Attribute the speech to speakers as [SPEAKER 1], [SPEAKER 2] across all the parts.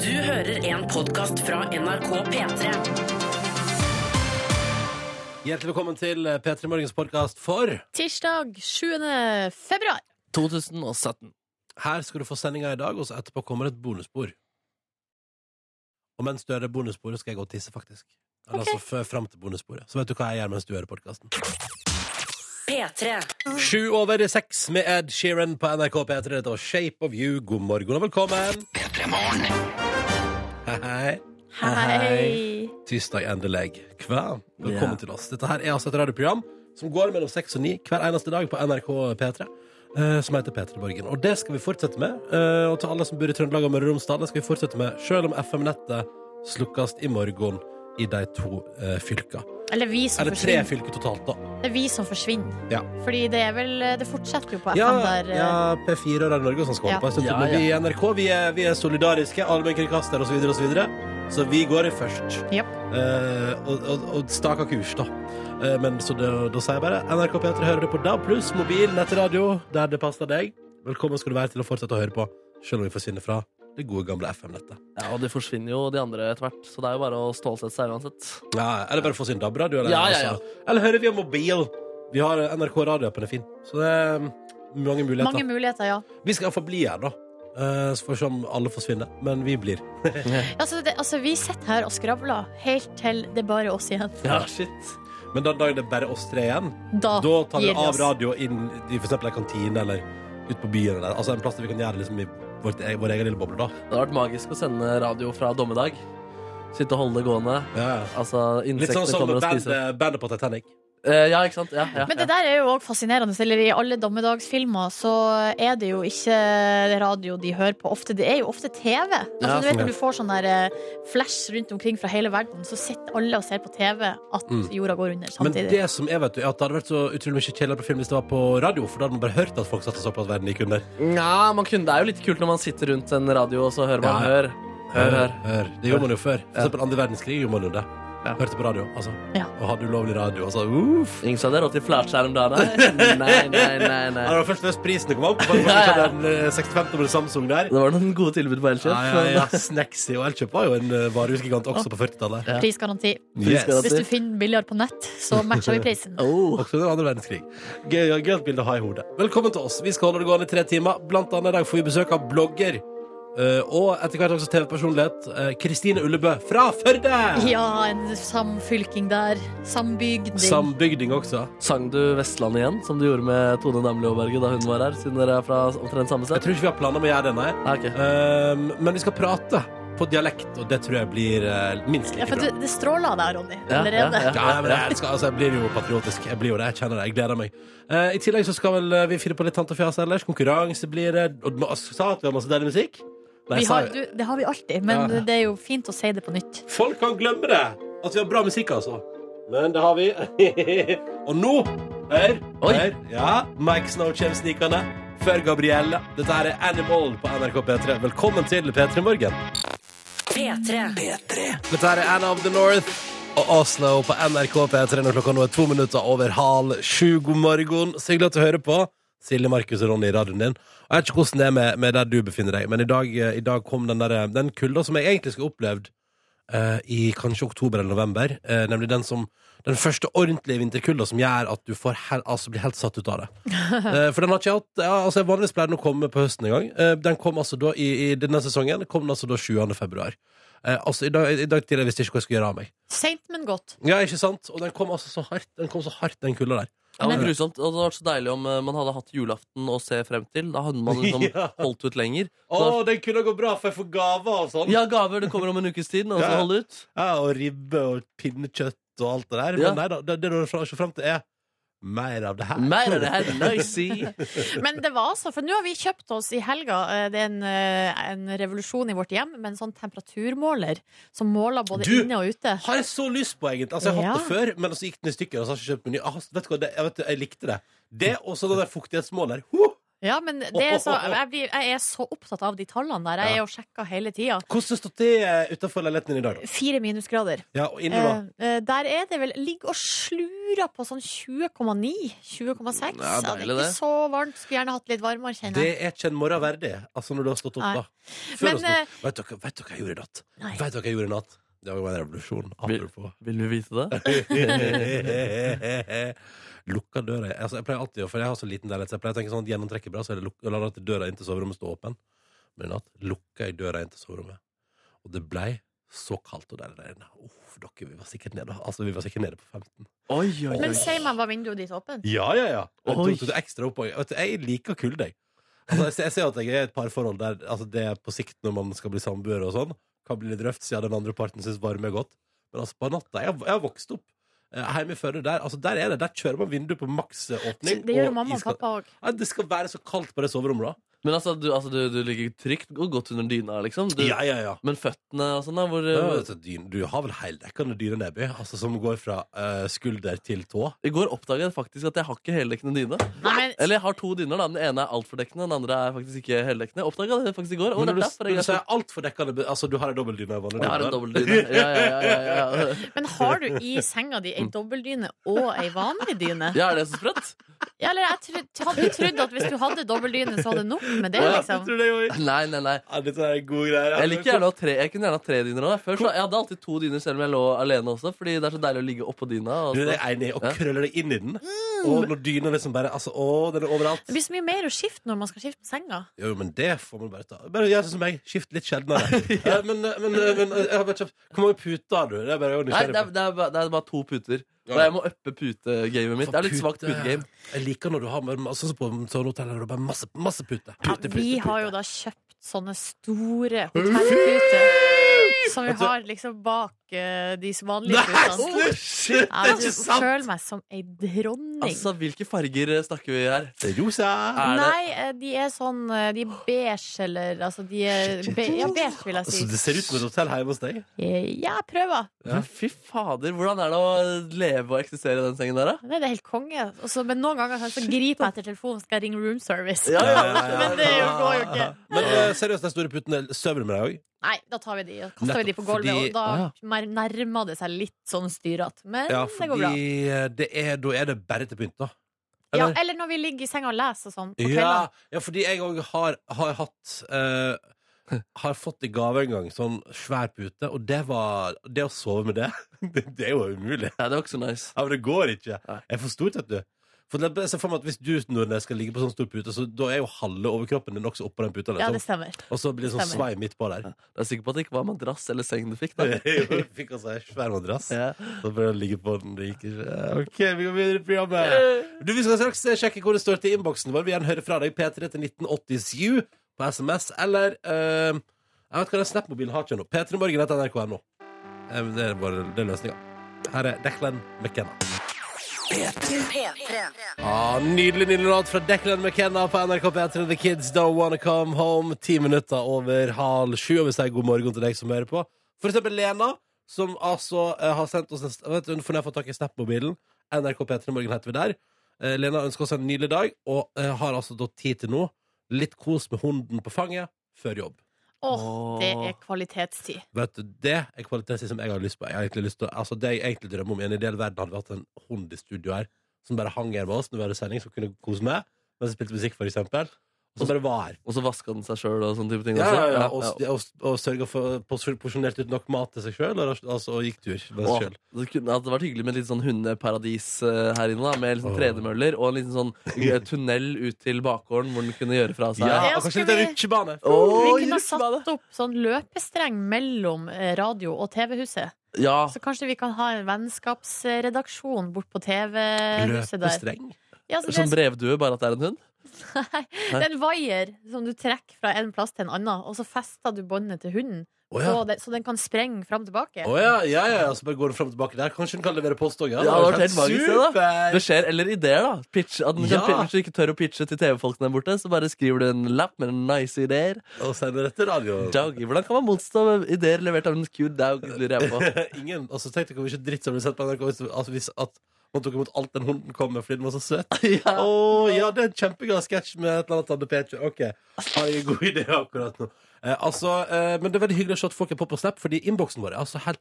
[SPEAKER 1] Du hører en podkast fra NRK P3.
[SPEAKER 2] Hjertelig velkommen til eh, P3 Morgens podkast for
[SPEAKER 3] Tirsdag 7. februar.
[SPEAKER 4] 2017.
[SPEAKER 2] Her skal du få sendinga i dag, og så etterpå kommer et bonusspor. Og mens du hører bonussporet, skal jeg gå og tisse, faktisk. Eller
[SPEAKER 3] Ok.
[SPEAKER 2] altså før fram til bonussporet. Så vet du hva jeg gjør mens du hører podkasten.
[SPEAKER 1] P3.
[SPEAKER 2] Sju over seks med Ed Sheeran på NRK P3. Dette var Shape of You. God morgen og velkommen. Hei, hei.
[SPEAKER 3] Hei.
[SPEAKER 2] Tirsdag endelig. Hva? Velkommen
[SPEAKER 4] Ja.
[SPEAKER 2] til oss. Dette her er altså et radioprogram som går mellom seks og ni hver eneste dag på NRK P3. eh, som heter P3 Borgen. Og det skal vi fortsette med. eh, og til alle som bor i Trøndelag og Møre og Romsdal, det skal vi fortsette med selv om FM-nettet slukkes i morgen i de to eh, fylka.
[SPEAKER 3] Eller vi som
[SPEAKER 2] Eller tre
[SPEAKER 3] forsvinner.
[SPEAKER 2] fylker totalt, da.
[SPEAKER 3] Det er vi som forsvinner.
[SPEAKER 2] Ja.
[SPEAKER 3] Fordi det er vel Det fortsetter jo på FM
[SPEAKER 2] Ja,
[SPEAKER 3] der. eh,
[SPEAKER 2] ja P4 og Radio Norge og sånn skal holde
[SPEAKER 3] Ja.
[SPEAKER 2] på en stund til.
[SPEAKER 4] Ja,
[SPEAKER 2] Men
[SPEAKER 4] ja.
[SPEAKER 2] vi i NRK vi er, vi er solidariske, allmennkringkaster osv., osv. Så, videre. så vi går først.
[SPEAKER 3] Japp.
[SPEAKER 2] Eh, og, og, og staker kurs, da. Eh, men så da, da sier jeg bare NRK P3 hører du på DAB pluss, mobil, nettradio, der det passer deg. Velkommen skal du være til å fortsette å høre på, selv om vi forsvinner fra det gode, gamle FM-nettet.
[SPEAKER 4] Ja, og det forsvinner jo de andre etter hvert, så det er jo bare å stålsette seg uansett.
[SPEAKER 2] Ja, eller bare få sin DAB-radio. Eller,
[SPEAKER 4] Ja, ja, ja.
[SPEAKER 2] altså. eller hører via mobil. Vi har eh, NRK Radio-appen er fin, så det er mm, mange muligheter.
[SPEAKER 3] Mange muligheter, ja.
[SPEAKER 2] Vi skal iallfall bli her, da. Eh, Så får vi se om alle forsvinner. Men vi blir.
[SPEAKER 3] Altså, det, altså, vi sitter her og skravler helt til det er bare oss igjen.
[SPEAKER 4] Ja, shit.
[SPEAKER 2] Men den dagen det er bare oss tre igjen,
[SPEAKER 3] Da,
[SPEAKER 2] da tar vi
[SPEAKER 3] gir vi
[SPEAKER 2] av
[SPEAKER 3] oss.
[SPEAKER 2] radio inn i for eksempel en kantine eller ute på byen. Eller. Altså en plass der vi kan gjøre det liksom i vårt, e- vår egen lille boble, da.
[SPEAKER 4] Det hadde vært magisk å sende radio fra dommedag. Sitte og holde det gående. Altså,
[SPEAKER 2] Litt sånn
[SPEAKER 4] insektene
[SPEAKER 2] som
[SPEAKER 4] kommer og
[SPEAKER 2] band,
[SPEAKER 4] spiser.
[SPEAKER 2] bandet på Titanic.
[SPEAKER 4] Eh, ja, ikke sant? Ja, ja,
[SPEAKER 3] Men det
[SPEAKER 4] ja.
[SPEAKER 3] der er jo òg fascinerende. Eller I alle dommedagsfilmer så er det jo ikke radio de hører på ofte. Det er jo ofte TV. Altså,
[SPEAKER 4] Ja,
[SPEAKER 2] sånn,
[SPEAKER 3] du vet
[SPEAKER 2] ja.
[SPEAKER 3] Når du får sånn der eh, flash rundt omkring fra hele verden, så sitter alle og ser på TV at
[SPEAKER 2] Mm.
[SPEAKER 3] jorda går under
[SPEAKER 2] Men
[SPEAKER 3] samtidig.
[SPEAKER 2] det som er, vet du, er at det hadde vært så utrolig mye kjedeligere på film hvis det var på radio, for da hadde man bare hørt at folk satt og så på at verden gikk under.
[SPEAKER 4] Nja, man kunne, det er jo litt kult når man sitter rundt en radio og så hører man
[SPEAKER 2] Ja.
[SPEAKER 4] hør. Hør, hør.
[SPEAKER 2] hør. Det gjorde man jo før. For
[SPEAKER 4] Ja.
[SPEAKER 2] eksempel andre verdenskrig gjorde man jo det.
[SPEAKER 4] Ja.
[SPEAKER 2] Hørte på radio, altså.
[SPEAKER 3] Ja.
[SPEAKER 2] Og hadde ulovlig radio, altså. Uff.
[SPEAKER 4] Ingen sa det råd til flatskjerm da, nei? Nei, nei, nei. nei.
[SPEAKER 2] Ja, det var først hvis prisene kom opp. Bare for
[SPEAKER 4] Ja, ja.
[SPEAKER 2] Den eh, 65-tommel Samsung der.
[SPEAKER 4] Det var noen gode tilbud på Elkjøp.
[SPEAKER 2] Ja, ja, ja. Snacksy og Elkjøp var jo en eh, varehusgigant også på 40-tallet.
[SPEAKER 3] Prisgaranti.
[SPEAKER 4] Yes.
[SPEAKER 3] Hvis du finner billigere på nett, så matcher vi prisen.
[SPEAKER 4] Oh.
[SPEAKER 2] Også under andre verdenskrig. Gøy, gøyalt bilde å ha i hodet. Velkommen til oss. Vi skal holde det gående i tre timer. Blant annet i dag får vi besøk av blogger eh, og etter hvert også TV-personlighet eh, Kristine Ullebø fra Førde!
[SPEAKER 3] Ja, en samfylking der. Sambygding.
[SPEAKER 2] Sambygding også.
[SPEAKER 4] Sang du Vestlandet igjen, som du gjorde med Tone Damli Aaberge da hun var her? Siden dere er fra omtrent samme
[SPEAKER 2] Jeg
[SPEAKER 4] sted?
[SPEAKER 2] tror ikke vi har planer om å gjøre det, nei.
[SPEAKER 4] Ja, ok.
[SPEAKER 2] Um, men vi skal prate på dialekt, og det tror jeg blir eh, minst
[SPEAKER 3] ja,
[SPEAKER 2] like
[SPEAKER 3] for
[SPEAKER 2] bra.
[SPEAKER 3] det, det stråler der, Ronny.
[SPEAKER 4] Ja,
[SPEAKER 3] Allerede.
[SPEAKER 4] ja,
[SPEAKER 2] Ja, men jeg, elsker, altså, jeg blir jo patriotisk. Jeg blir jo det, jeg kjenner det. Jeg gleder meg. Eh, I tillegg så skal vel eh, vi finne på litt Tante Fjas ellers. Konkurranse blir det. Og ma- sa at vi har masse deilig musikk. Nei,
[SPEAKER 3] Vi
[SPEAKER 2] sa
[SPEAKER 3] har,
[SPEAKER 2] jo-
[SPEAKER 3] du, det har vi alltid, men
[SPEAKER 2] Ja.
[SPEAKER 3] det er jo fint å si det på nytt.
[SPEAKER 2] Folk kan glemme det! At vi har bra musikk, altså. Men det har vi. og nå Hør.
[SPEAKER 4] Oi.
[SPEAKER 2] hør. Ja, Mike Snow kommer snikende. Før Gabrielle. Dette her er Animal på NRK P3. Velkommen til P3 Morgen.
[SPEAKER 1] P3.
[SPEAKER 2] Dette her er Anna of the North og Oslo på NRK P3 når klokka nå er to minutter over halv sju. God morgen. Så hyggelig at du hører på. Silje, Markus og Ronny i radioen din. Og Jeg vet ikke hvordan det er med, med der du befinner deg, men i dag, eh, i dag kom den, der, den kulda som jeg egentlig skulle opplevd eh, i kanskje oktober eller november. eh, nemlig den, som, den første ordentlige vinterkulda som gjør at du får hel, altså blir helt satt ut av det. Eh, for den har ikke jeg hatt ja, altså Vanligvis pleier den å komme på høsten en gang. Eh, den kom altså da i, i denne sesongen kom den altså da 7. februar. Eh, altså I dag, i dag tidlig visste jeg ikke hva jeg skulle gjøre av meg.
[SPEAKER 3] Seint, men godt.
[SPEAKER 2] Ja, ikke sant? Og den kom altså så hardt, den kom så hardt, den kulda der.
[SPEAKER 4] Ja, men grusomt. Og det hadde vært så deilig om eh, man hadde hatt julaften å se frem til. Da hadde man liksom
[SPEAKER 2] Ja.
[SPEAKER 4] holdt ut lenger.
[SPEAKER 2] Å, den kulda går bra, for jeg får gaver og sånn.
[SPEAKER 4] Ja, gaver det kommer om en ukes tid. Og så
[SPEAKER 2] Ja.
[SPEAKER 4] holde ut.
[SPEAKER 2] Ja, og ribbe og pinnekjøtt og alt det der.
[SPEAKER 4] Ja.
[SPEAKER 2] Men nei da, det, det du ser fram til, er mer av det her.
[SPEAKER 4] Mer av det her. Noisy.
[SPEAKER 3] Men det var altså, for nå har vi kjøpt oss i helga eh, Det er en, eh, en revolusjon i vårt hjem med en sånn temperaturmåler som måler både
[SPEAKER 2] Du-
[SPEAKER 3] inne og ute.
[SPEAKER 2] Har jeg så lyst på, egentlig. Altså, Jeg har hatt det
[SPEAKER 3] Ja.
[SPEAKER 2] før, men så gikk den i stykker. Og så har jeg ikke kjøpt meny. Ah, vet du hva, det, jeg, vet, jeg likte det. Det og så den der fuktighetsmåleren. Ho!
[SPEAKER 3] Ja, men det er så, jeg, blir, jeg er så opptatt av de tallene der. Jeg er og sjekker hele tida.
[SPEAKER 2] Hvordan står det eh, utenfor leiligheten din i dag, da?
[SPEAKER 3] Fire minusgrader.
[SPEAKER 2] Ja, og inne, da?
[SPEAKER 3] Eh, eh, der er det vel Ligger og slurer på sånn 20,9. 20,6. Ja, det
[SPEAKER 4] Ja,
[SPEAKER 3] er ikke
[SPEAKER 4] deilig det.
[SPEAKER 3] så varmt. Skulle gjerne hatt litt varmere, kjenner
[SPEAKER 2] Det
[SPEAKER 3] jeg.
[SPEAKER 2] er ikke en morgen verdig, altså når du har stått opp
[SPEAKER 3] Nei.
[SPEAKER 2] da. Før
[SPEAKER 3] Men,
[SPEAKER 2] du
[SPEAKER 3] eh,
[SPEAKER 2] har stått- vet, dere, vet dere hva jeg gjorde i natt?
[SPEAKER 3] Nei.
[SPEAKER 2] Vet dere hva jeg gjorde i natt? Det var jo en revolusjon. Apropos.
[SPEAKER 4] Vil du vite det?
[SPEAKER 2] Lukka døra altså, Jeg pleier alltid å- For jeg har så liten leilighet, så jeg pleier å tenke sånn at gjennomtrekk er bra, så jeg luk- lar alltid døra inn til soverommet stå åpen. Men i natt lukka jeg døra inn til soverommet, og det blei så kaldt og deilig der inne. Uff, dere, vi var sikkert nede Altså, vi var sikkert nede på 15.
[SPEAKER 4] Oi, oi,
[SPEAKER 3] Men
[SPEAKER 4] oi.
[SPEAKER 3] si meg, var vinduet ditt åpent?
[SPEAKER 2] Ja, ja, ja. Og
[SPEAKER 4] Oi.
[SPEAKER 2] tok tok det ekstra opp. og- Vet du, jeg liker kulde, jeg. Altså, jeg, ser- jeg ser at jeg er i et parforhold der altså, det er på sikt når man skal bli samboer og sånn, kan bli litt røft siden den andre parten syns varme er godt. Men altså, på natta Jeg, har- jeg har vokst opp eh, hjemme i Førde. Der, altså, der er det. Der kjører man vinduet på maks åpning.
[SPEAKER 3] Det gjør
[SPEAKER 2] og
[SPEAKER 3] mamma og
[SPEAKER 2] iskald-
[SPEAKER 3] pappa òg.
[SPEAKER 2] Nei, det skal være så kaldt på det soverommet,
[SPEAKER 4] Men altså, du, altså, du, du ligger trygt og godt under dyna, liksom.
[SPEAKER 2] da.
[SPEAKER 4] Du,
[SPEAKER 2] ja, ja.
[SPEAKER 4] Men føttene og sånn, da? Hvor,
[SPEAKER 2] Ja, altså, dyn- du har vel heldekkende dyreneby, altså, som går fra eh, skulder til tå.
[SPEAKER 4] I går oppdaga jeg faktisk at jeg har ikke heldekkende dyne.
[SPEAKER 3] Nei, men
[SPEAKER 4] Eller jeg har to dyner. da, Den ene er altfordekkende, den andre er faktisk ikke heldekkende. Oppdaget det faktisk i går. Og
[SPEAKER 2] Men når
[SPEAKER 4] det
[SPEAKER 2] du,
[SPEAKER 4] er derfor
[SPEAKER 2] når
[SPEAKER 4] jeg,
[SPEAKER 2] du sier altfor dekkende be- Altså, du har en dobbeltdyne? i vanlig
[SPEAKER 4] jeg har
[SPEAKER 2] dyne.
[SPEAKER 4] en dobbeltdyne. Ja, ja, ja, ja, ja.
[SPEAKER 3] Men har du i senga di ei dobbeldyne og ei vanlig dyne?
[SPEAKER 4] ja, er det så sprøtt?
[SPEAKER 3] Ja, eller jeg trodde, hadde du trodd at hvis du hadde dobbeldyne, så hadde det nok med det,
[SPEAKER 4] Å, ja.
[SPEAKER 2] Jeg
[SPEAKER 3] liksom?
[SPEAKER 2] tror det går.
[SPEAKER 4] Nei, nei, nei.
[SPEAKER 2] Ja, dette er gode greier.
[SPEAKER 4] Jeg liker gjerne å ha tre, jeg kunne gjerne ha tre dyner òg. Jeg hadde alltid to dyner selv om jeg lå alene også, fordi det er så deilig å ligge oppå dyna. og
[SPEAKER 2] Du
[SPEAKER 4] så-
[SPEAKER 2] er enig i å
[SPEAKER 4] Ja.
[SPEAKER 2] krølle deg inn i den.
[SPEAKER 3] Mm.
[SPEAKER 2] Og når dyna liksom bare altså, Å, den er overalt.
[SPEAKER 3] Det blir så mye mer å skifte når man skal skifte senga.
[SPEAKER 2] Jo, men det får man bare ta. Bare gjør sånn som meg. Skift litt sjeldnere. Eh, men, eh, men, eh, men eh, jeg har bare kjøpt Hvor mange puter har du? Det er bare jeg er
[SPEAKER 4] Nei, det
[SPEAKER 2] nysgjerrig
[SPEAKER 4] er, det, er, bare- det er bare to puter.
[SPEAKER 2] Ja.
[SPEAKER 4] Og jeg må uppe putegamet mitt. Det er litt
[SPEAKER 2] Pute-
[SPEAKER 4] svakt eh. putegame.
[SPEAKER 2] Jeg liker når du har med- sånn som på sånne hoteller hvor det er bare masse, masse puter.
[SPEAKER 3] Ja,
[SPEAKER 2] Pute,
[SPEAKER 3] vi
[SPEAKER 2] pute,
[SPEAKER 3] har jo
[SPEAKER 2] pute.
[SPEAKER 3] da kjøpt sånne store hotellputer som vi har liksom bak eh, de vanlige putene.
[SPEAKER 2] Altså- Nei, slutt!
[SPEAKER 3] Ja,
[SPEAKER 2] Det er
[SPEAKER 3] du
[SPEAKER 2] ikke sant!
[SPEAKER 3] føler meg som ei dronning.
[SPEAKER 4] Altså, hvilke farger eh, snakker vi her?
[SPEAKER 2] Det er Rosa.
[SPEAKER 4] Er det-
[SPEAKER 3] Nei, eh, de er sånn eh, De er beige, eller altså de er be, Ja, beige, vil jeg
[SPEAKER 2] Altså,
[SPEAKER 3] si.
[SPEAKER 2] det ser ut som et hotell hjemme hos deg.
[SPEAKER 3] Eh, Ja, jeg prøver.
[SPEAKER 2] Ja.
[SPEAKER 4] Men fy fader, hvordan er det å leve og eksistere i den sengen der, da?
[SPEAKER 3] Nei, det er helt konge. Altså, men noen ganger så griper jeg etter telefonen og skal jeg ringe room service.
[SPEAKER 4] Ja, ja, ja, ja.
[SPEAKER 3] men det jo- går jo ikke.
[SPEAKER 2] Men eh, seriøst, den store puten sover du med deg òg?
[SPEAKER 3] Nei, da tar vi de og kaster vi de på
[SPEAKER 2] Nettopp,
[SPEAKER 3] gulvet,
[SPEAKER 2] fordi-
[SPEAKER 3] og da
[SPEAKER 2] Ah,
[SPEAKER 3] mer- nærmer det seg litt sånn styrete. Men
[SPEAKER 2] Ja,
[SPEAKER 3] det går bra.
[SPEAKER 2] fordi eh, det er, da er det bare til pynt, da.
[SPEAKER 3] Ja, eller når vi ligger i senga og leser og sånn på
[SPEAKER 2] ja,
[SPEAKER 3] kveldene.
[SPEAKER 2] ja, fordi jeg òg har, har hatt eh, Har fått i gave en gang sånn svær pute, og det var Det å sove med det, det, det er jo umulig.
[SPEAKER 4] Nei, det var ikke så nice.
[SPEAKER 2] Ja, men det går ikke.
[SPEAKER 4] Nei.
[SPEAKER 2] Jeg er for stort, vet du. For det, jeg ser for meg at Hvis du Nordnes, skal ligge på sånn stor pute, så da er jo halve overkroppen din også oppå den puta.
[SPEAKER 3] Ja, det
[SPEAKER 2] Liksom.
[SPEAKER 3] stemmer.
[SPEAKER 2] og så blir det sånn svei
[SPEAKER 3] stemmer.
[SPEAKER 2] midt på der.
[SPEAKER 4] Jeg er sikker på at det ikke var madrass eller seng du fikk, da.
[SPEAKER 2] Jeg fikk altså en svær madrass.
[SPEAKER 4] Ja.
[SPEAKER 2] Da bør jeg ligge på den det gikk ikke. Eh, Ok, vi går videre i programmet Du, vi skal straks eh, sjekke hvor det står til innboksen vår Vi gjerne hører fra deg P3 til 1987 På sms, eller eh, Jeg vet hva den Snap-mobilen har ikke nå P3 Morgen etter NRK nå Eh, Det er bare det er løsningen Her er Declan McKenna Ah, nydelig nydelig låt fra Declan McKenna på NRK P3 The Kids Don't Wanna Come Home. Ti minutter over halv sju. Og vi sier god morgen til deg som hører på. For eksempel Lena, som altså eh, har sendt oss en st- vet du, For når jeg får tak i Snap-mobilen, NRK P3 Morgen heter vi der. Eh, Lena ønsker oss en nydelig dag, og eh, har altså da tid til nå. Litt kos med hunden på fanget før jobb.
[SPEAKER 3] Åh, det er kvalitetstid.
[SPEAKER 2] Vet du, Det er kvalitetstid som jeg har lyst på. Jeg har egentlig lyst til, å- altså Det jeg egentlig drømmer om i en ideell verden, hadde vært en hund i studio her som bare hang her med oss når vi hadde sending, som kunne kose meg mens jeg spilte musikk, for eksempel Og så bare var her.
[SPEAKER 4] Og så vaska den seg sjøl og sånne type ting.
[SPEAKER 2] Ja, ja,
[SPEAKER 4] også.
[SPEAKER 2] ja, og s- og, s- og sørga for pos- porsjonert ut nok mat til seg sjøl, altså, og gikk tur med
[SPEAKER 4] Åh,
[SPEAKER 2] seg sjøl.
[SPEAKER 4] det kunne hadde vært hyggelig med et litt sånn hundeparadis eh, her inne, da, med litt sånn
[SPEAKER 2] Åh.
[SPEAKER 4] tredemøller og en liten sånn eh, tunnel ut til bakgården hvor den kunne gjøre fra seg.
[SPEAKER 2] Ja,
[SPEAKER 3] Ja,
[SPEAKER 2] og kanskje
[SPEAKER 3] skal
[SPEAKER 2] litt av
[SPEAKER 3] vi-
[SPEAKER 2] rutsjebane.
[SPEAKER 4] Åh,
[SPEAKER 3] vi kunne ha
[SPEAKER 4] Jerusalem.
[SPEAKER 3] satt opp sånn løpestreng mellom eh, radio og TV-huset.
[SPEAKER 4] ja.
[SPEAKER 3] Så kanskje vi kan ha en vennskapsredaksjon bort på TV-huset der.
[SPEAKER 2] Løpestreng. sånn
[SPEAKER 3] Ja, så det,
[SPEAKER 4] Som
[SPEAKER 3] er,
[SPEAKER 4] brevdue, bare at det er en hund?
[SPEAKER 3] det er en vaier som du trekker fra en plass til en annen, og så fester du båndet til hunden,
[SPEAKER 2] Å ja.
[SPEAKER 3] og det, så den kan sprenge fram og tilbake.
[SPEAKER 2] Å ja, ja, ja, ja, så bare går den fram og tilbake der. Kanskje hun kan levere post òg?
[SPEAKER 4] Ja, det hadde vært helt magisk, det, da.
[SPEAKER 2] Super!
[SPEAKER 4] Beskjeder eller ideer, da. Pitch, at den kan,
[SPEAKER 2] Ja.
[SPEAKER 4] pitche- Hvis du ikke tør å pitche til TV-folkene der borte, så bare skriver du en lapp med noen nice ideer.
[SPEAKER 2] Og sender det til radioen.
[SPEAKER 4] Doggy, hvordan kan man motstå ideer levert av en cute dog? Lurer jeg på.
[SPEAKER 2] Ingen, altså Tenk deg hvor mye dritt som blir sett på NRK hvis, altså, hvis at Hun tok imot alt den hunden kom med, fordi den var så søt.
[SPEAKER 4] ja.
[SPEAKER 2] Å, ja, det er en kjempegod sketsj med et eller annet Tande Peter. Ok, har jeg en god idé akkurat nå. Eh, altså, eh, men det er veldig hyggelig å se at folk er på på Snap, fordi innboksen vår er altså helt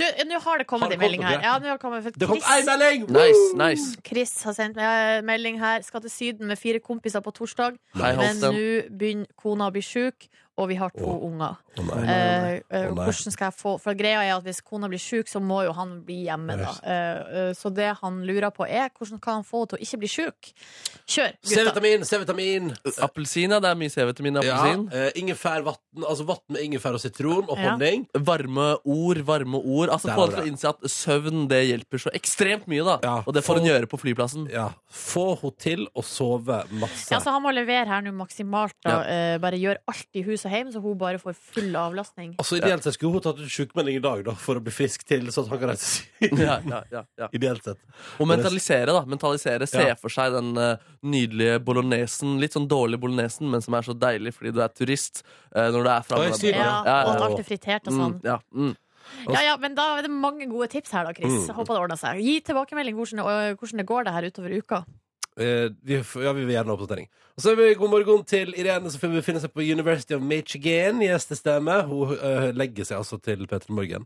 [SPEAKER 3] Du, nå
[SPEAKER 2] Har
[SPEAKER 3] har det kommet
[SPEAKER 2] det
[SPEAKER 3] en melding
[SPEAKER 2] kommet,
[SPEAKER 3] her. Ja, nå har det kommet for
[SPEAKER 2] Det kom
[SPEAKER 3] Chris-
[SPEAKER 2] én melding!
[SPEAKER 4] Nice, nice.
[SPEAKER 3] Chris har sendt meg en melding her. Skal til Syden med fire kompiser på torsdag.
[SPEAKER 4] Hei,
[SPEAKER 3] Men nå
[SPEAKER 4] Holsten.
[SPEAKER 3] begynner kona å bli sjuk, og vi har to
[SPEAKER 2] Åh.
[SPEAKER 3] unger.
[SPEAKER 2] Å, nei.
[SPEAKER 3] Eh, eh,
[SPEAKER 2] Å, nei.
[SPEAKER 3] hvordan skal jeg få For greia er at hvis kona blir sjuk, så må jo han bli hjemme, da. Eh, eh, så det han lurer på, er hvordan kan han få henne til å ikke bli sjuk? Kjør, gutta.
[SPEAKER 2] C-vitamin, C-vitamin!
[SPEAKER 4] Appelsin, ja. Det er mye C-vitamin i
[SPEAKER 2] Ja,
[SPEAKER 4] appelsin.
[SPEAKER 2] eh, ingefær, vatten, altså vatten med ingefær og sitron og
[SPEAKER 3] Ja.
[SPEAKER 2] honning.
[SPEAKER 4] Varme ord, varme ord. Altså
[SPEAKER 2] Der
[SPEAKER 4] Få
[SPEAKER 2] var
[SPEAKER 4] deg til å
[SPEAKER 2] det.
[SPEAKER 4] innse at søvn det hjelper så ekstremt mye. da
[SPEAKER 2] Ja.
[SPEAKER 4] Og det får hun gjøre på flyplassen.
[SPEAKER 2] Ja. Få henne til å sove masse.
[SPEAKER 3] Ja, så han må levere her nå maksimalt. Da. Eh, bare gjør alt i hus og hjem, så hun bare får full avlastning.
[SPEAKER 2] Altså, Ideelt sett skulle hun tatt ut sjukmelding i dag da, for å bli frisk til, sånn at han kan reise seg.
[SPEAKER 4] Ja, ja, ja, ja.
[SPEAKER 2] Ideelt sett.
[SPEAKER 4] Og mentalisere, da. mentalisere Se
[SPEAKER 2] Ja.
[SPEAKER 4] for seg den eh, nydelige bolognesen. Litt sånn dårlig bolognesen, men som er så deilig fordi du er turist. eh, når du er fra
[SPEAKER 2] Oi,
[SPEAKER 4] Malaga.
[SPEAKER 2] sykt.
[SPEAKER 3] Ja,
[SPEAKER 4] Ja,
[SPEAKER 3] og
[SPEAKER 4] ja,
[SPEAKER 3] alt er fritert og sånn.
[SPEAKER 4] Mm, ja, mm.
[SPEAKER 3] Ja, ja, men da er det mange gode tips her, da, Chris. Håper det ordner seg. Gi tilbakemelding hvordan, og hvordan det går det her utover uka.
[SPEAKER 2] Eh, vi, f- ja, vi vil gjerne ha oppdatering. Og så er vi god morgen til Irene, som befinner seg på University of Michigan. Gjestestemme. Hun eh, legger seg altså til Petter Morgen.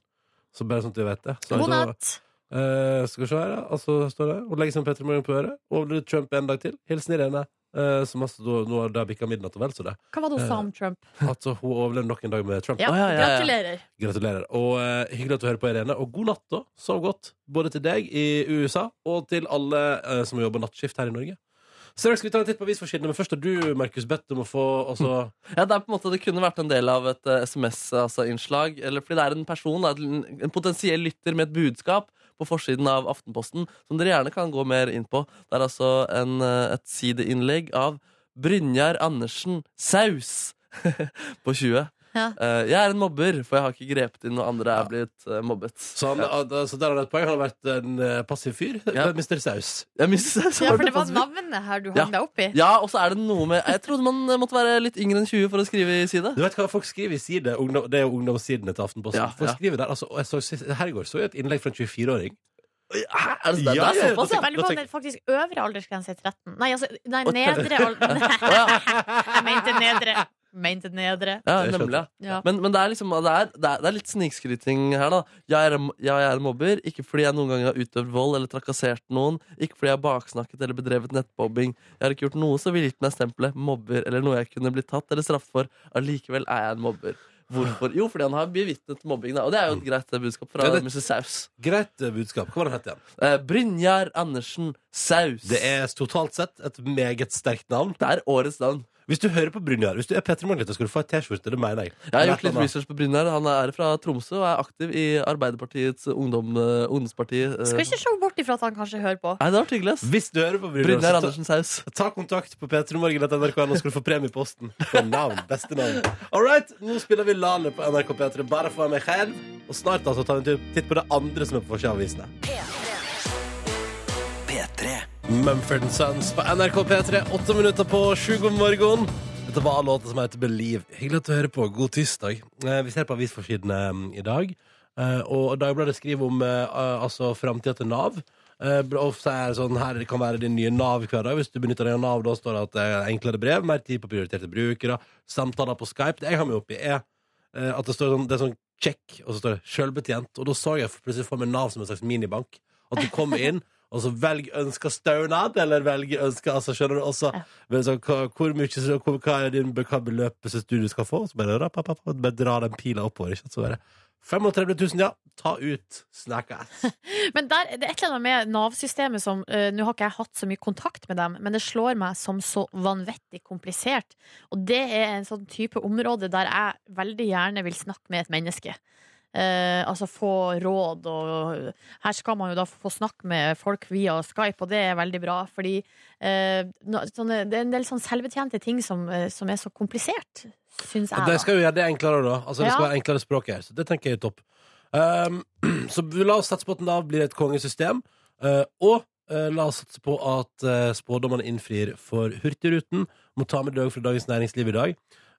[SPEAKER 2] Så bare sånn at du vet det. Så,
[SPEAKER 3] God natt!
[SPEAKER 2] Eh, skal vi se her, ja. Altså, står det. Hun legger seg med Petter Morgen på øret. Overlever Trump en dag til. Hilsen Irene. Eh, som altså, da, nå har det bikka midnatt og vel så det.
[SPEAKER 3] Hva var det hun sa om Trump?
[SPEAKER 2] Altså, hun overlevde nok en dag med Trump.
[SPEAKER 3] Ja,
[SPEAKER 4] Eh, Å, ja, ja, ja.
[SPEAKER 3] gratulerer.
[SPEAKER 2] Gratulerer. Og eh, hyggelig at du hører på, Irene. Og god natt, da. Sov godt. Både til deg i USA og til alle eh, som jobber nattskift her i Norge. Straks skal vi ta en titt på avisforsidene, men først har du, Markus, bedt om å få altså,
[SPEAKER 4] Ja, det, er på en måte, det kunne vært en del av et eh, SMS-innslag. altså, eller fordi det er en person, da, en en potensiell lytter med et budskap på forsiden av Aftenposten, som dere gjerne kan gå mer inn på. Det er altså en, eh, et sideinnlegg av Brynjar Andersen Saus på 20.
[SPEAKER 3] Ja.
[SPEAKER 4] Eh, jeg er en mobber, for jeg har ikke grepet inn når andre er blitt eh, mobbet.
[SPEAKER 2] så, han, al- altså, der har han et poeng. Han har vært en eh, passiv fyr.
[SPEAKER 4] Ja.
[SPEAKER 2] Mr. Saus.
[SPEAKER 4] Jeg mistet Saus.
[SPEAKER 3] Ja, for det var navnet her du hang
[SPEAKER 4] Ja.
[SPEAKER 3] deg opp i.
[SPEAKER 4] Ja, og så er det noe med Jeg trodde man eh, måtte være litt yngre enn 20 for å skrive i side.
[SPEAKER 2] Du vet hva folk skriver i side? Ungdom, det er jo ungdomssidene til Aftenposten.
[SPEAKER 4] Ja,
[SPEAKER 2] folk
[SPEAKER 4] ja.
[SPEAKER 2] skriver der, altså, og jeg så, sist- Her i går så jeg et innlegg fra en 24-åring.
[SPEAKER 4] Hæ? Er det, sånn? det,
[SPEAKER 2] Ja,
[SPEAKER 4] det er
[SPEAKER 2] ja,
[SPEAKER 4] såpass,
[SPEAKER 2] da
[SPEAKER 4] ja.
[SPEAKER 2] tenker-
[SPEAKER 3] Jeg lurer på om det er faktisk øvre aldersgrense er 13. Nei, altså, nei nedre alder...
[SPEAKER 4] Å, ja.
[SPEAKER 3] Jeg mente nedre. Mente nedre.
[SPEAKER 4] Ja,
[SPEAKER 2] Jeg skjønte.
[SPEAKER 4] nemlig. ja.
[SPEAKER 3] Ja.
[SPEAKER 4] Men, men det er liksom det er, det er, det er litt snikskryting her, da. Jeg er, ja, jeg er mobber, ikke fordi jeg noen gang har utøvd vold eller trakassert noen. Ikke fordi jeg har baksnakket eller bedrevet nettbobbing. Jeg har ikke gjort noe som ville gitt meg stempelet mobber eller noe jeg kunne blitt tatt eller straffet for. Allikevel er jeg en mobber. Hvorfor? Jo, fordi han har bevitnet mobbing, da. Og det er jo et greit eh, budskap fra
[SPEAKER 2] Mm. Ja, det-
[SPEAKER 4] Mr. Saus.
[SPEAKER 2] Greit eh, budskap. Hva var det han het igjen?
[SPEAKER 4] Eh, Brynjar Andersen Saus.
[SPEAKER 2] Det er totalt sett et meget sterkt navn.
[SPEAKER 4] Det er årets navn.
[SPEAKER 2] Hvis du hører på Brynjar, hvis du er Petter Morgenlid, skal du få ei T-skjorte. Det mener jeg.
[SPEAKER 4] Jeg har
[SPEAKER 2] Eller et
[SPEAKER 4] gjort litt
[SPEAKER 2] eller annet.
[SPEAKER 4] research på Brynjar. Han er fra Tromsø og er aktiv i Arbeiderpartiets ungdom, eh, ungdomsparti. eh.
[SPEAKER 3] Skal ikke se bort ifra at han kanskje hører på.
[SPEAKER 4] Nei, det var hyggelig, ass.
[SPEAKER 2] Hvis du hører på Brynjar,
[SPEAKER 4] Brynjar
[SPEAKER 2] så ta-
[SPEAKER 4] Andersen Saus.
[SPEAKER 2] Ta kontakt på p3morgen.nrk.no, så skal du få premie i posten. For navn, beste navn. All right, nå spiller vi Lane på NRK P3 bare for meg selv. Og snart altså, tar vi en tur- titt på det andre som er på forsida av avisene. Mumford Sons på NRK P3, åtte minutter på sju god morgen. Dette var låten som heter Believe. Hyggelig at du hører på. God tirsdag. Eh, Vi ser på avisforsidene mm, i dag, eh, og Dagbladet skriver om eh, altså framtida til Nav. Eh, Og så er det sånn, her kan være din nye Nav-hverdag. Hvis du benytter deg av Nav, da står det at det er enklere brev, mer tid på prioriterte brukere, samtaler på Skype. Det jeg har meg oppi, er eh, at det står sånn, det er sånn check, og så står det selvbetjent. Og da så jeg plutselig for meg Nav som en slags minibank. At du kommer inn, og så velg ønska stønad, eller velg ønska altså, Skjønner du? Og så men så, hva, hvor mye, så, hvor, hva er din, hva beløpet som du skal få? Så bare, rapp, rapp, rapp, bare dra den pila oppover. Ikke? sant? Så bare 35 000, ja. Ta ut snacka ass.
[SPEAKER 3] Men der, det er et eller annet med Nav-systemet som eh, Nå har ikke jeg hatt så mye kontakt med dem, men det slår meg som så vanvittig komplisert. Og det er en sånn type område der jeg veldig gjerne vil snakke med et menneske. Eh, altså få råd og Her skal man jo da få snakke med folk via Skype, og det er veldig bra, fordi eh, nå- sånne, det er en del sånn selvbetjente ting som, eh, som er så komplisert, syns jeg.
[SPEAKER 2] De
[SPEAKER 3] da.
[SPEAKER 2] skal jo gjøre det enklere, da. Altså, Det skal
[SPEAKER 3] Ja.
[SPEAKER 2] være enklere språk her. Så det tenker jeg er topp. Um, så la oss satse på at Nav blir et kongesystem. eh, og eh, la oss satse på at eh, spådommene innfrir for Hurtigruten. Må ta med deg fra Dagens Næringsliv i dag.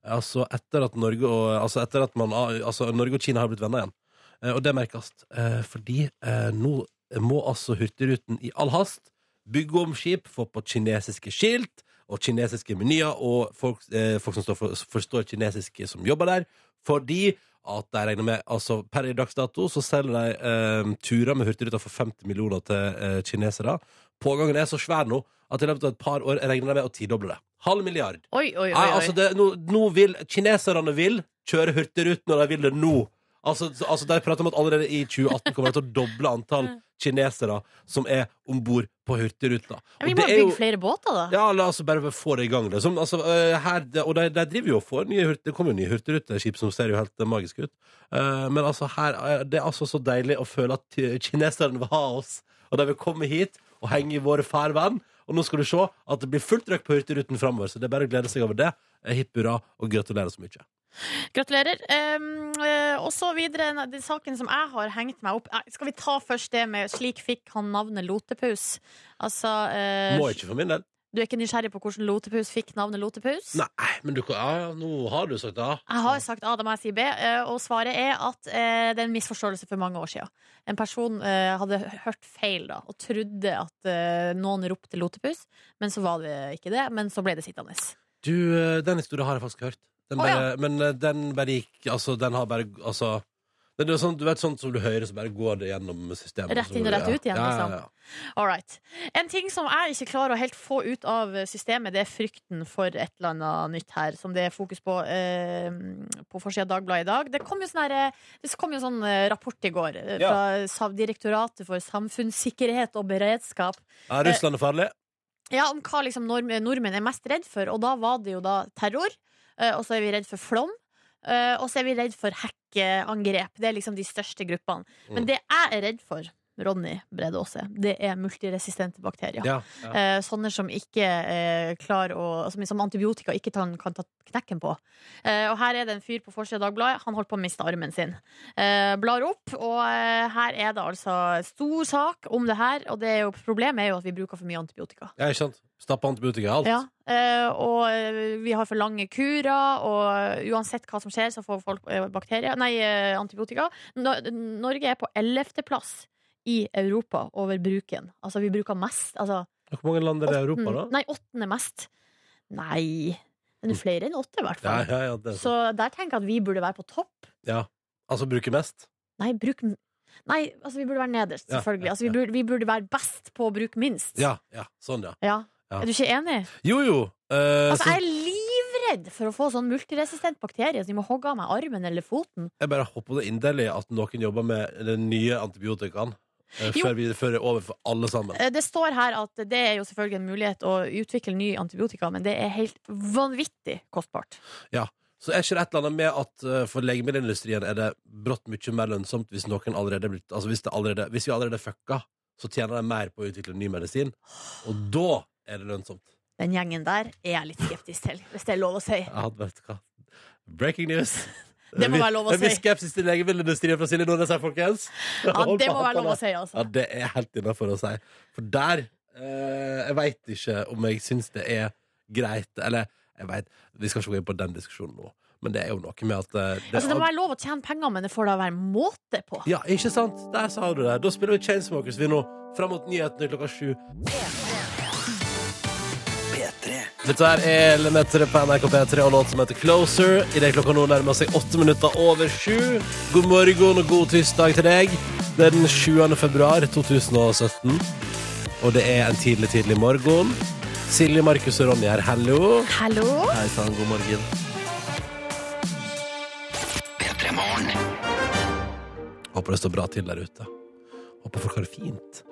[SPEAKER 2] Altså etter at Norge og, altså etter at man, altså Norge og Kina har blitt venner igjen. Eh, og det merkes. eh, fordi eh, nå må altså Hurtigruten i all hast bygge om skip, få på kinesiske skilt og kinesiske menyer, og folk, eh, folk som står for, forstår kinesisk som jobber der, fordi at de regner med altså Per i dags dato så selger de eh, turer med Hurtigruta for 50 millioner til eh, kinesere. Pågangen er så svær nå at i løpet av et par år regner de med å tidoble det. Halv milliard.
[SPEAKER 3] Oi, oi, oi.
[SPEAKER 2] Nei, altså det, nå, nå vil Kineserne vil kjøre Hurtigruten, og de vil det nå. Altså, så- altså De prater om at allerede i 2018 kommer de til å doble antall kinesere som er om bord på Hurtigruta.
[SPEAKER 3] Ja,
[SPEAKER 2] Og
[SPEAKER 3] vi må
[SPEAKER 2] det er
[SPEAKER 3] bygge
[SPEAKER 2] jo-
[SPEAKER 3] flere båter, da.
[SPEAKER 2] ja, la oss bare få det i gang. Liksom. Altså, eh, her, det- og de, de driver jo og får nye hurt, Det kommer jo nye hurtigruteskip som ser jo helt eh, magiske ut. Eh, men altså, her, eh, det er altså så deilig å føle at eh, kineserne vil ha oss, og de vil komme hit og henge i våre farvann. Og nå skal du se at det blir fullt trøkk på Hurtigruten framover, så det er bare å glede seg over det. Eh, Hipp hurra, og gratulerer så mye.
[SPEAKER 3] Gratulerer. Um, eh, og så videre na- den saken som jeg har hengt meg opp eh, Skal vi ta først det med 'slik fikk han navnet Lotepus'? Altså eh,
[SPEAKER 2] Må ikke for min del.
[SPEAKER 3] Du er ikke nysgjerrig på hvordan Lotepus fikk navnet Lotepus?
[SPEAKER 2] Nei, men du kan Ja, ja, nå har du sagt det. ja.
[SPEAKER 3] Jeg har sagt A, da må jeg si B, eh, og svaret er at eh, det er en misforståelse for mange år siden. En person eh, hadde hørt feil da, og trodde at eh, noen ropte lotepus, men så var det ikke det, men så ble det sittende.
[SPEAKER 2] Du, eh, den historien har jeg faktisk hørt. Den
[SPEAKER 3] Å,
[SPEAKER 2] bare, Men eh, den bare gikk Altså, den har bare Altså det er jo sånn, du vet sånn som du hører, så bare går det gjennom systemet.
[SPEAKER 3] Rett inn og rett ut igjen, liksom. All right. En ting som jeg ikke klarer å helt få ut av systemet, det er frykten for et eller annet nytt her, som det er fokus på eh, på forsida av Dagbladet i dag. Det kom jo sånn her, eh, det kom jo sånn eh, rapport i går eh,
[SPEAKER 2] Ja.
[SPEAKER 3] fra Sa- Direktoratet for samfunnssikkerhet og beredskap.
[SPEAKER 2] Ja, Russland er farlig.
[SPEAKER 3] Ja, om hva liksom nord nordmenn er mest redd for. Og da var det jo da terror. eh, Og så er vi redd for flom. eh, Og så er vi redd for hackeangrep. Det er liksom de største gruppene. Men det jeg er redd for, Ronny Brede Aase, det er multiresistente bakterier.
[SPEAKER 2] Ja. ja.
[SPEAKER 3] Eh, Sånne som ikke eh, klarer å Som, som antibiotika ikke tan- kan ta knekken på. Eh, og her er det en fyr på forsida av Dagbladet. Han holdt på å miste armen sin. Eh, blar opp, og eh, her er det altså stor sak om det her. Og det er jo, problemet er jo at vi bruker for mye antibiotika.
[SPEAKER 2] ja ikke sant? Stappe antibiotika i alt.
[SPEAKER 3] Ja, eh, og eh, vi har for lange kurer, og eh, uansett hva som skjer, så får folk eh, bakterier, nei, eh, antibiotika. No- Norge er på 11. plass i Europa over bruken. Altså, vi bruker mest. Altså,
[SPEAKER 2] Hvor mange land er det i Europa, da?
[SPEAKER 3] åtten- mm, Nei, åttende mest. Nei, men det er flere enn åtte, i hvert
[SPEAKER 2] Ja,
[SPEAKER 3] fall.
[SPEAKER 2] ja, ja, det er sant.
[SPEAKER 3] Så der tenker jeg at vi burde være på topp.
[SPEAKER 2] ja. Altså bruke mest?
[SPEAKER 3] Nei, bruk m- Nei, altså vi burde være nederst,
[SPEAKER 2] Ja,
[SPEAKER 3] selvfølgelig.
[SPEAKER 2] ja,
[SPEAKER 3] Altså, vi, burde, vi burde være best på å bruke minst.
[SPEAKER 2] Ja. ja, Sånn, ja.
[SPEAKER 3] Ja.
[SPEAKER 2] Ja.
[SPEAKER 3] Er du ikke enig?
[SPEAKER 2] Jo, jo. eh,
[SPEAKER 3] Altså,
[SPEAKER 2] så
[SPEAKER 3] jeg er livredd for å få sånn multiresistent bakterie, så de må hogge av meg armen eller foten.
[SPEAKER 2] jeg bare håper det inderlig at noen jobber med den nye antibiotikaen eh,
[SPEAKER 3] Jo.
[SPEAKER 2] før vi fører over for alle sammen.
[SPEAKER 3] Eh, Det står her at det er jo selvfølgelig en mulighet å utvikle ny antibiotika, men det er helt vanvittig kostbart.
[SPEAKER 2] Så er ikke det et eller annet med at eh, for legemiddelindustrien er det brått mye mer lønnsomt hvis noen allerede er blitt Altså hvis, det allerede, hvis vi allerede er fucka, så tjener de mer på å utvikle ny medisin. Og da er det lønnsomt.
[SPEAKER 3] Den gjengen der er jeg litt skeptisk til, hvis det er lov å si.
[SPEAKER 2] Jeg hadde vært hva? Breaking news.
[SPEAKER 3] Det må være lov å
[SPEAKER 2] En viss
[SPEAKER 3] si.
[SPEAKER 2] skepsis til legemiddelindustrien fra Silje Nordnes her, folkens.
[SPEAKER 3] Ja, det må være lov å si, altså.
[SPEAKER 2] Ja, det er helt innafor å si. For der eh, Jeg veit ikke om jeg syns det er greit, eller jeg vet, Vi skal ikke gå inn på den diskusjonen nå, men det er jo noe med at eh,
[SPEAKER 3] Altså, det må være lov å tjene penger, men det får da være måte på.
[SPEAKER 2] Ja, ikke sant? Der sa du det. Da spiller vi Chainsmokers vi nå, fram mot nyhetene klokka sju. Dette her er Lemaitre på NRK P3 og låt som heter Closer. I det klokka nå nærmer seg åtte minutter over sju. God morgen og god tirsdag til deg. Det er den 7. februar 2017, og det er en tidlig, tidlig morgen. Silje, Markus og Ronny her, hallo.
[SPEAKER 3] Hallo?
[SPEAKER 4] Hei sann, god morgen.
[SPEAKER 2] Håper det står bra til der ute. Håper folk har det fint.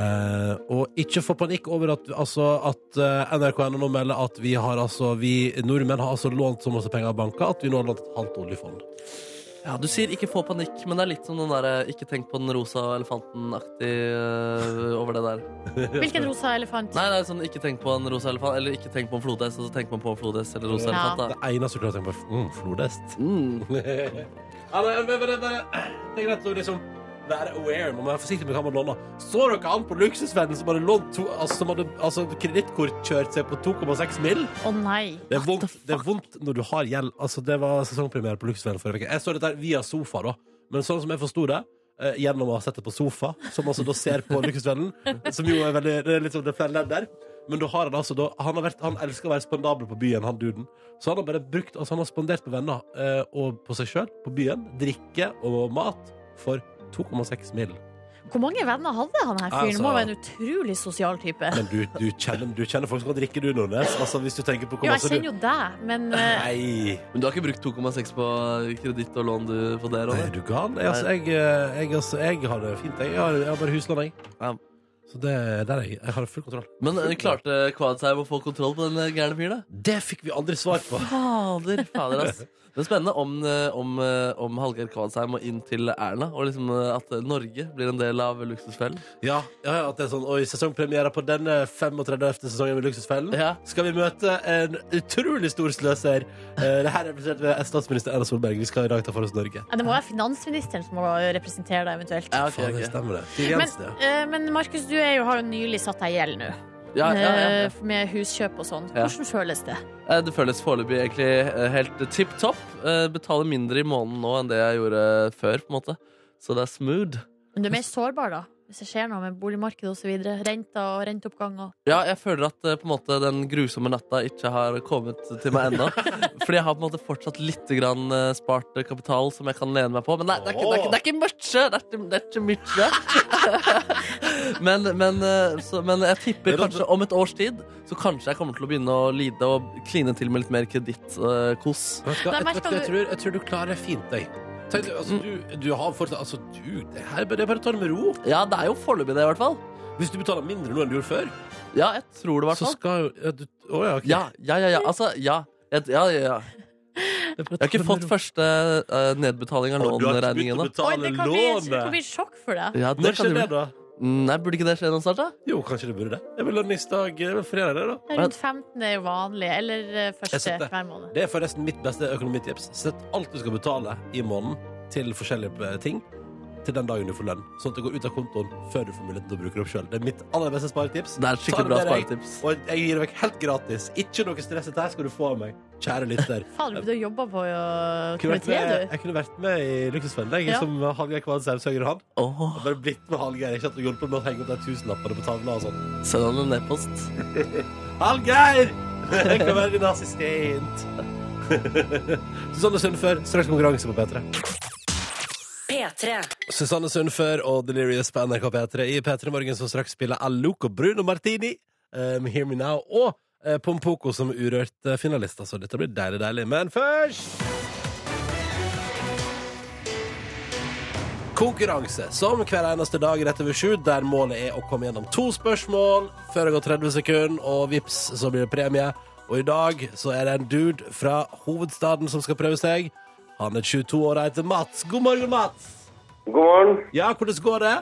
[SPEAKER 2] Eh, og ikke få panikk over at, altså, at eh, NRK nå melder at vi har altså Vi nordmenn har altså lånt så masse penger av banker at vi nå har lånt et halvt oljefond.
[SPEAKER 4] Ja, Du sier ikke få panikk, men det er litt som den der eh, ikke tenk på den rosa elefanten-aktig eh, over det der.
[SPEAKER 3] Hvilken rosa elefant?
[SPEAKER 4] Nei, nei, sånn ikke tenk på en rosa elefant, eller ikke tenk på en flodhest, og så tenker man på en flodhest eller rosa
[SPEAKER 3] Ja.
[SPEAKER 4] elefant,
[SPEAKER 2] Det eneste du klarer å tenke på, er mm, flodhest.
[SPEAKER 4] da. Mm.
[SPEAKER 2] ja, men, men, men, men, det er greit å liksom være aware. Man må være forsiktig med hva man låner. Så dere an på luksusvennen som hadde lånt to, altså, som hadde altså, kredittkort kjørt seg på 2,6 mill.?
[SPEAKER 3] Å nei.
[SPEAKER 2] Det er, vondt, det er vondt når du har gjeld. Altså, det var sesongpremiere på Luksusvennen forrige uke. Jeg så dette her via sofa, da. Men sånn som jeg forsto det, eh, gjennom å sette på sofa, som altså da ser på Lykkesvennen, som jo er veldig det er litt sånn det flere ledd der. Men da har han altså da, han, har vært, han elsker å være spandabel på byen, han duden. Så han har bare brukt Altså han har spandert på venner eh, og på seg sjøl, på byen, drikke og mat for 2,6 mill.
[SPEAKER 3] Hvor mange venner hadde han her fyren?
[SPEAKER 2] Altså-
[SPEAKER 3] Må være en utrolig sosial type.
[SPEAKER 2] Men du, du, kjenner, du kjenner folk som kan drikke, du, Nordnes. Altså, hvis du tenker på
[SPEAKER 3] Jo,
[SPEAKER 2] hvor
[SPEAKER 3] jeg
[SPEAKER 2] masse du
[SPEAKER 3] kjenner jo deg, men eh,
[SPEAKER 2] Nei,
[SPEAKER 4] Men du har ikke brukt 2,6 på eh, kreditt og lån du får der?
[SPEAKER 2] er
[SPEAKER 4] Ronny?
[SPEAKER 2] du gal? Jeg, altså, jeg, eh, jeg, altså, jeg har det fint, jeg. Jeg har, jeg har bare huslån, jeg.
[SPEAKER 4] Ja.
[SPEAKER 2] Så det der er jeg. Jeg har full kontroll.
[SPEAKER 4] Men eh, klarte Quad seg å få kontroll på den eh, gærne fyren? da?
[SPEAKER 2] Det fikk vi aldri svar på.
[SPEAKER 4] Fader, fader, ass. Men spennende om, eh, om, eh, om Hallgeir Kvadsheim og inn til Erna, og liksom eh, at Norge blir en del av Luksusfellen.
[SPEAKER 2] Ja, ja, ja at det er sånn Oi, sesongpremiere på denne 35. sesongen med Luksusfellen.
[SPEAKER 4] Ja.
[SPEAKER 2] Skal vi møte en utrolig stor sløser? Eh, det her er representert ved statsminister Erna Solberg. Vi skal i dag ta for oss Norge.
[SPEAKER 3] det må være finansministeren som må representere deg, eventuelt.
[SPEAKER 4] Ja, ok,
[SPEAKER 2] Faen, det
[SPEAKER 4] ok.
[SPEAKER 2] stemmer det. Siv
[SPEAKER 3] Men,
[SPEAKER 2] Jensen, ja.
[SPEAKER 3] eh, men Markus, du er jo, har jo nylig satt deg i gjeld nå,
[SPEAKER 4] Ja, ja, ja, ja.
[SPEAKER 3] eh, med huskjøp og sånn.
[SPEAKER 4] Ja.
[SPEAKER 3] Hvordan føles det?
[SPEAKER 4] Eh, Det føles foreløpig egentlig eh, helt tipp topp. Eh, Betaler mindre i måneden nå enn det jeg gjorde eh, før, på en måte. Så det er smooth.
[SPEAKER 3] Men du er mer sårbar, da. Hvis det skjer noe med boligmarkedet osv. Renter og renteoppgang og
[SPEAKER 4] Ja, jeg føler at eh, på en måte, den grusomme natta ikke har kommet til meg ennå. Fordi jeg har på en måte fortsatt litt grann, eh, spart eh, kapital som jeg kan lene meg på. Men nei, det er ikke, det er ikke, det er ikke mye! Det er ikke, det er ikke mye. men, men, eh, så, men jeg
[SPEAKER 2] Det er
[SPEAKER 4] tipper
[SPEAKER 2] rart,
[SPEAKER 4] kanskje om et års tid så kanskje jeg kommer til å begynne å lide og kline til med litt mer kredittkos.
[SPEAKER 2] Vet du hva?
[SPEAKER 3] Nei,
[SPEAKER 2] Jeg, vet du
[SPEAKER 3] men
[SPEAKER 2] hva, jeg,
[SPEAKER 3] skal
[SPEAKER 2] tror, jeg tror du klarer det fint, jeg. Tenk, deg,
[SPEAKER 4] Mm.
[SPEAKER 2] altså, du, du har fortsatt Altså, du, det her er bare- det er bare å ta det med ro.
[SPEAKER 4] Ja, det er jo foreløpig det, i hvert fall.
[SPEAKER 2] Hvis du betaler mindre nå enn du gjorde før,
[SPEAKER 4] Ja, jeg tror det, i hvert
[SPEAKER 2] så
[SPEAKER 4] fall.
[SPEAKER 2] skal jo ja, du- Å ja, ok.
[SPEAKER 4] Ja, ja, ja, ja. Altså, ja. Jeg, ja, ja, ja.
[SPEAKER 2] Jeg
[SPEAKER 4] jeg har ikke fått første eh, nedbetaling av
[SPEAKER 2] Å, Du har ikke
[SPEAKER 4] låneregningen
[SPEAKER 2] begynt å
[SPEAKER 4] ennå.
[SPEAKER 2] betale
[SPEAKER 3] Oi, det kan bli, det kan bli
[SPEAKER 2] lånet!
[SPEAKER 3] et sjokk for deg.
[SPEAKER 4] Ja, det
[SPEAKER 2] Når
[SPEAKER 4] kan
[SPEAKER 2] skjer
[SPEAKER 4] du
[SPEAKER 2] det,
[SPEAKER 4] vel.
[SPEAKER 2] da?
[SPEAKER 4] Nei, burde ikke det skje noe snart, da?
[SPEAKER 2] Jo, kanskje det burde det. Det er vel lønningsdag det er vel fredag, det, da.
[SPEAKER 3] Rundt 15 er jo vanlig, eller eh,
[SPEAKER 2] Jeg
[SPEAKER 3] første
[SPEAKER 2] setter-
[SPEAKER 3] hver måned.
[SPEAKER 2] Det er forresten mitt beste økonomitips. Sett alt du skal betale i måneden til forskjellige eh, ting, til den dagen du får lønn. Sånn at det går ut av kontoen før du får muligheten til å bruke det opp sjøl. Det er mitt aller beste sparetips.
[SPEAKER 4] Det er et
[SPEAKER 2] Ta
[SPEAKER 4] skikkelig
[SPEAKER 2] det
[SPEAKER 4] bra
[SPEAKER 2] med deg.
[SPEAKER 4] sparetips.
[SPEAKER 2] Og jeg gir det vekk helt gratis. Ikke noe stress. Dette her skal du få av meg, kjære lytter.
[SPEAKER 3] Faen, du jobber på jo
[SPEAKER 2] Kunne vært
[SPEAKER 3] komité,
[SPEAKER 2] med,
[SPEAKER 3] du.
[SPEAKER 2] jeg kunne vært med i Luksusfellen, jeg,
[SPEAKER 3] Ja.
[SPEAKER 2] som Hallgeir Kvalshaug Søger han.
[SPEAKER 4] Åh,
[SPEAKER 2] Bare blitt med Hallgeir. Ikke at du hjulpet med å henge opp de tusenlappene på tavla og sånn.
[SPEAKER 4] Send han en e-post.
[SPEAKER 2] Hallgeir! Jeg kan være din assistent. Susanne Sundfør, straks konkurranse på P3.
[SPEAKER 1] P3.
[SPEAKER 2] Susanne Sundfør og Delirious på NRK P3 i P3 Morgen som straks spiller Alok og Bruno Martini eh, med Hear Me Now og eh, Pompoko som urørt eh, finalister, så dette blir deilig, deilig. Men først Konkurranse, som hver eneste dag rett over sju, der målet er å komme gjennom to spørsmål før det går 30 sekunder, og vips, så blir det premie. Og i dag så er det en dude fra hovedstaden som skal prøve seg. Han er 22 år og heter Mats. God morgen, Mats!
[SPEAKER 5] God morgen.
[SPEAKER 2] Ja, hvordan går det?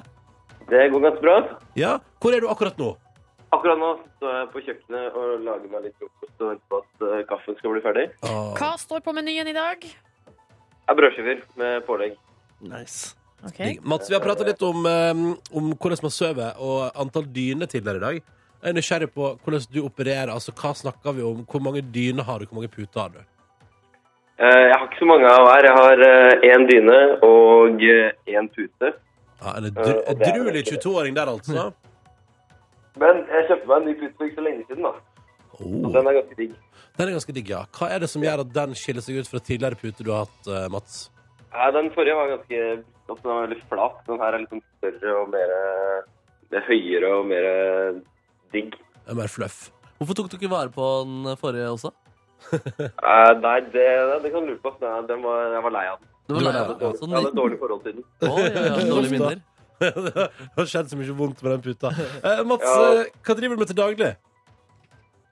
[SPEAKER 5] Det går ganske bra.
[SPEAKER 2] Ja, Hvor er du akkurat nå?
[SPEAKER 5] Akkurat nå står jeg på kjøkkenet og lager meg litt frokost og venter på at eh, kaffen skal bli ferdig.
[SPEAKER 3] Hva står på menyen i dag?
[SPEAKER 5] Jeg er brødskiver med pålegg.
[SPEAKER 4] Nice.
[SPEAKER 3] Ok.
[SPEAKER 2] Digg. Mats, vi har prata litt om, eh, om hvordan man sover og antall dyner tidligere i dag. Jeg er nysgjerrig på hvordan du opererer. altså Hva snakker vi om? Hvor mange dyner har du? Hvor mange puter har du?
[SPEAKER 5] Eh, Jeg har ikke så mange av hver. Jeg har én dyne og én pute.
[SPEAKER 2] Ja, En dru-
[SPEAKER 5] Eh, og det er
[SPEAKER 2] edruelig
[SPEAKER 5] vel ikke det.
[SPEAKER 2] 22-åring der, altså.
[SPEAKER 5] Men jeg kjøpte meg en ny pute for ikke så lenge siden, da.
[SPEAKER 2] Oh,
[SPEAKER 5] Så Hm. den er ganske digg.
[SPEAKER 2] den er ganske digg, ja. Hva er det som gjør at den skiller seg ut fra tidligere puter du har hatt, eh, Mats?
[SPEAKER 5] Ja, den forrige var ganske opp, den var veldig flat. Den her er litt sånn større og mer det er høyere og mer digg.
[SPEAKER 2] Det er Mer fluff.
[SPEAKER 4] Hvorfor tok du ikke vare på den forrige også?
[SPEAKER 5] Eh, Nei, det, det kan du lure på. Nei, Den var, jeg var lei av den.
[SPEAKER 2] Du
[SPEAKER 4] Du var lei
[SPEAKER 2] var
[SPEAKER 4] av
[SPEAKER 2] lei
[SPEAKER 4] den.
[SPEAKER 5] Jeg
[SPEAKER 4] Så den
[SPEAKER 5] hadde et
[SPEAKER 4] gikk-
[SPEAKER 5] dårlig forhold til den.
[SPEAKER 4] Å, ja, ja, Dårlige minner.
[SPEAKER 2] det har skjedd så mye vondt med den puta. Eh, Mats,
[SPEAKER 5] Ja.
[SPEAKER 2] eh, hva driver du med til daglig?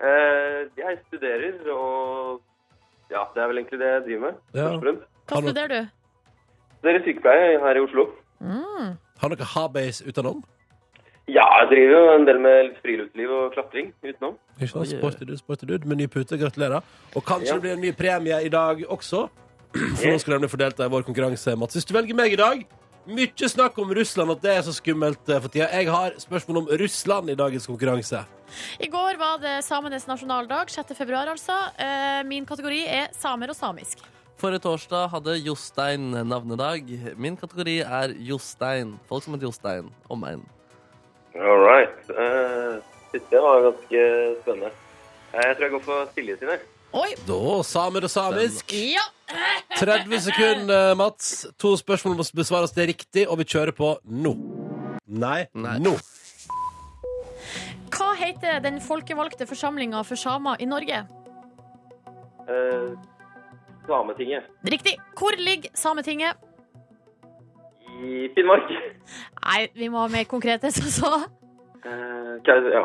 [SPEAKER 5] Eh, jeg studerer, og ja, det er vel egentlig det jeg driver med.
[SPEAKER 2] Ja.
[SPEAKER 5] først og fremst.
[SPEAKER 3] Hva
[SPEAKER 2] Hallo.
[SPEAKER 3] studerer du?
[SPEAKER 5] Studerer sykepleie her i Oslo.
[SPEAKER 3] Mm.
[SPEAKER 2] Har dere habeis utenom?
[SPEAKER 5] Ja, jeg driver jo en del med litt friluftsliv og klatring utenom.
[SPEAKER 2] Ikke sant?
[SPEAKER 4] Oi, oi, oi.
[SPEAKER 2] Sporty dude, sporty dude med ny pute. Gratulerer. Og kanskje
[SPEAKER 5] Ja.
[SPEAKER 2] det blir en ny premie i dag også. For nå skal den bli fordelt i vår konkurranse, Mats. Hvis du velger meg i dag Mye snakk om Russland, at det er så skummelt eh, for tida. Jeg har spørsmål om Russland i dagens konkurranse.
[SPEAKER 3] I går var det samenes nasjonaldag, 6. februar altså. Eh, Min kategori er samer og samisk.
[SPEAKER 4] Forrige torsdag hadde Jostein navnedag. Min kategori er Jostein. Folk som heter Jostein. Omegn.
[SPEAKER 5] All right. Eh, siste var ganske spennende. Eh, Jeg tror jeg går for Silje sine.
[SPEAKER 3] Oi!
[SPEAKER 2] Da samer og samisk.
[SPEAKER 3] Ja!
[SPEAKER 2] 30 sekunder, eh, Mats. To spørsmål må besvares det riktig, og vi kjører på nå. Nei,
[SPEAKER 4] Nei.
[SPEAKER 2] nå.
[SPEAKER 3] Hva heter den folkevalgte forsamlinga for samer i Norge?
[SPEAKER 5] Eh, Sametinget
[SPEAKER 3] Riktig. Hvor ligger Sametinget?
[SPEAKER 5] i Finnmark.
[SPEAKER 3] Nei, vi må ha mer konkrete, så så.
[SPEAKER 5] Eh, Kaus- ja.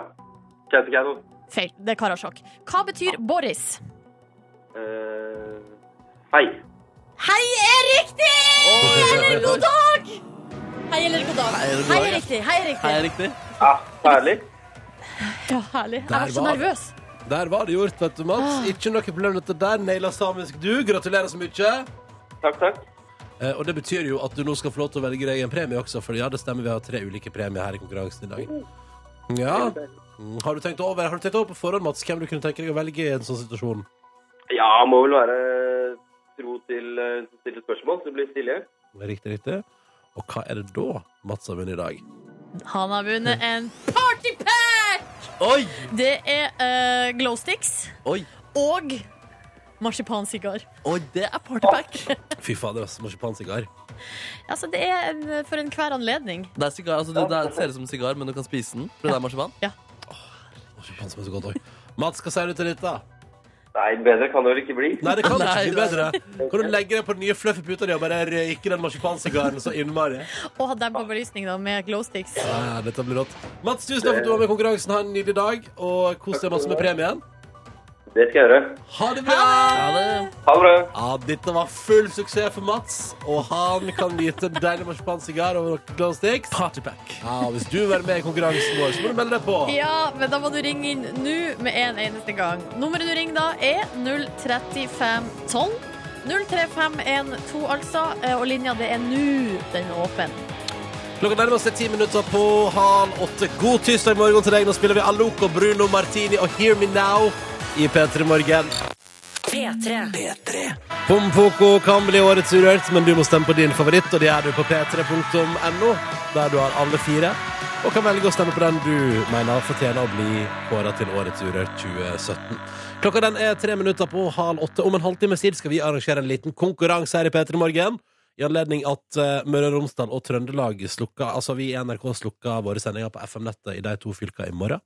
[SPEAKER 5] Kautokeino.
[SPEAKER 3] Feil. Det er Karasjok. Hva betyr Boris?
[SPEAKER 5] Eh, hei.
[SPEAKER 3] Hei er riktig! Eller god dag! Hei eller god dag.
[SPEAKER 4] Hei, eller god
[SPEAKER 3] Hei er
[SPEAKER 4] dag, ja.
[SPEAKER 3] riktig. Hei er
[SPEAKER 4] Hei,
[SPEAKER 3] riktig.
[SPEAKER 4] riktig.
[SPEAKER 5] Ja, herlig.
[SPEAKER 3] Ja, herlig. Jeg var
[SPEAKER 2] Der
[SPEAKER 3] så
[SPEAKER 2] var det.
[SPEAKER 3] nervøs.
[SPEAKER 2] Der var det gjort, vet du,
[SPEAKER 4] Ah.
[SPEAKER 2] Mats. Ikke noe problem dette der. Naila samisk du. Gratulerer så mye.
[SPEAKER 5] Takk, takk.
[SPEAKER 2] Eh, og det betyr jo at du nå skal få lov til å velge deg en premie også, for ja, det stemmer, vi har tre ulike premier her i konkurransen i dag. Ja. Mm, Har du tenkt over, har du tenkt over på forhånd, Mats, hvem du kunne tenke deg å velge i en sånn situasjon?
[SPEAKER 5] Ja, må vel være tro til eh, som stiller spørsmål, så det blir Silje.
[SPEAKER 2] Riktig, riktig. Og hva er det da Mats har vunnet i dag?
[SPEAKER 3] Han har vunnet en partypack!
[SPEAKER 4] Oi!
[SPEAKER 3] Det er eh, glow sticks
[SPEAKER 4] Oi!
[SPEAKER 3] og marsipansigar.
[SPEAKER 4] Oi, det er partypack!
[SPEAKER 2] Fy fader, ass, marsipansigar.
[SPEAKER 3] Altså, det er en, for enhver anledning.
[SPEAKER 4] Det er sigar, altså det, det ser ut som en sigar, men du kan spise den. For det er marsipan.
[SPEAKER 2] Marsipan som er så godt også. Mats, hva sier du til dette?
[SPEAKER 5] Nei, bedre kan det vel ikke bli.
[SPEAKER 2] Nei, det kan
[SPEAKER 4] Nei,
[SPEAKER 2] ikke bli bedre. Kan du legge deg på den nye fluffy puta di og bare røyke den marsipansigaren så innmari?
[SPEAKER 3] Og ha dem på belysning da, med glow sticks.
[SPEAKER 2] Ja, dette blir rått. Mats, tusen takk for at du var med i konkurransen. Ha en nydelig dag, og kos deg masse med premien.
[SPEAKER 5] Det skal jeg gjøre.
[SPEAKER 2] Ha det bra!
[SPEAKER 4] Ja, det,
[SPEAKER 5] Ha det bra.
[SPEAKER 2] Ja, dette var full suksess for Mats, og han kan nyte en deilig marsipansigar og noen glow sticks.
[SPEAKER 4] partypack.
[SPEAKER 2] Ja, og hvis du vil være med i konkurransen vår, så må du melde deg på.
[SPEAKER 3] Ja, men da må du ringe inn nå med en eneste gang. Nummeret du ringer da, er 03512. 03512, altså. eh, Og linja, det er nå den er åpen.
[SPEAKER 2] Klokka nærmer seg ti minutter på halv åtte. God tirsdag morgen til deg. Nå spiller vi Alok og Bruno Martini og Hear Me Now i P3 Morgen.
[SPEAKER 1] P3.
[SPEAKER 2] Pompoko kan bli årets urørt, men du må stemme på din favoritt, og det gjør du på p3.no, der du har alle fire. Og kan velge å stemme på den du mener fortjener å bli kåra til Årets Urørt 2017. Klokka den er tre minutter på halv åtte. Om en halvtimes tid skal vi arrangere en liten konkurranse her i P3 Morgen. I anledning at eh, Møre og Romsdal og Trøndelag slukka Altså, vi i NRK slukka våre sendinger på FM-nettet i de to fylka i morgen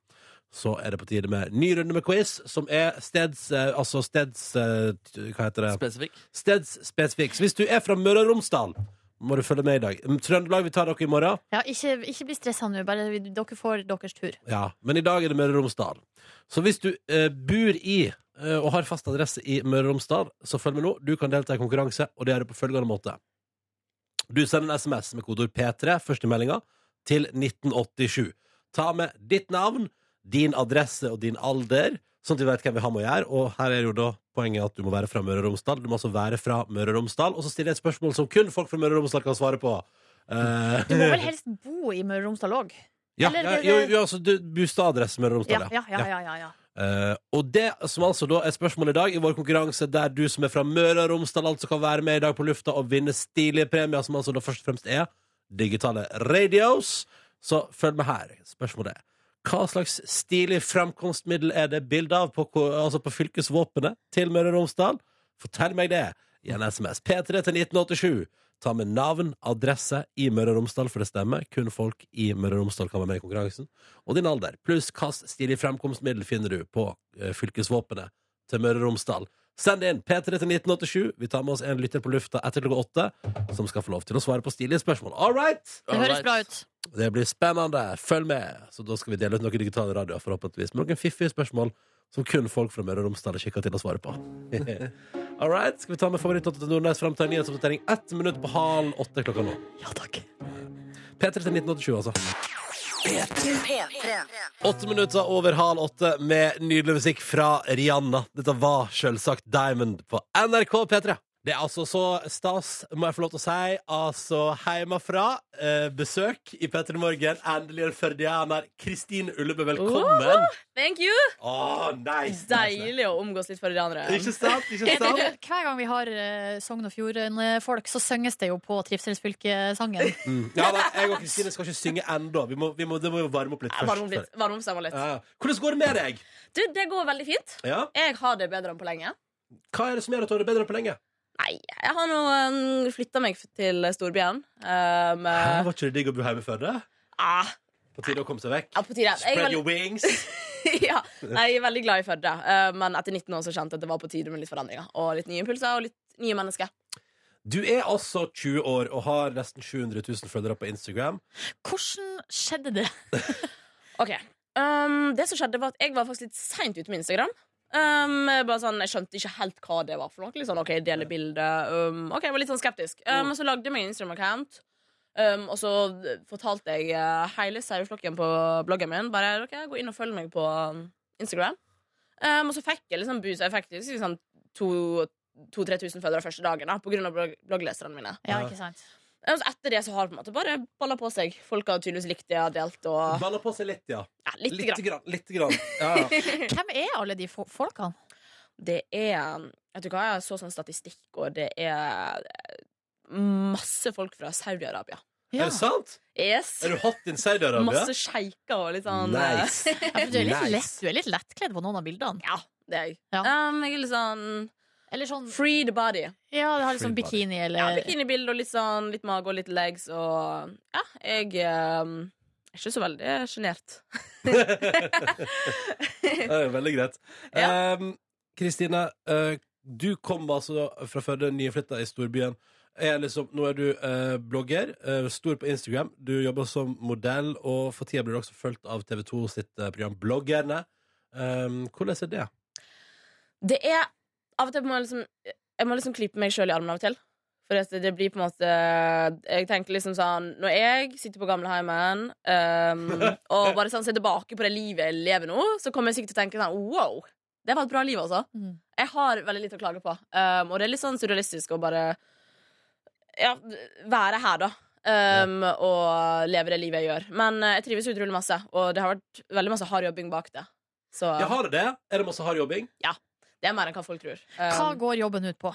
[SPEAKER 2] så er det på tide med ny runde med quiz, som er steds... eh, Altså steds... eh, t- Hva heter det?
[SPEAKER 4] Spesifikk.
[SPEAKER 2] Stedsspesifikk. Så hvis du er fra Møre og Romsdal, må du følge med i dag. Mm, Trøndelag, vi tar dere i morgen.
[SPEAKER 3] Ja, ikke, ikke bli stressa nå. Bare vi- dere får deres tur.
[SPEAKER 2] Ja, Men i dag er det Møre og Romsdal. Så hvis du eh, bor i eh, og har fast adresse i Møre og Romsdal, så følg med nå. Du kan delta i konkurranse, og det gjør du på følgende måte. Du sender en SMS med kodeord P3, først i meldinga, til 1987. Ta med ditt navn, din adresse og din alder, sånn at vi vet hvem vi har med å gjøre. Og her er jo da poenget at du må være fra Møre og Romsdal. Du må altså være fra Møre og Romsdal. Og så stiller jeg et spørsmål som kun folk fra Møre og Romsdal kan svare på. Eh,
[SPEAKER 3] Du må vel helst bo i Møre og Romsdal òg?
[SPEAKER 2] ja,
[SPEAKER 3] eller
[SPEAKER 2] ja,
[SPEAKER 3] det-
[SPEAKER 2] jo, jo, altså du- bostadadresse Møre og
[SPEAKER 3] Ja,
[SPEAKER 2] Romsdal,
[SPEAKER 3] ja, ja. ja, ja, ja.
[SPEAKER 2] Eh, og det som altså da er spørsmålet i dag i vår konkurranse, der du som er fra Møre og Romsdal altså kan være med i dag på lufta og vinne stilige premier, som altså da først og fremst er digitale radios. Så følg med her. Spørsmålet er hva slags stilig framkomstmiddel er det bilde av på, ko- altså på fylkesvåpenet til Møre og Romsdal? Fortell meg det i en SMS. P3 til 1987. Ta med navn, adresse i Møre og Romsdal, for det stemmer. Kun folk i Møre og Romsdal kan være med i konkurransen og din alder, pluss hvilket stilig fremkomstmiddel finner du på eh, fylkesvåpenet til Møre og Romsdal. Send inn P3 til 1987. Vi tar med oss en lytter på lufta etter klokka åtte, som skal få lov til å svare på stilige spørsmål. All right!
[SPEAKER 3] Det høres bra ut.
[SPEAKER 2] Det blir spennende. Følg med. Så da skal vi dele ut noen digitale radioer, forhåpentligvis, med noen fiffige spørsmål som kun folk fra Møre og Romsdal er kikka til å svare på. All right, skal vi ta med favorittlåta til Nordnes fram til en nyhetsoppdatering ett minutt på halv åtte klokka nå.
[SPEAKER 3] Ja takk.
[SPEAKER 2] P3 til 1987, altså. Åtte minutter over halv åtte med nydelig musikk fra Rihanna. Dette var selvsagt Diamond på NRK P3. Det er altså så stas, må jeg få lov til å si. Altså hjemmefra, eh, besøk i P3 Morgen. Endelig en førdianer. Kristin Ullebø, velkommen.
[SPEAKER 6] Thank you!
[SPEAKER 2] Å, nice. nice.
[SPEAKER 6] Deilig å omgås litt forandrere.
[SPEAKER 2] Ikke sant? Ikke
[SPEAKER 3] Er det-
[SPEAKER 2] sant?
[SPEAKER 3] Hver gang vi har eh, Sogn og Fjorden-folk, så synges det jo på Trivselsfylket-sangen.
[SPEAKER 2] Mm. Ja, nei, jeg og Kristine skal ikke synge ennå. Vi må, vi må, det må jo varme opp litt først.
[SPEAKER 6] Varme opp litt. Varme opp seg litt.
[SPEAKER 2] Ja, ja. hvordan går det med deg?
[SPEAKER 6] Du, det går veldig fint.
[SPEAKER 2] Ja?
[SPEAKER 6] Jeg har det bedre enn på lenge.
[SPEAKER 2] Hva er det som gjør at du har det bedre enn på lenge?
[SPEAKER 6] Nei, jeg har nå um, flytta meg til storbyen. Um,
[SPEAKER 2] Hæ,
[SPEAKER 6] eh,
[SPEAKER 2] var ikke det digg å bo hjemme før det?
[SPEAKER 6] ah,
[SPEAKER 2] På tide å komme seg vekk?
[SPEAKER 6] ja, på tide. Jeg er
[SPEAKER 2] Spread your wings.
[SPEAKER 6] veldig, ja, nei, jeg er veldig glad i Førde, eh, men etter 19 år så kjente jeg at det var på tide med litt forandringer. Og litt nye impulser og litt nye mennesker.
[SPEAKER 2] Du er altså 20 år og har nesten 700 000 følgere på Instagram.
[SPEAKER 3] Hvordan skjedde det?
[SPEAKER 6] Ok, um, Det som skjedde, var at jeg var faktisk litt seint ute med Instagram. Um, bare sånn, Jeg skjønte ikke helt hva det var for noe. Litt sånn, ok, dele bilde um, Ok, Jeg var litt sånn skeptisk. Um, og så lagde jeg meg en Instagram-account. Um, og så fortalte jeg uh, hele serieflokken på bloggen min Bare, ok, gå inn og følg meg på um, Instagram. Um, og så fikk jeg liksom boost. Jeg fikk liksom 2000-3000 følgere første dagen da, pga. Blogg bloggleserne mine.
[SPEAKER 3] Ja, ikke sant?
[SPEAKER 6] Um, så etter det så har det på en måte bare balla på seg. Folk har tydeligvis likt det jeg har delt. Og,
[SPEAKER 2] Baller på seg litt, ja.
[SPEAKER 6] ja, litt grann.
[SPEAKER 2] grann. Litt grann. Ja, ja.
[SPEAKER 3] Hvem er alle de fo- folkene?
[SPEAKER 6] Det er Vet du hva, jeg så sånn statistikk, og det er eh, masse folk fra Saudi-Arabia.
[SPEAKER 2] Er det sant?
[SPEAKER 6] Yes.
[SPEAKER 2] Er du hot in Saudi-Arabia?
[SPEAKER 6] Masse sjeiker og litt sånn eh,
[SPEAKER 2] Nice.
[SPEAKER 3] Ja, for du, er litt
[SPEAKER 2] Nice.
[SPEAKER 3] lett, du er litt lettkledd på noen av bildene.
[SPEAKER 6] Ja, det er jeg.
[SPEAKER 3] Ja.
[SPEAKER 6] Um, jeg er litt sånn
[SPEAKER 3] Eller sånn
[SPEAKER 6] free the body.
[SPEAKER 3] Ja, det har liksom
[SPEAKER 2] Free body.
[SPEAKER 3] bikini eller
[SPEAKER 6] Ja, Bikinibilde og litt sånn litt mage og litt legs og Ja, jeg um, er ikke så veldig sjenert.
[SPEAKER 2] Det er jo veldig greit. Ehm, Kristine, eh, du kom altså fra Førde, nyflytta i storbyen. Er liksom, nå er du eh, blogger, eh, stor på Instagram. Du jobber som modell, og for tida blir du også fulgt av TV2 sitt eh, program Bloggerne. Ehm, hvordan er det?
[SPEAKER 6] Det er Av og til må jeg liksom Jeg må liksom klype meg sjøl i armen av og til. For at det blir på en måte Jeg tenker liksom sånn Når jeg sitter på gamleheimen um, og bare sånn ser tilbake på det livet jeg lever nå, så kommer jeg sikkert til å tenke sånn Wow! Det var et bra liv, altså.
[SPEAKER 3] Mm.
[SPEAKER 6] Jeg har veldig lite å klage på. Um, og det er litt sånn surrealistisk å bare Ja, være her, da. Um, Og leve det livet jeg gjør. Men eh, jeg trives utrolig masse, og det har vært veldig masse hard jobbing bak det. Så
[SPEAKER 2] Jeg har det det. Er det masse hard jobbing?
[SPEAKER 6] det er mer enn hva folk tror.
[SPEAKER 3] Hva
[SPEAKER 6] Um,
[SPEAKER 3] går jobben ut på?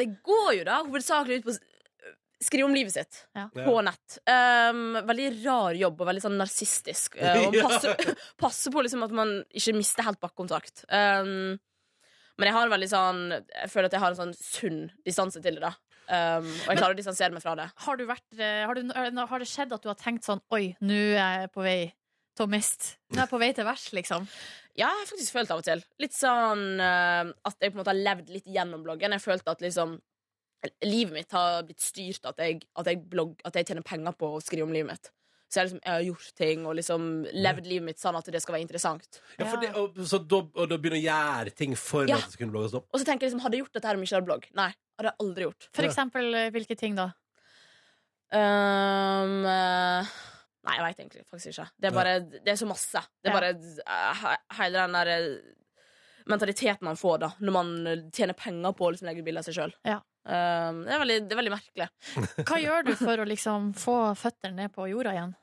[SPEAKER 6] Det går jo da hovedsakelig ut på å s- skrive om livet sitt
[SPEAKER 3] Ja.
[SPEAKER 6] på nett. Um, veldig rar jobb og veldig sånn narsistisk. Uh, og
[SPEAKER 2] Ja.
[SPEAKER 6] passe, passe på liksom at man ikke mister helt bakkontakt. Um, men jeg har en veldig sånn Jeg føler at jeg har en sånn sunn distanse til det. da um, Og jeg klarer å distansere meg fra det.
[SPEAKER 3] Har, du vært, eh, har, du, er- har det skjedd at du har tenkt sånn Oi, nå er jeg på vei til å miste Nå er jeg på vei til vers, liksom.
[SPEAKER 6] Ja, jeg har faktisk følt av og til. Litt sånn eh, at jeg på en måte har levd litt gjennom bloggen. Jeg følte at liksom livet mitt har blitt styrt at jeg, at jeg, blogg, at jeg tjener penger på å skrive om livet mitt. Så jeg, liksom, jeg har gjort ting og liksom levd livet mitt sånn at det skal være interessant.
[SPEAKER 2] Ja, for det, og, så da, og da begynner å gjøre ting for
[SPEAKER 6] Ja.
[SPEAKER 2] at det skal kunne blogges opp?
[SPEAKER 6] Og så tenker jeg liksom, hadde jeg gjort dette her om jeg ikke hadde blogg? Nei, hadde jeg aldri gjort.
[SPEAKER 3] For
[SPEAKER 2] Ja.
[SPEAKER 3] eksempel eh, hvilke ting da?
[SPEAKER 6] Ehm, eh, nei, jeg veit egentlig faktisk ikke. Det er bare, det er så masse. Det er
[SPEAKER 3] Ja.
[SPEAKER 6] bare eh, he- hele den der eh, mentaliteten man får da når man eh, tjener penger på å liksom, legge ut bilde av seg sjøl.
[SPEAKER 3] Ja.
[SPEAKER 6] det, er veldig- det er veldig merkelig.
[SPEAKER 3] Hva gjør du for å liksom få føttene ned på jorda igjen?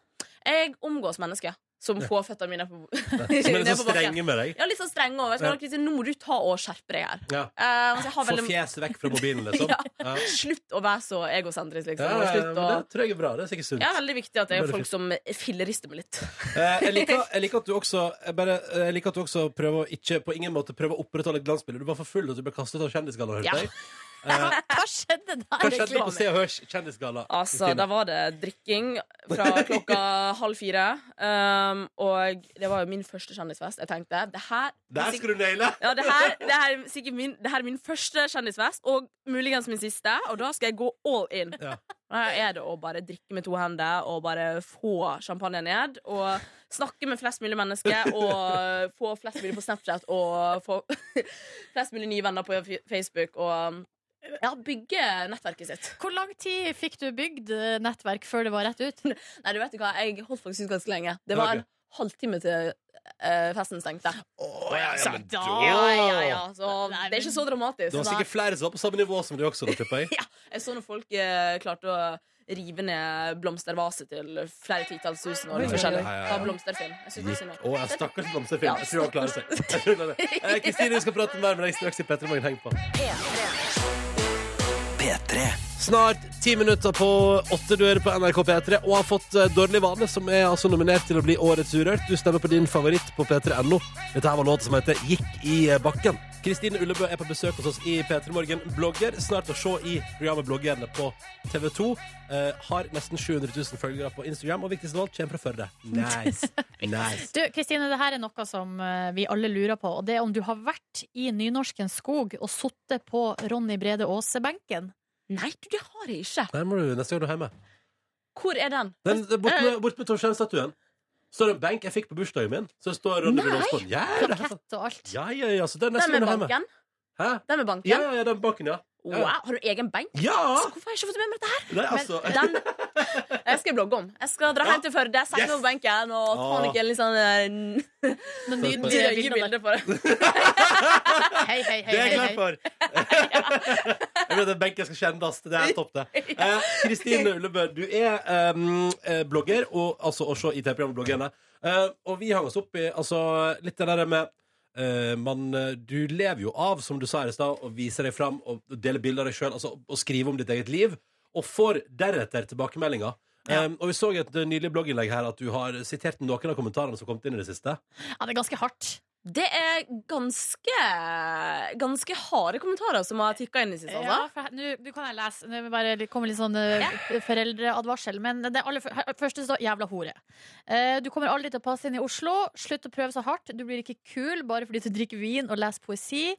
[SPEAKER 6] Jeg omgås mennesker som får føttene mine på,
[SPEAKER 2] Som er
[SPEAKER 6] ned
[SPEAKER 2] litt
[SPEAKER 6] på
[SPEAKER 2] så
[SPEAKER 6] bakken.
[SPEAKER 2] strenge med deg?
[SPEAKER 6] Ja, litt sånn strenge over. Jeg skal
[SPEAKER 2] Ja.
[SPEAKER 6] nok si, Nå må du ta og skjerpe deg her.
[SPEAKER 2] Ja.
[SPEAKER 6] Eh, altså, jeg har
[SPEAKER 2] Få
[SPEAKER 6] veldig,
[SPEAKER 2] fjeset vekk fra mobilen, liksom?
[SPEAKER 6] Ja.
[SPEAKER 2] Ja.
[SPEAKER 6] slutt å være så egosentrisk,
[SPEAKER 2] Ja,
[SPEAKER 6] liksom.
[SPEAKER 2] ja,
[SPEAKER 6] Og
[SPEAKER 2] men
[SPEAKER 6] slutt å
[SPEAKER 2] det tror jeg er bra. Det er sikkert sunt.
[SPEAKER 6] ja, veldig viktig at det er
[SPEAKER 2] Bare
[SPEAKER 6] folk
[SPEAKER 2] fint.
[SPEAKER 6] som fillerister meg litt.
[SPEAKER 2] Eh, jeg, liker, jeg, liker at du også, jeg, bare, eh, jeg liker at du også prøver å ikke på ingen måte prøver å opprettholde et glansbilde. Du var for full og du ble kastet av Kjendisgallaen.
[SPEAKER 6] Ja.
[SPEAKER 2] hørte jeg.
[SPEAKER 3] Hva skjedde
[SPEAKER 2] Hva skjedde
[SPEAKER 3] der?
[SPEAKER 2] på
[SPEAKER 6] reklame.
[SPEAKER 2] Se og Hørs kjendisgalla?
[SPEAKER 6] Altså,
[SPEAKER 2] Kristine?
[SPEAKER 6] da var det drikking fra klokka halv fire. Um, og det var jo min første kjendisfest. Jeg tenkte det her,
[SPEAKER 2] Der skal du naile!
[SPEAKER 6] ja, det her, det her, er sikkert min, det her er min første kjendisfest, og muligens min siste. Og da skal jeg gå all in.
[SPEAKER 2] Ja.
[SPEAKER 6] Her er det å bare drikke med to hender og bare få champagne ned. Og snakke med flest mulig mennesker og få flest mulig på Snapchat og få flest mulig nye venner på F- Facebook. Og ja, bygge nettverket sitt.
[SPEAKER 3] Hvor lang tid fikk du bygd eh, nettverk før det var rett ut?
[SPEAKER 6] Nei, du vet jo hva, jeg holdt faktisk ut ganske lenge. Det
[SPEAKER 2] Ok.
[SPEAKER 6] var en halvtime til eh, festen stengte.
[SPEAKER 2] ja, men
[SPEAKER 6] da,
[SPEAKER 2] da-
[SPEAKER 6] ja, ja, ja. Så
[SPEAKER 3] Nei,
[SPEAKER 6] det er ikke så dramatisk.
[SPEAKER 2] Det var sikkert flere som var på samme nivå som de også, da, tipper jeg.
[SPEAKER 6] Jeg så når folk eh, klarte å rive ned blomstervaser til flere titalls tusen år.
[SPEAKER 2] Oi,
[SPEAKER 6] forskjellig.
[SPEAKER 2] ja, ja, ja.
[SPEAKER 6] Av blomsterfilm. Jeg synes det er synd om.
[SPEAKER 2] Å, jeg stakkars blomsterfilm.
[SPEAKER 6] Ja,
[SPEAKER 2] Jeg tror han klarer seg. Jeg tror han klarer det. Eh, Kristine, vi skal prate mer med deg straks i P3 Morgen. Heng på. Snart ti minutter på åtte du hører på NRK P3 og har fått eh, Dårlig vane, som er altså nominert til å bli Årets Urørt. Du stemmer på din favoritt på p3.no. Dette her var låten som heter Gikk i eh, bakken. Kristine Ullebø er på besøk hos oss i P3 Morgen. Blogger. Snart å se i programmet Bloggerne på TV 2. Eh, har nesten 700 000 følgere på Instagram, og viktigst av alt, kommer fra Førde. Nice. nice.
[SPEAKER 3] Du, Kristine, det her er noe som eh, vi alle lurer på. Og det er om du har vært i Nynorskens skog og sittet på Ronny Brede Aase-benken.
[SPEAKER 6] Nei, du, det har jeg ikke.
[SPEAKER 2] Der må du neste gang du er hjemme.
[SPEAKER 6] Hvor er den?
[SPEAKER 2] Den, det er bort med, bort med Torstein-statuen. Står det en benk jeg fikk på bursdagen min. Så det står Ronny Brede Aase på den. Ja, det er sant.
[SPEAKER 3] Plakett og alt.
[SPEAKER 2] ja, ja, ja, så det er
[SPEAKER 6] Den
[SPEAKER 2] nesten
[SPEAKER 6] med
[SPEAKER 2] under hjemme.
[SPEAKER 6] banken?
[SPEAKER 2] Hæ?
[SPEAKER 6] Den med banken?
[SPEAKER 2] Ja, ja, ja, den banken, ja.
[SPEAKER 6] Wow, har du egen benk?
[SPEAKER 2] Ja!
[SPEAKER 6] Så Hvorfor har jeg ikke fått med meg dette her?
[SPEAKER 2] Nei, altså.
[SPEAKER 6] Den jeg skal blogge om. Jeg skal dra hjem til Førde, sette meg
[SPEAKER 2] Yes!
[SPEAKER 6] på benken og ta
[SPEAKER 2] Ah.
[SPEAKER 6] noen litt sånn eh,
[SPEAKER 3] Noen
[SPEAKER 2] Så spennende.
[SPEAKER 3] nydelige
[SPEAKER 6] drøye
[SPEAKER 3] bilder der.
[SPEAKER 6] bilder på det.
[SPEAKER 3] Hei, hei, hei,
[SPEAKER 2] Det er jeg
[SPEAKER 3] hei,
[SPEAKER 2] klar
[SPEAKER 3] hei.
[SPEAKER 2] for. jeg mener, den benken skal kjennes. Det er topp, det. Eh, Kristine Ullebø, du er ehm, eh, blogger, og, altså å se i TV-programmet Bloggerne. Eh, og vi hang oss opp i altså, litt det der med eh, man, eh, du lever jo av, som du sa her i stad, å vise deg fram og dele bilder av deg sjøl altså, og skrive om ditt eget liv. Og får deretter tilbakemeldinger. Eh, og Vi så i et nylig blogginnlegg her at du har sitert noen av kommentarene som kom inn i det siste.
[SPEAKER 3] Ja, det er ganske hardt.
[SPEAKER 6] Det er ganske Ganske harde kommentarer som har tikka inn i siste.
[SPEAKER 3] Ja,
[SPEAKER 6] Altså.
[SPEAKER 3] for her- nå nå kan jeg lese. Nå vil jeg bare det kommer litt sånn eh, foreldreadvarsel. Men det aller fø- her- første står 'jævla hore'. Eh, du kommer aldri til å passe inn i Oslo. Slutt å prøve så hardt. Du blir ikke kul bare fordi du drikker vin og leser poesi.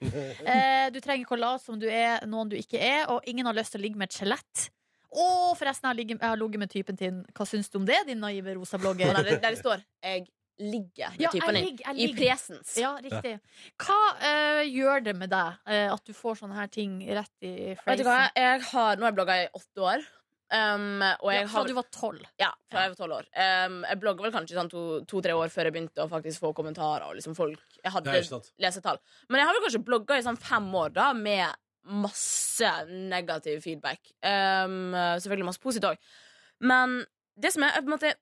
[SPEAKER 3] Eh, du trenger ikke å late som du er noen du ikke er, og ingen har lyst til å ligge med et skjelett. Å, forresten, jeg har ligget- jeg har ligget med typen din. Hva syns du om det, din naive rosa blogger?
[SPEAKER 6] Nei, det- Der det står 'Jeg ligger med
[SPEAKER 3] Ja, jeg
[SPEAKER 6] typen din'.
[SPEAKER 3] ligger, jeg
[SPEAKER 6] I
[SPEAKER 3] ligger.
[SPEAKER 6] presens.
[SPEAKER 3] Ja, riktig. Hva eh, gjør det med deg eh, at du får sånne her ting rett i
[SPEAKER 6] Vet du
[SPEAKER 3] fleisen?
[SPEAKER 6] hva, jeg har, nå har jeg blogga i åtte år. Um, og jeg
[SPEAKER 3] Ja, fra
[SPEAKER 6] har
[SPEAKER 3] du var tolv.
[SPEAKER 6] Ja, fra jeg var tolv år. Um, jeg blogga vel kanskje sånn to- to-tre år før jeg begynte å faktisk få kommentarer. Og liksom folk, jeg
[SPEAKER 2] Ja, ikke
[SPEAKER 6] hadde
[SPEAKER 2] sant.
[SPEAKER 6] lesetall. Men jeg har vel kanskje blogga i sånn fem år da med masse negativ feedback. Um, selvfølgelig masse positivt òg. Men det som er, er på en måte,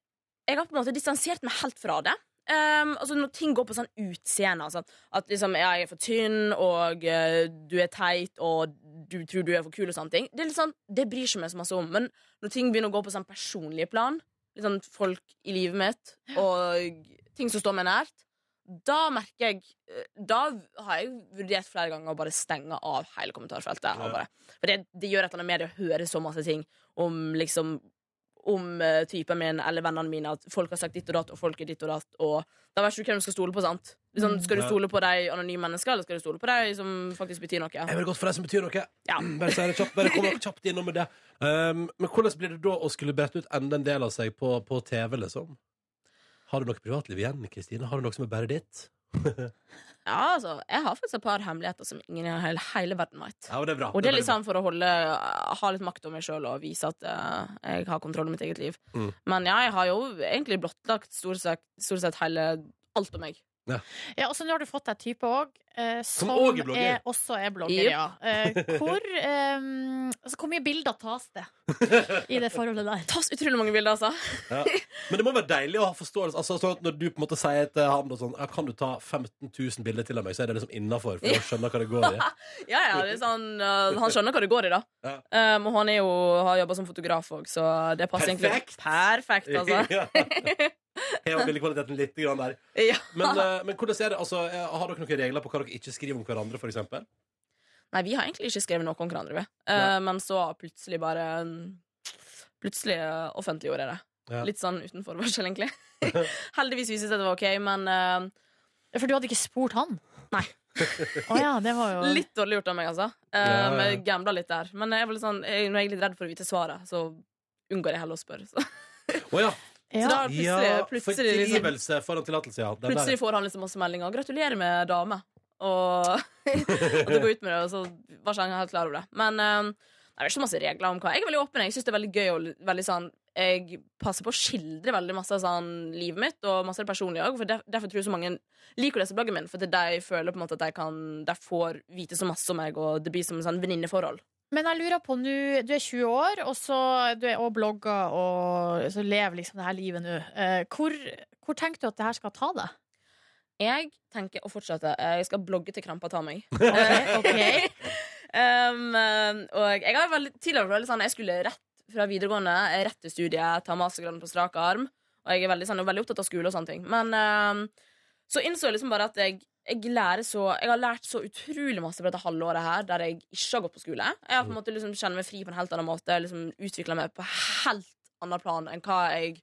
[SPEAKER 6] jeg har på en måte distansert meg helt fra det. Um, altså Når ting går på sånn utseende, altså, at liksom ja, jeg er for tynn, og eh, du er teit, og du tror du er for kul, og sånne ting, det er litt sånn, det bryr ikke meg så masse om. Men når ting begynner å gå på sånn personlige plan, litt sånn folk i livet mitt, og ting som står meg nært, da merker jeg eh, Da har jeg vurdert flere ganger å bare stenge av hele kommentarfeltet. Og
[SPEAKER 2] Ja.
[SPEAKER 6] bare, for det, det gjør et eller annet med det å høre så masse ting om liksom om eh, typen min eller vennene mine at folk har sagt ditt og datt, og folk er ditt og datt, og da vet du ikke hvem du skal stole på, sant? Liksom, skal du
[SPEAKER 2] Ja.
[SPEAKER 6] stole på de anonyme menneskene, eller skal du stole på de som faktisk betyr noe?
[SPEAKER 2] Jeg vil godt for deg som betyr noe.
[SPEAKER 6] Ja.
[SPEAKER 2] Bare, si det kjapt, bare kom kjapt innom med det. Um, men hvordan blir det da å skulle brette ut enda en del av seg på, på TV, liksom? Har du noe privatliv igjen, Kristine? Har du noe som er bare ditt?
[SPEAKER 6] Ja, altså, jeg har faktisk et par hemmeligheter som ingen i hele, hele verden vet.
[SPEAKER 2] Ja, og det er bra.
[SPEAKER 6] Og det er
[SPEAKER 2] veldig
[SPEAKER 6] liksom for å holde, ha litt makt over meg sjøl og vise at eh, jeg har kontroll over mitt eget liv.
[SPEAKER 2] Mm.
[SPEAKER 6] Men ja, jeg har jo egentlig blottlagt stort sett, stort sett hele alt om meg.
[SPEAKER 3] Ja, og så nå har du fått deg type òg, eh, som,
[SPEAKER 2] også er blogger.
[SPEAKER 3] er- også er blogger.
[SPEAKER 6] Jep.
[SPEAKER 3] Ja. Eh, hvor, eh, altså, hvor mye bilder tas det i det forholdet der?
[SPEAKER 6] Tas utrolig mange bilder, altså.
[SPEAKER 2] bra. Ja. Men det må være deilig å ha forståelse. Altså, sånn at når du på en måte sier til han og sånn, ja, kan du ta 15 000 bilder til av meg, så er det liksom innafor, for da skjønner hva det går i.
[SPEAKER 6] Ja, ja, det er sånn, eh, han skjønner hva det går i, da.
[SPEAKER 2] Ja.
[SPEAKER 6] Um, og han er jo, har jobba som fotograf òg, så det passer
[SPEAKER 2] Perfekt.
[SPEAKER 6] egentlig perfekt. altså.
[SPEAKER 2] Ja. Heva bildekvaliteten litt grann der.
[SPEAKER 6] ja.
[SPEAKER 2] Men, eh, men hvordan er det? Altså, eh, har dere noen regler på hva dere ikke skriver om hverandre, for eksempel?
[SPEAKER 6] Nei, vi har egentlig ikke skrevet noe om hverandre, vi.
[SPEAKER 2] Nei.
[SPEAKER 6] Eh, men så plutselig bare mm, Plutselig eh, offentliggjorde jeg det.
[SPEAKER 2] Ja.
[SPEAKER 6] Litt sånn uten forvarsel, egentlig. Heldigvis vises det at det var OK, men eh,
[SPEAKER 3] For du hadde ikke spurt han?
[SPEAKER 6] Nei.
[SPEAKER 3] Å ja, det var jo
[SPEAKER 6] Litt dårlig gjort av meg, altså.
[SPEAKER 2] Ja, ja.
[SPEAKER 6] Um, jeg gambla litt der. Men jeg er vel sånn, jeg, når jeg er litt redd for å vite svaret, så unngår jeg heller å spørre. Så,
[SPEAKER 2] Å ja.
[SPEAKER 6] så da
[SPEAKER 3] ja.
[SPEAKER 6] plutselig, plutselig, liksom,
[SPEAKER 2] Fordrivelse foran tillatelse, ja. Den der.
[SPEAKER 6] plutselig får han liksom masse meldinger. 'Gratulerer med dame', og at du går ut med det. Og så var ikke han helt klar over det. Men um, Nei, Det er ikke så masse regler om hva. Jeg er veldig åpen. Jeg synes det er veldig gøy og veldig sånn Jeg passer på å skildre veldig masse av sånn livet mitt og masse av det personlige òg. Der, derfor tror jeg så mange liker å lese bloggen min, for at de føler på en måte at de kan De får vite så masse om meg, og det blir som en sånn venninneforhold.
[SPEAKER 3] Men jeg lurer på nå Du er 20 år, og så du er og blogger og så lever liksom det her livet nå. Eh, Hvor, hvor tenker du at det her skal ta deg?
[SPEAKER 6] Jeg tenker å fortsette. Eh, Jeg skal blogge til krampa tar meg.
[SPEAKER 3] Eh, ok.
[SPEAKER 6] um, eh, og jeg har veldig, tidligere vært veldig sånn Jeg skulle rett fra videregående, eh, rett til studiet, ta mastergraden på strak arm. Og jeg er veldig, sånn, veldig opptatt av skole og sånne ting. Men ehm, så innså jeg liksom bare at jeg, jeg lærer så Jeg har lært så utrolig masse på dette halvåret her der jeg ikke har gått på skole. Jeg har på en måte liksom kjenner meg fri på en helt annen måte, liksom utvikla meg på helt annen plan enn hva jeg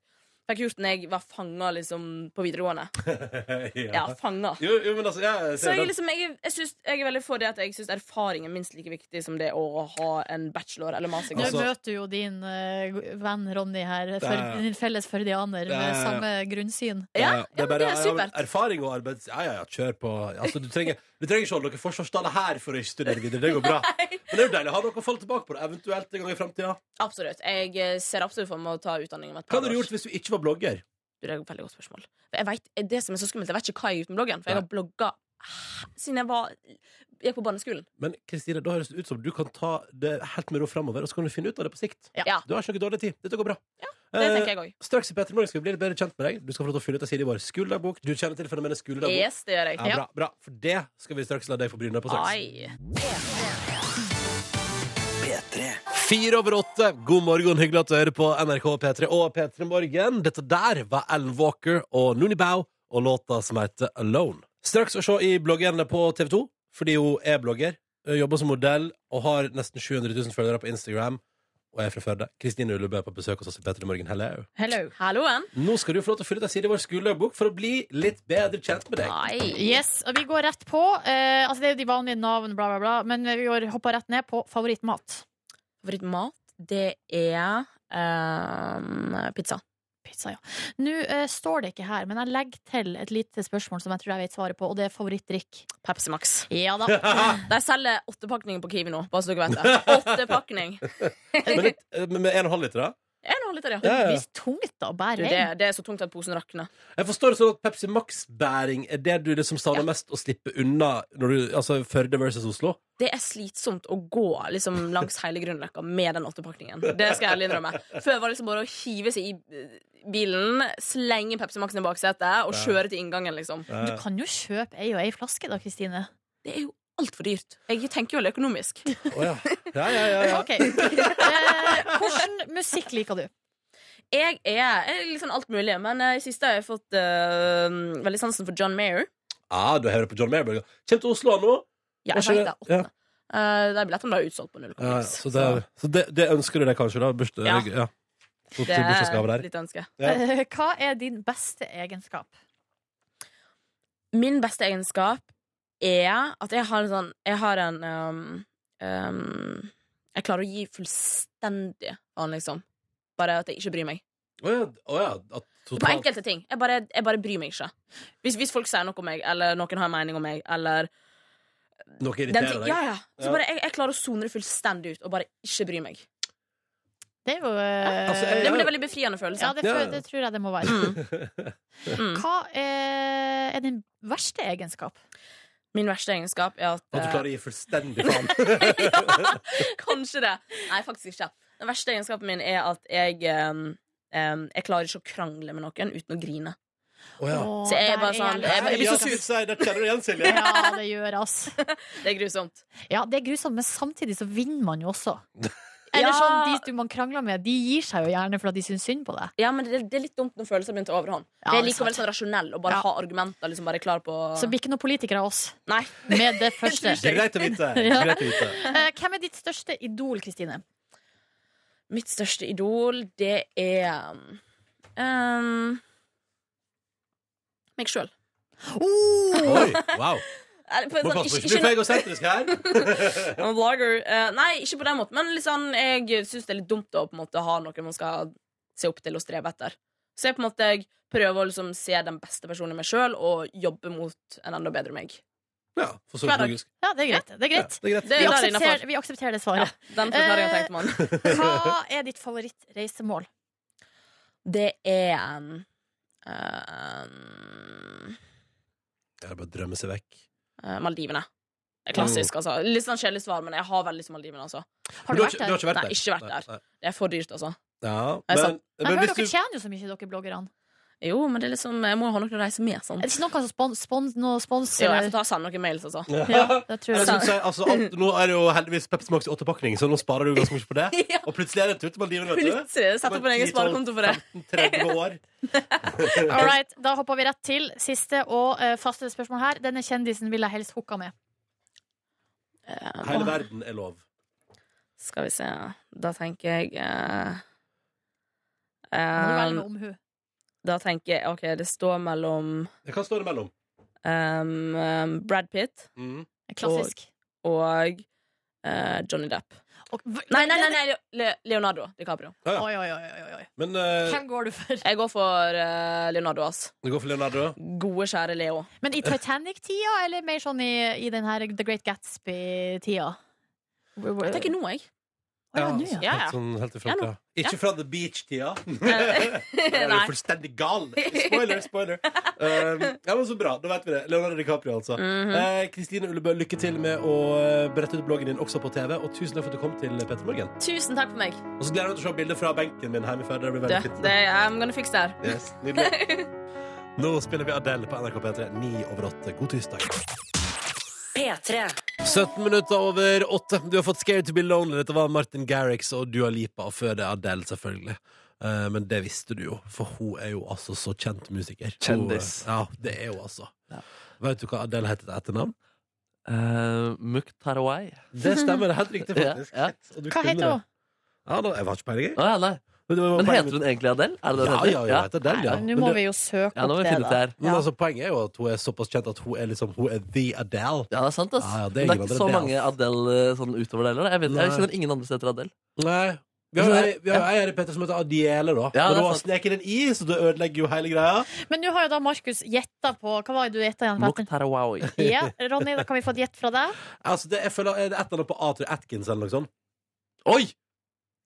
[SPEAKER 6] fikk gjort når jeg var fanga liksom, på videregående. Ja, fanga.
[SPEAKER 2] Jo, jo, men altså, ja, jeg
[SPEAKER 6] Så
[SPEAKER 2] ser
[SPEAKER 6] jeg,
[SPEAKER 2] det.
[SPEAKER 6] liksom, jeg, jeg, synes, jeg er veldig for det at jeg syns erfaring er minst like viktig som det å ha en bachelor eller
[SPEAKER 3] Nå
[SPEAKER 6] mastergrad.
[SPEAKER 2] Altså-
[SPEAKER 3] møter du jo din eh, venn Ronny her,
[SPEAKER 2] er-
[SPEAKER 3] for, din felles førdianer med
[SPEAKER 2] Det er-
[SPEAKER 3] samme grunnsyn.
[SPEAKER 6] ja,
[SPEAKER 2] Eh,
[SPEAKER 6] ja, men det er
[SPEAKER 2] ja, men
[SPEAKER 6] supert.
[SPEAKER 2] erfaring og arbeids... Ja, ja, ja, kjør på. Altså, du, trenger, du trenger ikke holde dere forsvarsstallet her for å ikke studere videre. Det går bra. Men det er jo deilig å ha noe å falle tilbake på, da, eventuelt en gang i framtida.
[SPEAKER 6] Absolutt. Jeg eh, ser absolutt for meg å ta utdanning om et
[SPEAKER 2] Hva
[SPEAKER 6] par
[SPEAKER 2] hadde du
[SPEAKER 6] år.
[SPEAKER 2] gjort hvis du ikke var blogger?
[SPEAKER 6] Det er et veldig godt spørsmål. For Jeg vet, det som er så skummelt, jeg vet ikke hva jeg gjør uten bloggen, for jeg har blogga siden jeg var jeg gikk på barneskolen.
[SPEAKER 2] Men Kristine, da høres det ut som du kan ta det helt med ro framover, og så kan du finne ut av det på sikt.
[SPEAKER 6] Ja.
[SPEAKER 2] Du har ikke noe dårlig tid. Dette går bra.
[SPEAKER 6] Det
[SPEAKER 2] Eh,
[SPEAKER 6] tenker jeg òg.
[SPEAKER 2] Straks i Petter Morgen skal vi bli litt bedre kjent med deg. Du skal få lov til å fylle ut en side i vår skoledagbok. Du kjenner til fenomenet skoledagbok.
[SPEAKER 6] Yes, det gjør jeg.
[SPEAKER 2] Ja, bra, bra. For det skal vi straks la deg få bryne deg på straks.
[SPEAKER 6] Ai.
[SPEAKER 2] Fire over åtte. God morgen, hyggelig at du hører på NRK P3 og P3 Morgen. Dette der var Alan Walker og Nooni Bao og låta som heter Alone. Straks å se i bloggerne på TV 2, fordi hun er blogger, jobber som modell og har nesten 700 000 følgere på Instagram. Og er fra Førde. Kristine Ullebø er på besøk hos oss i P3 Morgen. Hello.
[SPEAKER 3] Hello.
[SPEAKER 6] Halloen.
[SPEAKER 2] Nå skal du få lov til å fylle ut en side i vår skoledagbok for å bli litt bedre kjent med deg.
[SPEAKER 6] Ai.
[SPEAKER 3] Yes, og vi går rett på. Eh, altså Det er jo de vanlige navn, bla, bla, bla. Men eh, vi går hopper rett ned på favorittmat.
[SPEAKER 6] Favorittmat, det er ehm, pizza.
[SPEAKER 3] Pizza, ja. Nå eh, står det ikke her, men jeg legger til et lite spørsmål som jeg tror jeg vet svaret på, og det er favorittdrikk.
[SPEAKER 6] Pepsi Max.
[SPEAKER 3] Ja da.
[SPEAKER 6] De selger åttepakning på Kiwi nå, bare så dere vet det. Åttepakning.
[SPEAKER 2] Men litt, eh, med en og en halv liter, da?
[SPEAKER 6] Jeg nå litt av det.
[SPEAKER 2] Ja, ja.
[SPEAKER 3] Hvis tungt da,
[SPEAKER 6] Du,
[SPEAKER 3] bære
[SPEAKER 6] det,
[SPEAKER 3] inn.
[SPEAKER 6] det er så tungt at posen rakner.
[SPEAKER 2] Jeg forstår det sånn at Pepsi Max-bæring er det du liksom savner mest å slippe unna når du, altså Førde versus Oslo?
[SPEAKER 6] Det er slitsomt å gå liksom, langs hele Grünerløkka med den åttepakningen. Det skal jeg ærlig innrømme. Før var det liksom bare å hive seg i eh, bilen, slenge Pepsi Max-en i baksetet og
[SPEAKER 2] Ja.
[SPEAKER 6] kjøre til inngangen, liksom.
[SPEAKER 2] Eh,
[SPEAKER 3] Du kan jo kjøpe ei og ei flaske da, Kristine.
[SPEAKER 6] Det er jo altfor dyrt. Jeg tenker jo økonomisk.
[SPEAKER 2] Å ja. Ja, ja, ja, ja.
[SPEAKER 3] Ok. Eh, hvordan musikk liker du?
[SPEAKER 6] Jeg er, jeg er litt sånn alt mulig, men eh, i siste har jeg fått eh, veldig sansen for John Mayer.
[SPEAKER 2] Ah, du hører på John Mayerberg. Kjem til Oslo nå. Hva
[SPEAKER 6] Ja, jeg
[SPEAKER 2] skjer?
[SPEAKER 6] vet det. Åttende.
[SPEAKER 2] Ja.
[SPEAKER 6] Eh, de billettene ble utsolgt på null
[SPEAKER 2] Ja,
[SPEAKER 6] komma niks.
[SPEAKER 2] så det, så det, det ønsker du deg kanskje, da? Burs,
[SPEAKER 6] Ja.
[SPEAKER 2] eller- ja. Så
[SPEAKER 6] Det
[SPEAKER 2] til bursdagsgave
[SPEAKER 6] er
[SPEAKER 2] der.
[SPEAKER 6] litt ønske.
[SPEAKER 2] Ja.
[SPEAKER 3] Eh, hva er din beste egenskap?
[SPEAKER 6] Min beste egenskap er at jeg har en sånn Jeg har en um, um, Jeg klarer å gi fullstendig faen, liksom. Bare at jeg ikke bryr meg.
[SPEAKER 2] Å ja. å ja, at
[SPEAKER 6] På
[SPEAKER 2] totalt
[SPEAKER 6] enkelte ting. Jeg bare, jeg bare bryr meg ikke. Hvis, hvis folk sier noe om meg, eller noen har en mening om meg, eller
[SPEAKER 2] noe
[SPEAKER 6] den
[SPEAKER 2] irriterer
[SPEAKER 6] ting,
[SPEAKER 2] deg.
[SPEAKER 6] ja, ja.
[SPEAKER 2] Ja.
[SPEAKER 6] Så bare, jeg, jeg klarer å sone det fullstendig ut og bare ikke bry meg.
[SPEAKER 3] Det er jo eh,
[SPEAKER 2] Altså, jeg-
[SPEAKER 6] Det blir en veldig befriende følelse.
[SPEAKER 3] Ja, det,
[SPEAKER 2] Ja.
[SPEAKER 3] tror- det tror jeg det må være.
[SPEAKER 6] Mm. Mm.
[SPEAKER 3] Hva er, er din verste egenskap?
[SPEAKER 6] Min verste egenskap er at
[SPEAKER 2] At du
[SPEAKER 6] eh,
[SPEAKER 2] klarer å gi fullstendig faen.
[SPEAKER 6] ja, kanskje det. Nei, faktisk ikke. Den verste egenskapen min er at jeg em, em, Jeg klarer ikke å krangle med noen uten å grine.
[SPEAKER 2] Å ja.
[SPEAKER 3] Åh,
[SPEAKER 6] Så jeg er
[SPEAKER 3] der
[SPEAKER 6] bare sånn-
[SPEAKER 3] jeg
[SPEAKER 6] jeg- jeg blir så
[SPEAKER 2] Ja,
[SPEAKER 6] sur.
[SPEAKER 2] si, Der kjenner du igjen, Silje.
[SPEAKER 3] Ja, det gjør ass.
[SPEAKER 6] Det er grusomt.
[SPEAKER 3] Ja, det er grusomt, men samtidig så vinner man jo også. Eller
[SPEAKER 6] Ja.
[SPEAKER 3] sånn, De du man krangler med, de gir seg jo gjerne fordi de syns synd på deg.
[SPEAKER 6] Ja, men det, det er litt dumt når følelser begynner å ta overhånd.
[SPEAKER 3] Ja,
[SPEAKER 6] det
[SPEAKER 3] det
[SPEAKER 6] er
[SPEAKER 3] er
[SPEAKER 6] likevel
[SPEAKER 3] sant.
[SPEAKER 6] sånn rasjonell å bare
[SPEAKER 3] Ja.
[SPEAKER 6] ha argumenter. Liksom bare klar på
[SPEAKER 3] Så blir ikke noen politikere av oss
[SPEAKER 6] Nei.
[SPEAKER 3] med det første.
[SPEAKER 2] Det er greit å vite. Greit å vite.
[SPEAKER 3] Eh, Hvem er ditt største idol, Kristine?
[SPEAKER 6] Mitt største idol, det er ehm, em, meg sjøl.
[SPEAKER 2] Oi, wow. Må
[SPEAKER 6] Sånn,
[SPEAKER 2] passe på ikke
[SPEAKER 6] ikke,
[SPEAKER 2] bli
[SPEAKER 6] ikke,
[SPEAKER 2] for egosentrisk her.
[SPEAKER 6] I'm a vlogger. Eh, nei, ikke på den måten, men litt sånn, jeg syns det er litt dumt å på en måte, ha noe man skal se opp til og strebe etter. Så jeg på en måte jeg prøver å liksom, se den beste personen i meg sjøl og jobbe mot en enda bedre meg.
[SPEAKER 2] Ja, for så vidt
[SPEAKER 6] Hver dag.
[SPEAKER 2] logisk.
[SPEAKER 3] Ja, det er greit. Det er
[SPEAKER 2] Ja,
[SPEAKER 3] greit.
[SPEAKER 2] det er greit.
[SPEAKER 6] Det
[SPEAKER 3] Vi
[SPEAKER 6] er der
[SPEAKER 3] aksepterer,
[SPEAKER 6] innafor.
[SPEAKER 3] vi aksepterer det
[SPEAKER 6] Ja,
[SPEAKER 3] svaret.
[SPEAKER 6] den forklaringa tenkte man.
[SPEAKER 3] Hva er ditt favorittreisemål?
[SPEAKER 6] Det er en eh, ehm,
[SPEAKER 2] Det er bare å drømme seg vekk.
[SPEAKER 6] eh, Maldivene. Det er Klassisk, altså. Litt sånn kjedelig svar, men jeg har veldig lyst til Maldivene. Altså.
[SPEAKER 3] Har
[SPEAKER 2] Men
[SPEAKER 3] du
[SPEAKER 2] har ikke-
[SPEAKER 3] vært
[SPEAKER 2] Du
[SPEAKER 3] der?
[SPEAKER 2] har ikke vært
[SPEAKER 6] Nei,
[SPEAKER 2] der?
[SPEAKER 6] ikke vært
[SPEAKER 2] Nei,
[SPEAKER 6] der.
[SPEAKER 2] nei.
[SPEAKER 6] Det er for dyrt, altså.
[SPEAKER 2] Ja,
[SPEAKER 6] Jeg sa-
[SPEAKER 2] men, men
[SPEAKER 3] Men
[SPEAKER 2] hvis
[SPEAKER 3] dere
[SPEAKER 2] du
[SPEAKER 3] tjener jo så mye, dere bloggerne.
[SPEAKER 6] Jo, men det er liksom, jeg må jo ha noen å reise med. Sånn.
[SPEAKER 3] Er det ikke noen som spons, spons, noe spons
[SPEAKER 6] Jo, jeg
[SPEAKER 3] eller?
[SPEAKER 6] får ta og sende noen mails, altså.
[SPEAKER 3] Ja, det tror
[SPEAKER 2] Jeg
[SPEAKER 3] jeg.
[SPEAKER 6] sant?
[SPEAKER 2] synes jeg, altså, alt, nå er det jo heldigvis Pepsi Max i åttepakning, så nå sparer du ganske mye på det.
[SPEAKER 6] Ja.
[SPEAKER 2] Og plutselig er det en tur til Maldivene. vet du.
[SPEAKER 6] Plutselig setter jeg på en egen
[SPEAKER 2] 10, 12,
[SPEAKER 6] sparekonto for det.
[SPEAKER 2] 15, 30 år.
[SPEAKER 3] All right, da hopper vi rett til siste og eh, faste spørsmål her. Denne kjendisen vil jeg helst hooka med.
[SPEAKER 2] Hele verden er lov.
[SPEAKER 6] Skal vi se. Da tenker jeg eh,
[SPEAKER 3] Må du velge med
[SPEAKER 6] ehm,
[SPEAKER 3] omhu.
[SPEAKER 6] Da tenker jeg OK, det står mellom
[SPEAKER 2] Hva står det mellom?
[SPEAKER 6] ehm, ehm, Brad Pitt
[SPEAKER 2] Mm.
[SPEAKER 3] Klassisk.
[SPEAKER 6] og eh, Johnny Depp.
[SPEAKER 3] Og,
[SPEAKER 6] Nei, nei, nei, nei Le- Le- Leonardo DiCaprio.
[SPEAKER 2] Ja, ja.
[SPEAKER 3] Oi, oi, oi, oi, oi.
[SPEAKER 2] Men eh,
[SPEAKER 3] Hvem går du for?
[SPEAKER 6] Jeg går for eh, Leonardo, ass.
[SPEAKER 2] det går for Leonardo.
[SPEAKER 6] Gode, kjære Leo.
[SPEAKER 3] Men i Titanic-tida, eller mer sånn i, i den her The Great Gatsby-tida?
[SPEAKER 6] Jeg tenker nå, jeg.
[SPEAKER 3] Å ja, nå,
[SPEAKER 2] altså,
[SPEAKER 3] ja.
[SPEAKER 6] ja.
[SPEAKER 2] Helt, sånn, helt i front,
[SPEAKER 6] Ja,
[SPEAKER 2] ja. Ikke fra The Beach-tida. Da er du
[SPEAKER 6] Nei.
[SPEAKER 2] fullstendig gal. Spoiler, spoiler. Um, ja, men Så bra. Da vet vi det. Leonardo DiCaprio, altså.
[SPEAKER 6] Mhm.
[SPEAKER 2] Eh, Kristine Ullebø, lykke til med å eh, brette ut bloggen din også på TV. Og tusen takk for at du kom til Petter Morgen.
[SPEAKER 6] Tusen takk for meg.
[SPEAKER 2] Og så gleder jeg meg til å se bilder fra benken min hjemme før. Det blir
[SPEAKER 6] Du,
[SPEAKER 2] veldig fint.
[SPEAKER 6] det, I'm gonna fix det her.
[SPEAKER 2] Yes, nydelig. Nå spiller vi Adele på NRK P3, ni over åtte. God tirsdag.
[SPEAKER 1] P3.
[SPEAKER 2] 17 minutter over åtte. Du har fått Scared to be lonely. Dette var Martin Garrix og Dua Lipa, og før det Adele, selvfølgelig. Eh, Men det visste du jo, for hun er jo altså så kjent musiker. Hun-
[SPEAKER 4] Kjendis.
[SPEAKER 2] Ja, det er hun altså.
[SPEAKER 4] Ja.
[SPEAKER 2] Vet du hva Adele heter til etternavn?
[SPEAKER 4] Uh, Muktarawai.
[SPEAKER 2] Det stemmer, det er helt riktig,
[SPEAKER 4] Ja,
[SPEAKER 2] faktisk.
[SPEAKER 4] ja.
[SPEAKER 2] Og du
[SPEAKER 3] Hva
[SPEAKER 2] kunne
[SPEAKER 3] heter hun?
[SPEAKER 2] det. Ja, da, jeg var ikke peiling, jeg.
[SPEAKER 4] Å ja, nei.
[SPEAKER 2] Men, det var
[SPEAKER 4] Men
[SPEAKER 2] poenget
[SPEAKER 4] heter hun egentlig Adele? Er det det hun
[SPEAKER 2] Ja,
[SPEAKER 4] heter?
[SPEAKER 2] ja, ja, heter Adele, ja.
[SPEAKER 3] Nå
[SPEAKER 2] Men
[SPEAKER 3] må
[SPEAKER 2] det-
[SPEAKER 3] vi jo søke
[SPEAKER 4] Ja, nå må
[SPEAKER 3] opp
[SPEAKER 4] vi
[SPEAKER 3] det,
[SPEAKER 4] finne ut det
[SPEAKER 3] da.
[SPEAKER 4] her.
[SPEAKER 2] Men altså, poenget er jo at hun er såpass kjent at hun er liksom Hun er the Adele.
[SPEAKER 4] Ja, det er sant, ass.
[SPEAKER 2] Ja, ja, det
[SPEAKER 4] det
[SPEAKER 2] er ingen
[SPEAKER 4] er Men det er ikke
[SPEAKER 2] andre,
[SPEAKER 4] så
[SPEAKER 2] det,
[SPEAKER 4] mange Adele eh, sånn utover det heller. Jeg, vet, jeg
[SPEAKER 2] Nei.
[SPEAKER 4] kjenner ingen andre som heter Adele.
[SPEAKER 2] Nei. Vi har jo ei- vi har jo ei her i Petter som heter Adiele, da. Men
[SPEAKER 4] Ja, det er
[SPEAKER 2] hun har
[SPEAKER 4] sant.
[SPEAKER 2] sneket en i, så det ødelegger jo hele greia.
[SPEAKER 3] Men nå har jo da Markus gjetta på Hva var det du gjetta igjen? Petter?
[SPEAKER 4] Muktarawai.
[SPEAKER 3] Ja, Ronny, da kan vi få et gjett fra deg.
[SPEAKER 2] Altså, det, jeg føler Er det et eller annet på Atri Atkins eller noe sånt? Oi!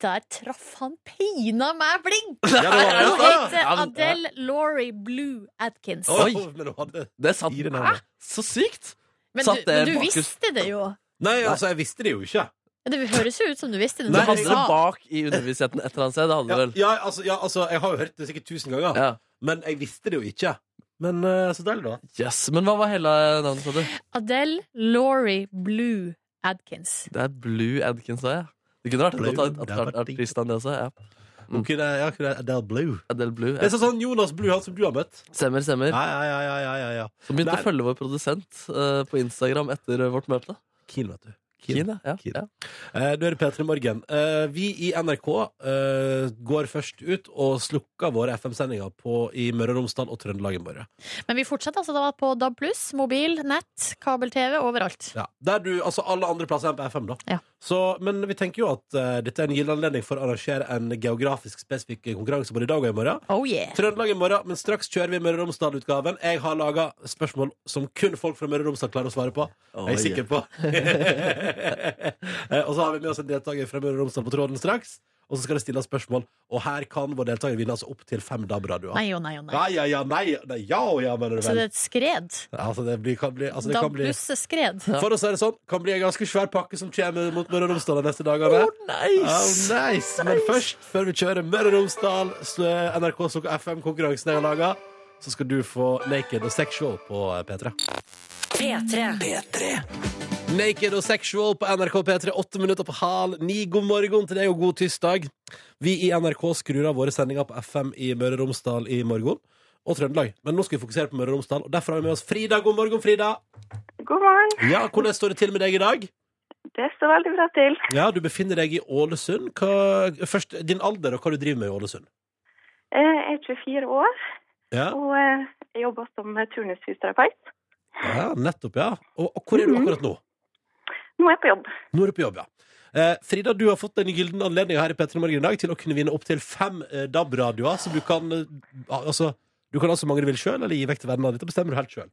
[SPEAKER 3] Der traff han pina meg blink!
[SPEAKER 2] Ja, det var
[SPEAKER 3] Hun
[SPEAKER 2] det.
[SPEAKER 3] heter
[SPEAKER 4] Ja, men-
[SPEAKER 3] Adele Laurie Blue Atkins.
[SPEAKER 2] Oi,
[SPEAKER 4] Oi.
[SPEAKER 2] men hun hadde
[SPEAKER 4] Det satt
[SPEAKER 2] Fire navn.
[SPEAKER 4] Hæ? Så sykt!
[SPEAKER 3] Men du,
[SPEAKER 4] satt det
[SPEAKER 3] men du
[SPEAKER 4] Markus-
[SPEAKER 3] visste det jo.
[SPEAKER 2] Nei, altså, jeg visste det jo ikke.
[SPEAKER 3] Det høres jo ut som du visste det.
[SPEAKER 4] Det
[SPEAKER 2] Nei,
[SPEAKER 3] når
[SPEAKER 4] hadde
[SPEAKER 3] du
[SPEAKER 4] det
[SPEAKER 3] sa.
[SPEAKER 4] bak i underbevisstheten et eller annet sted. Det hadde
[SPEAKER 2] Ja,
[SPEAKER 4] det vel.
[SPEAKER 2] ja, altså, ja, altså, jeg har jo hørt det sikkert tusen ganger,
[SPEAKER 4] Ja.
[SPEAKER 2] men jeg visste det jo ikke. Men eh, så deilig, da.
[SPEAKER 4] Yes. Men hva var hele navnet, sa du?
[SPEAKER 3] Adele Laurie Blue Adkins.
[SPEAKER 4] Det er Blue Adkins, da, ja. Det kunne vært et
[SPEAKER 2] Blue,
[SPEAKER 4] godt art-
[SPEAKER 2] det hadde
[SPEAKER 4] art-
[SPEAKER 2] vært digg.
[SPEAKER 4] artistnavn, det også. Ja.
[SPEAKER 2] Hun kunne, ja, kunne Adele Blue.
[SPEAKER 4] Adele Blue.
[SPEAKER 2] Det
[SPEAKER 4] Ja.
[SPEAKER 2] er sånn som Jonas Blue, han som du har møtt.
[SPEAKER 4] Stemmer, stemmer.
[SPEAKER 2] Ja, ja, ja, ja, ja, ja.
[SPEAKER 4] Som begynte
[SPEAKER 2] Nei.
[SPEAKER 4] å følge vår produsent eh, på Instagram etter eh, vårt møte.
[SPEAKER 2] Keen, vet du. Keen.
[SPEAKER 4] Keen, ja.
[SPEAKER 2] Keen.
[SPEAKER 4] ja.
[SPEAKER 2] Eh, Du hører P3 Morgen. Eh, Vi i NRK eh, går først ut og slukker våre FM-sendinger på- i Møre og Romsdal og Trøndelag i morgen.
[SPEAKER 3] Men vi fortsetter altså da på DAB+, mobil, nett, kabel-TV, overalt.
[SPEAKER 2] Ja. Der du, altså alle andre plasser enn på FM, da.
[SPEAKER 3] Ja.
[SPEAKER 2] Så, men vi tenker jo at eh, dette er en gyllen anledning for å arrangere en geografisk spesifikk eh, konkurranse både i dag og i morgen.
[SPEAKER 3] Oh yeah!
[SPEAKER 2] Trøndelag i morgen, men straks kjører vi Møre og Romsdal-utgaven. Jeg har laga spørsmål som kun folk fra Møre og Romsdal klarer å svare på. Jeg er sikker på. Eh, og så har vi med oss en deltaker fra Møre og Romsdal på tråden straks. Og så skal det stilles spørsmål. Og her kan vår deltaker vinne altså opp til fem DAB-radioer.
[SPEAKER 3] Nei og nei og nei.
[SPEAKER 2] Ja, ja, ja, nei, nei, ja og ja, mener du
[SPEAKER 3] Så
[SPEAKER 2] vel.
[SPEAKER 3] det er et skred.
[SPEAKER 2] Altså, det blir, kan bli, altså, det kan
[SPEAKER 3] DAB+,
[SPEAKER 2] bli
[SPEAKER 3] er skred.
[SPEAKER 2] for å si det sånn, kan bli en ganske svær pakke som kommer mot Møre og Romsdal de neste dagene. Oh, nice. Men først, før vi kjører Møre og Romsdal, så er NRK Sokka FM-konkurransen jeg har laga, så skal du få Naked og Sexual på P3.
[SPEAKER 1] P3.
[SPEAKER 2] Naked og Sexual på NRK P3, åtte minutter på hal ni. God morgen til deg og god tirsdag. Vi i NRK skrur av våre sendinger på FM i Møre og Romsdal i morgen. Og Trøndelag. Men nå skal vi fokusere på Møre og Romsdal, og derfor har vi med oss Frida. God morgen, Frida.
[SPEAKER 7] God morgen.
[SPEAKER 2] Ja, Hvordan står det til med deg i dag?
[SPEAKER 7] Det står veldig bra til.
[SPEAKER 2] Ja, du befinner deg i Ålesund. Hva, først din alder og hva du driver med i Ålesund.
[SPEAKER 7] Eh, Jeg er 24 år
[SPEAKER 2] Ja,
[SPEAKER 7] og eh, jeg jobber som turnushusterapeut.
[SPEAKER 2] ja nettopp, ja. Og, og hvor er du
[SPEAKER 7] Mhm.
[SPEAKER 2] akkurat nå?
[SPEAKER 7] Nå er jeg på jobb.
[SPEAKER 2] Nå er du på jobb, ja. Eh, Frida, du har fått den gylne anledninga her i P3 Morgen i dag til å kunne vinne opptil fem eh, DAB-radioer, så du kan eh, altså Du kan altså hvor mange du vil sjøl, eller gi vekk til vennene dine. Dette bestemmer du helt sjøl.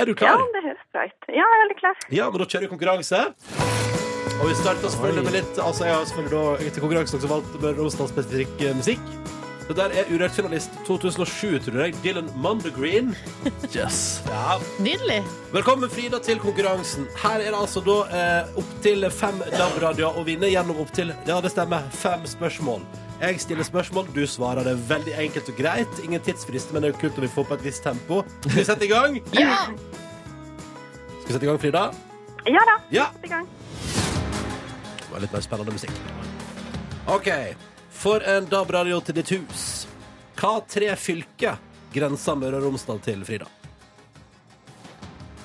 [SPEAKER 2] Er du
[SPEAKER 7] Ja,
[SPEAKER 2] klar?
[SPEAKER 7] det høres sprite. Ja, jeg er litt klar.
[SPEAKER 2] Ja, men da kjører vi konkurranse. Og vi starter selvfølgelig med litt Altså, jeg har selvfølgelig da til konkurransen også valgt Møre og Romsdal spesifikk eh, musikk. Det der er urørt finalist 2007, tror jeg. Dylan Mondergreen.
[SPEAKER 4] Yes.
[SPEAKER 2] Ja.
[SPEAKER 3] Nydelig.
[SPEAKER 2] Velkommen, Frida, til konkurransen. Her er det altså da eh, opptil fem DAB-radioer å vinne gjennom opptil Ja, det stemmer. Fem spørsmål. Jeg stiller spørsmål, du svarer det veldig enkelt og greit. Ingen tidsfrist, men det er jo kult om vi får på et visst tempo. Skal vi sette i gang?
[SPEAKER 3] Ja!
[SPEAKER 2] Skal vi sette i gang, Frida?
[SPEAKER 7] Ja da,
[SPEAKER 2] Ja.
[SPEAKER 7] i gang.
[SPEAKER 2] Det var litt mer spennende musikk. OK. For en DAB-radio til ditt hus. Hva tre fylker grenser Møre og Romsdal til, Frida?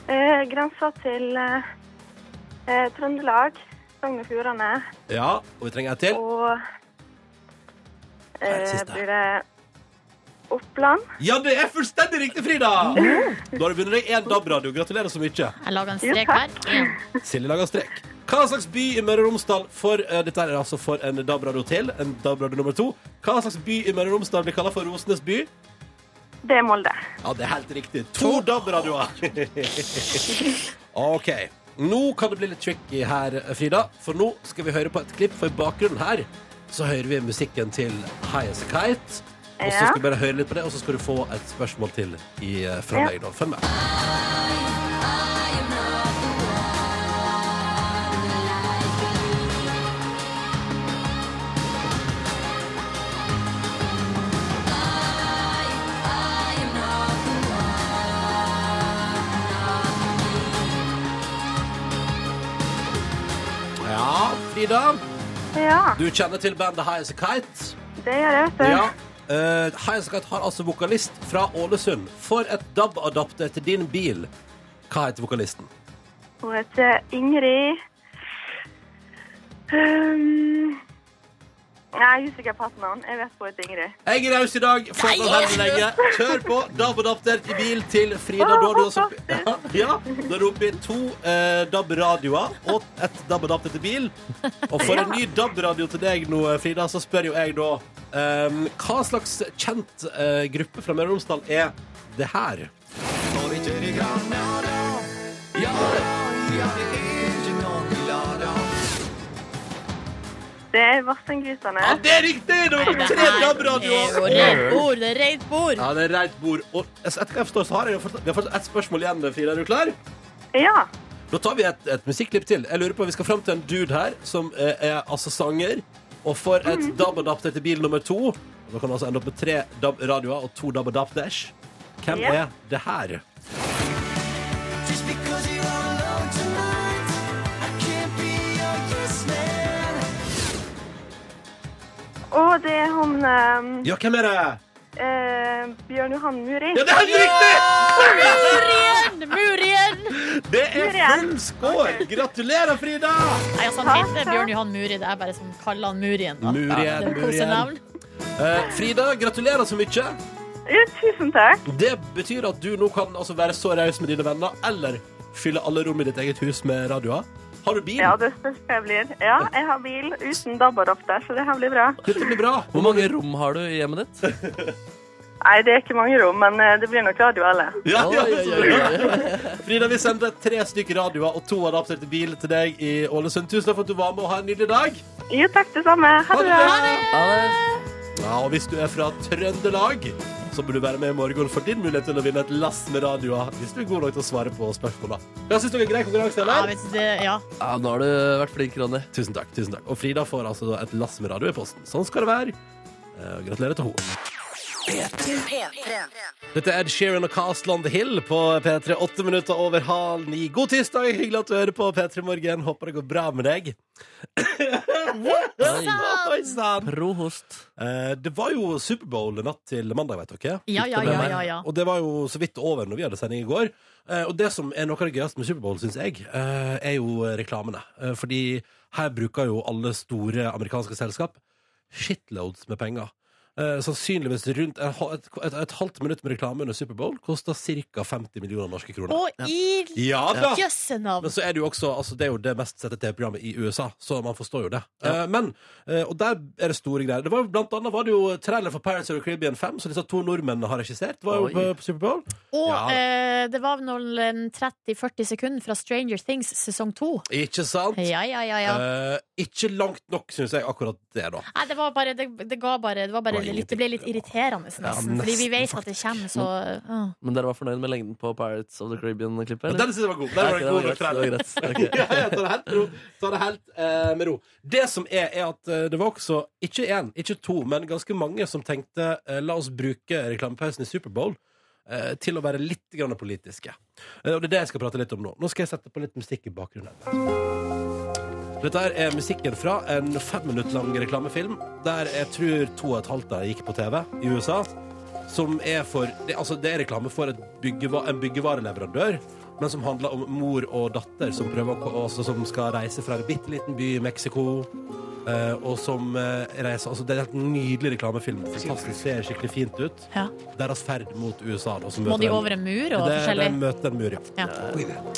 [SPEAKER 7] Eh, grensa til eh, eh, Trøndelag, Sogn og Fjordane
[SPEAKER 2] Ja, og vi trenger et til.
[SPEAKER 7] og
[SPEAKER 2] er det
[SPEAKER 7] eh,
[SPEAKER 2] siste?
[SPEAKER 7] blir det Oppland.
[SPEAKER 2] Ja, det er fullstendig riktig, Frida! Da har du vunnet deg én DAB-radio. Gratulerer så mye.
[SPEAKER 3] Jeg lager en strek her. En.
[SPEAKER 2] Silje lager strek. Hva slags by i Møre og Romsdal for eh, Dette er altså for en DAB-radio til. En DAB-radio nummer to. Hva slags by i Møre og Romsdal blir kalt for Rosenes by?
[SPEAKER 7] Det er Molde.
[SPEAKER 2] Ja, det er helt riktig. To DAB-radioer. OK. Nå kan det bli litt tricky her, Frida, for nå skal vi høre på et klipp. For i bakgrunnen her så hører vi musikken til High As A Kite. Og så
[SPEAKER 7] Ja.
[SPEAKER 2] skal vi bare høre litt på det, og så skal du få et spørsmål til i, eh, fra
[SPEAKER 7] Ja.
[SPEAKER 2] meg. da. Følg med. Ja, Frida.
[SPEAKER 7] Ja,
[SPEAKER 2] Du kjenner til bandet High As A Kite.
[SPEAKER 7] det gjør jeg, vet du.
[SPEAKER 2] Ja. Eh, Highasakite har altså vokalist fra Ålesund. For et DAB-adapter til din bil. Hva heter vokalisten?
[SPEAKER 7] Hun heter Ingrid um, Nei, jeg er usikker på hatten hans. Jeg vet hun heter Ingrid.
[SPEAKER 2] Jeg er raus i dag. Fått den her lenge. Kjør på. DAB-adapter til bil til Frida. Da har du altså ja, ja, da er du oppe i to eh, DAB-radioer og et DAB-adapter til bil. Og for en ny DAB-radio til deg nå, eh, Frida, så spør jo jeg da eh, Hva slags kjent eh, gruppe fra Møre og Romsdal er det her?
[SPEAKER 7] Det er Vassendgutane.
[SPEAKER 2] Ja, det er riktig! Det var tre DAB-radioer.
[SPEAKER 3] Det er jo rent bord. Det er rent bord.
[SPEAKER 2] Ja, det er reit bord. Og etter hva jeg forstår, så har jeg jo fortsatt, vi har fortsatt ett spørsmål igjen, Frida. Er du klar?
[SPEAKER 7] Ja.
[SPEAKER 2] Da tar vi et, et musikklipp til. Jeg lurer på, Vi skal fram til en dude her som eh, er altså sanger. Og får et
[SPEAKER 3] Mhm.
[SPEAKER 2] DAB-adapter til bil nummer to. Og Da kan du altså ende opp med tre DAB-radioer og to DAB-adapters. Hvem
[SPEAKER 7] Ja.
[SPEAKER 2] er det her?
[SPEAKER 7] Og det er han um,
[SPEAKER 2] Ja, hvem er det?
[SPEAKER 7] eh, Bjørn Johan Muri.
[SPEAKER 2] Ja, det er helt riktig!
[SPEAKER 3] Murien! Murien!
[SPEAKER 2] Det er
[SPEAKER 7] Muriel.
[SPEAKER 2] full score! Gratulerer, Frida!
[SPEAKER 3] Nei, altså, han heter Bjørn Johan Muri. Det er bare som kaller han Murien. Da.
[SPEAKER 2] Murien,
[SPEAKER 3] Ja, det er et kosenavn.
[SPEAKER 2] Eh, Frida, gratulerer så mye.
[SPEAKER 7] Ja, tusen takk.
[SPEAKER 2] Det betyr at du nå kan altså være så raus med dine venner, eller fylle alle rom i ditt eget hus med radioer. Har du bil?
[SPEAKER 7] Ja, det største jeg blir. Ja, jeg har bil uten dabbarofter, så det her blir bra.
[SPEAKER 2] Dette blir bra.
[SPEAKER 4] Hvor mange rom har du i hjemmet ditt?
[SPEAKER 7] Nei, det er ikke mange rom, men eh, det blir nok radio alle.
[SPEAKER 2] Ja, ja,
[SPEAKER 4] Oi,
[SPEAKER 2] ja,
[SPEAKER 4] oi,
[SPEAKER 2] ja.
[SPEAKER 4] oi.
[SPEAKER 2] Frida, vi sender tre stykker radioer og to adapter til bil til deg i Ålesund. Tusen takk for at du var med, og ha en nydelig dag.
[SPEAKER 7] Jo, takk det samme. Ha det bra.
[SPEAKER 4] Ja, det-
[SPEAKER 2] Ja, og hvis du er fra Trøndelag, så bør du være med i morgen for din mulighet til å vinne et lass med radioer, hvis du er god nok til å svare på spørsmåla. Ja, syns dere er grei konkurranse,
[SPEAKER 3] Ja,
[SPEAKER 2] eller?
[SPEAKER 3] vet du, det- ja.
[SPEAKER 4] Ja, nå har du vært flink, Ronny.
[SPEAKER 2] Tusen takk. tusen takk. Og Frida får altså da et lass med radio i posten. Sånn skal det være. Eh, gratulerer til henne. Dette er Ed Sheeran og Cast on the Hill på P3. Åtte minutter over halv ni. God tirsdag! Hyggelig at du hører på P3 Morgen. Håper det går bra med deg. Oi sann!
[SPEAKER 4] Pro host.
[SPEAKER 2] Eh, Det var jo Superbowl natt til mandag, vet dere.
[SPEAKER 3] Ja, ja, ja, ja, ja.
[SPEAKER 2] Og det var jo så vidt over når vi hadde sending i går. Eh, Og det som er noe av det gøyeste med Superbowl, syns jeg, eh, er jo reklamene. Eh, Fordi her bruker jo alle store amerikanske selskap shitloads med penger. eh, sannsynligvis rundt et, ha- et, et, et halvt minutt med reklame under Superbowl koster ca. 50 millioner norske kroner.
[SPEAKER 3] Og i
[SPEAKER 2] Ja da!
[SPEAKER 3] jøsse navn!
[SPEAKER 2] Men så er det jo også altså Det er jo det mest sette TV-programmet i USA, så man forstår jo det. Eh, men, eh, Og der er det store greier. Det var jo, blant annet var det jo trailer for Pirates of the Caribbean 5, som disse to nordmennene har regissert. Det var jo
[SPEAKER 4] Oi.
[SPEAKER 2] på, på Superbowl.
[SPEAKER 3] Og
[SPEAKER 2] Ja.
[SPEAKER 3] eh, det var vel en 30-40 sekunder fra Stranger Things sesong 2.
[SPEAKER 2] Ikke sant?
[SPEAKER 3] Ja, ja, ja. ja.
[SPEAKER 2] Eh, ikke langt nok, syns jeg, akkurat det, da.
[SPEAKER 3] Nei, det var bare Det, det ga bare Det, var bare
[SPEAKER 2] Det var
[SPEAKER 3] litt, det ble litt irriterende, nesten. fordi vi
[SPEAKER 2] nesten,
[SPEAKER 3] vet at det kommer, så ja.
[SPEAKER 4] Men dere var fornøyd med lengden på Pirates of the Caribbean-klippet?
[SPEAKER 2] Men
[SPEAKER 4] eller?
[SPEAKER 2] den syns jeg var god. Den
[SPEAKER 4] Nei,
[SPEAKER 2] var
[SPEAKER 4] ok,
[SPEAKER 2] god nok
[SPEAKER 4] det var
[SPEAKER 2] trailer.
[SPEAKER 4] greit. Det var greit. Ok.
[SPEAKER 2] ja, ja, ta det helt, med ro. ta det helt eh, med ro. Det som er, er at eh, det var også ikke én, ikke to, men ganske mange som tenkte eh, la oss bruke reklamepausen i Superbowl eh, til å være litt grann politiske. Eh, og det er det jeg skal prate litt om nå. Nå skal jeg sette på litt musikk i bakgrunnen. Dette her er musikken fra en fem minutter lang reklamefilm der jeg tror to og et halvt av gikk på TV i USA. Som er for det, Altså, det er reklame for et byggeva, en byggevareleverandør, men som handler om mor og datter som, prøver, å ko- altså, som skal reise fra en bitte liten by i Mexico. eh, og som eh, reiser Altså, det er en helt nydelig reklamefilm. Fantastisk. Ser skikkelig fint ut.
[SPEAKER 3] ja.
[SPEAKER 2] Deres ferd mot USA. Da, som
[SPEAKER 3] Må
[SPEAKER 2] møter
[SPEAKER 3] de
[SPEAKER 2] en-
[SPEAKER 3] over en mur og
[SPEAKER 2] det,
[SPEAKER 3] forskjellig?
[SPEAKER 2] de møter en mur, ja.
[SPEAKER 3] Ja.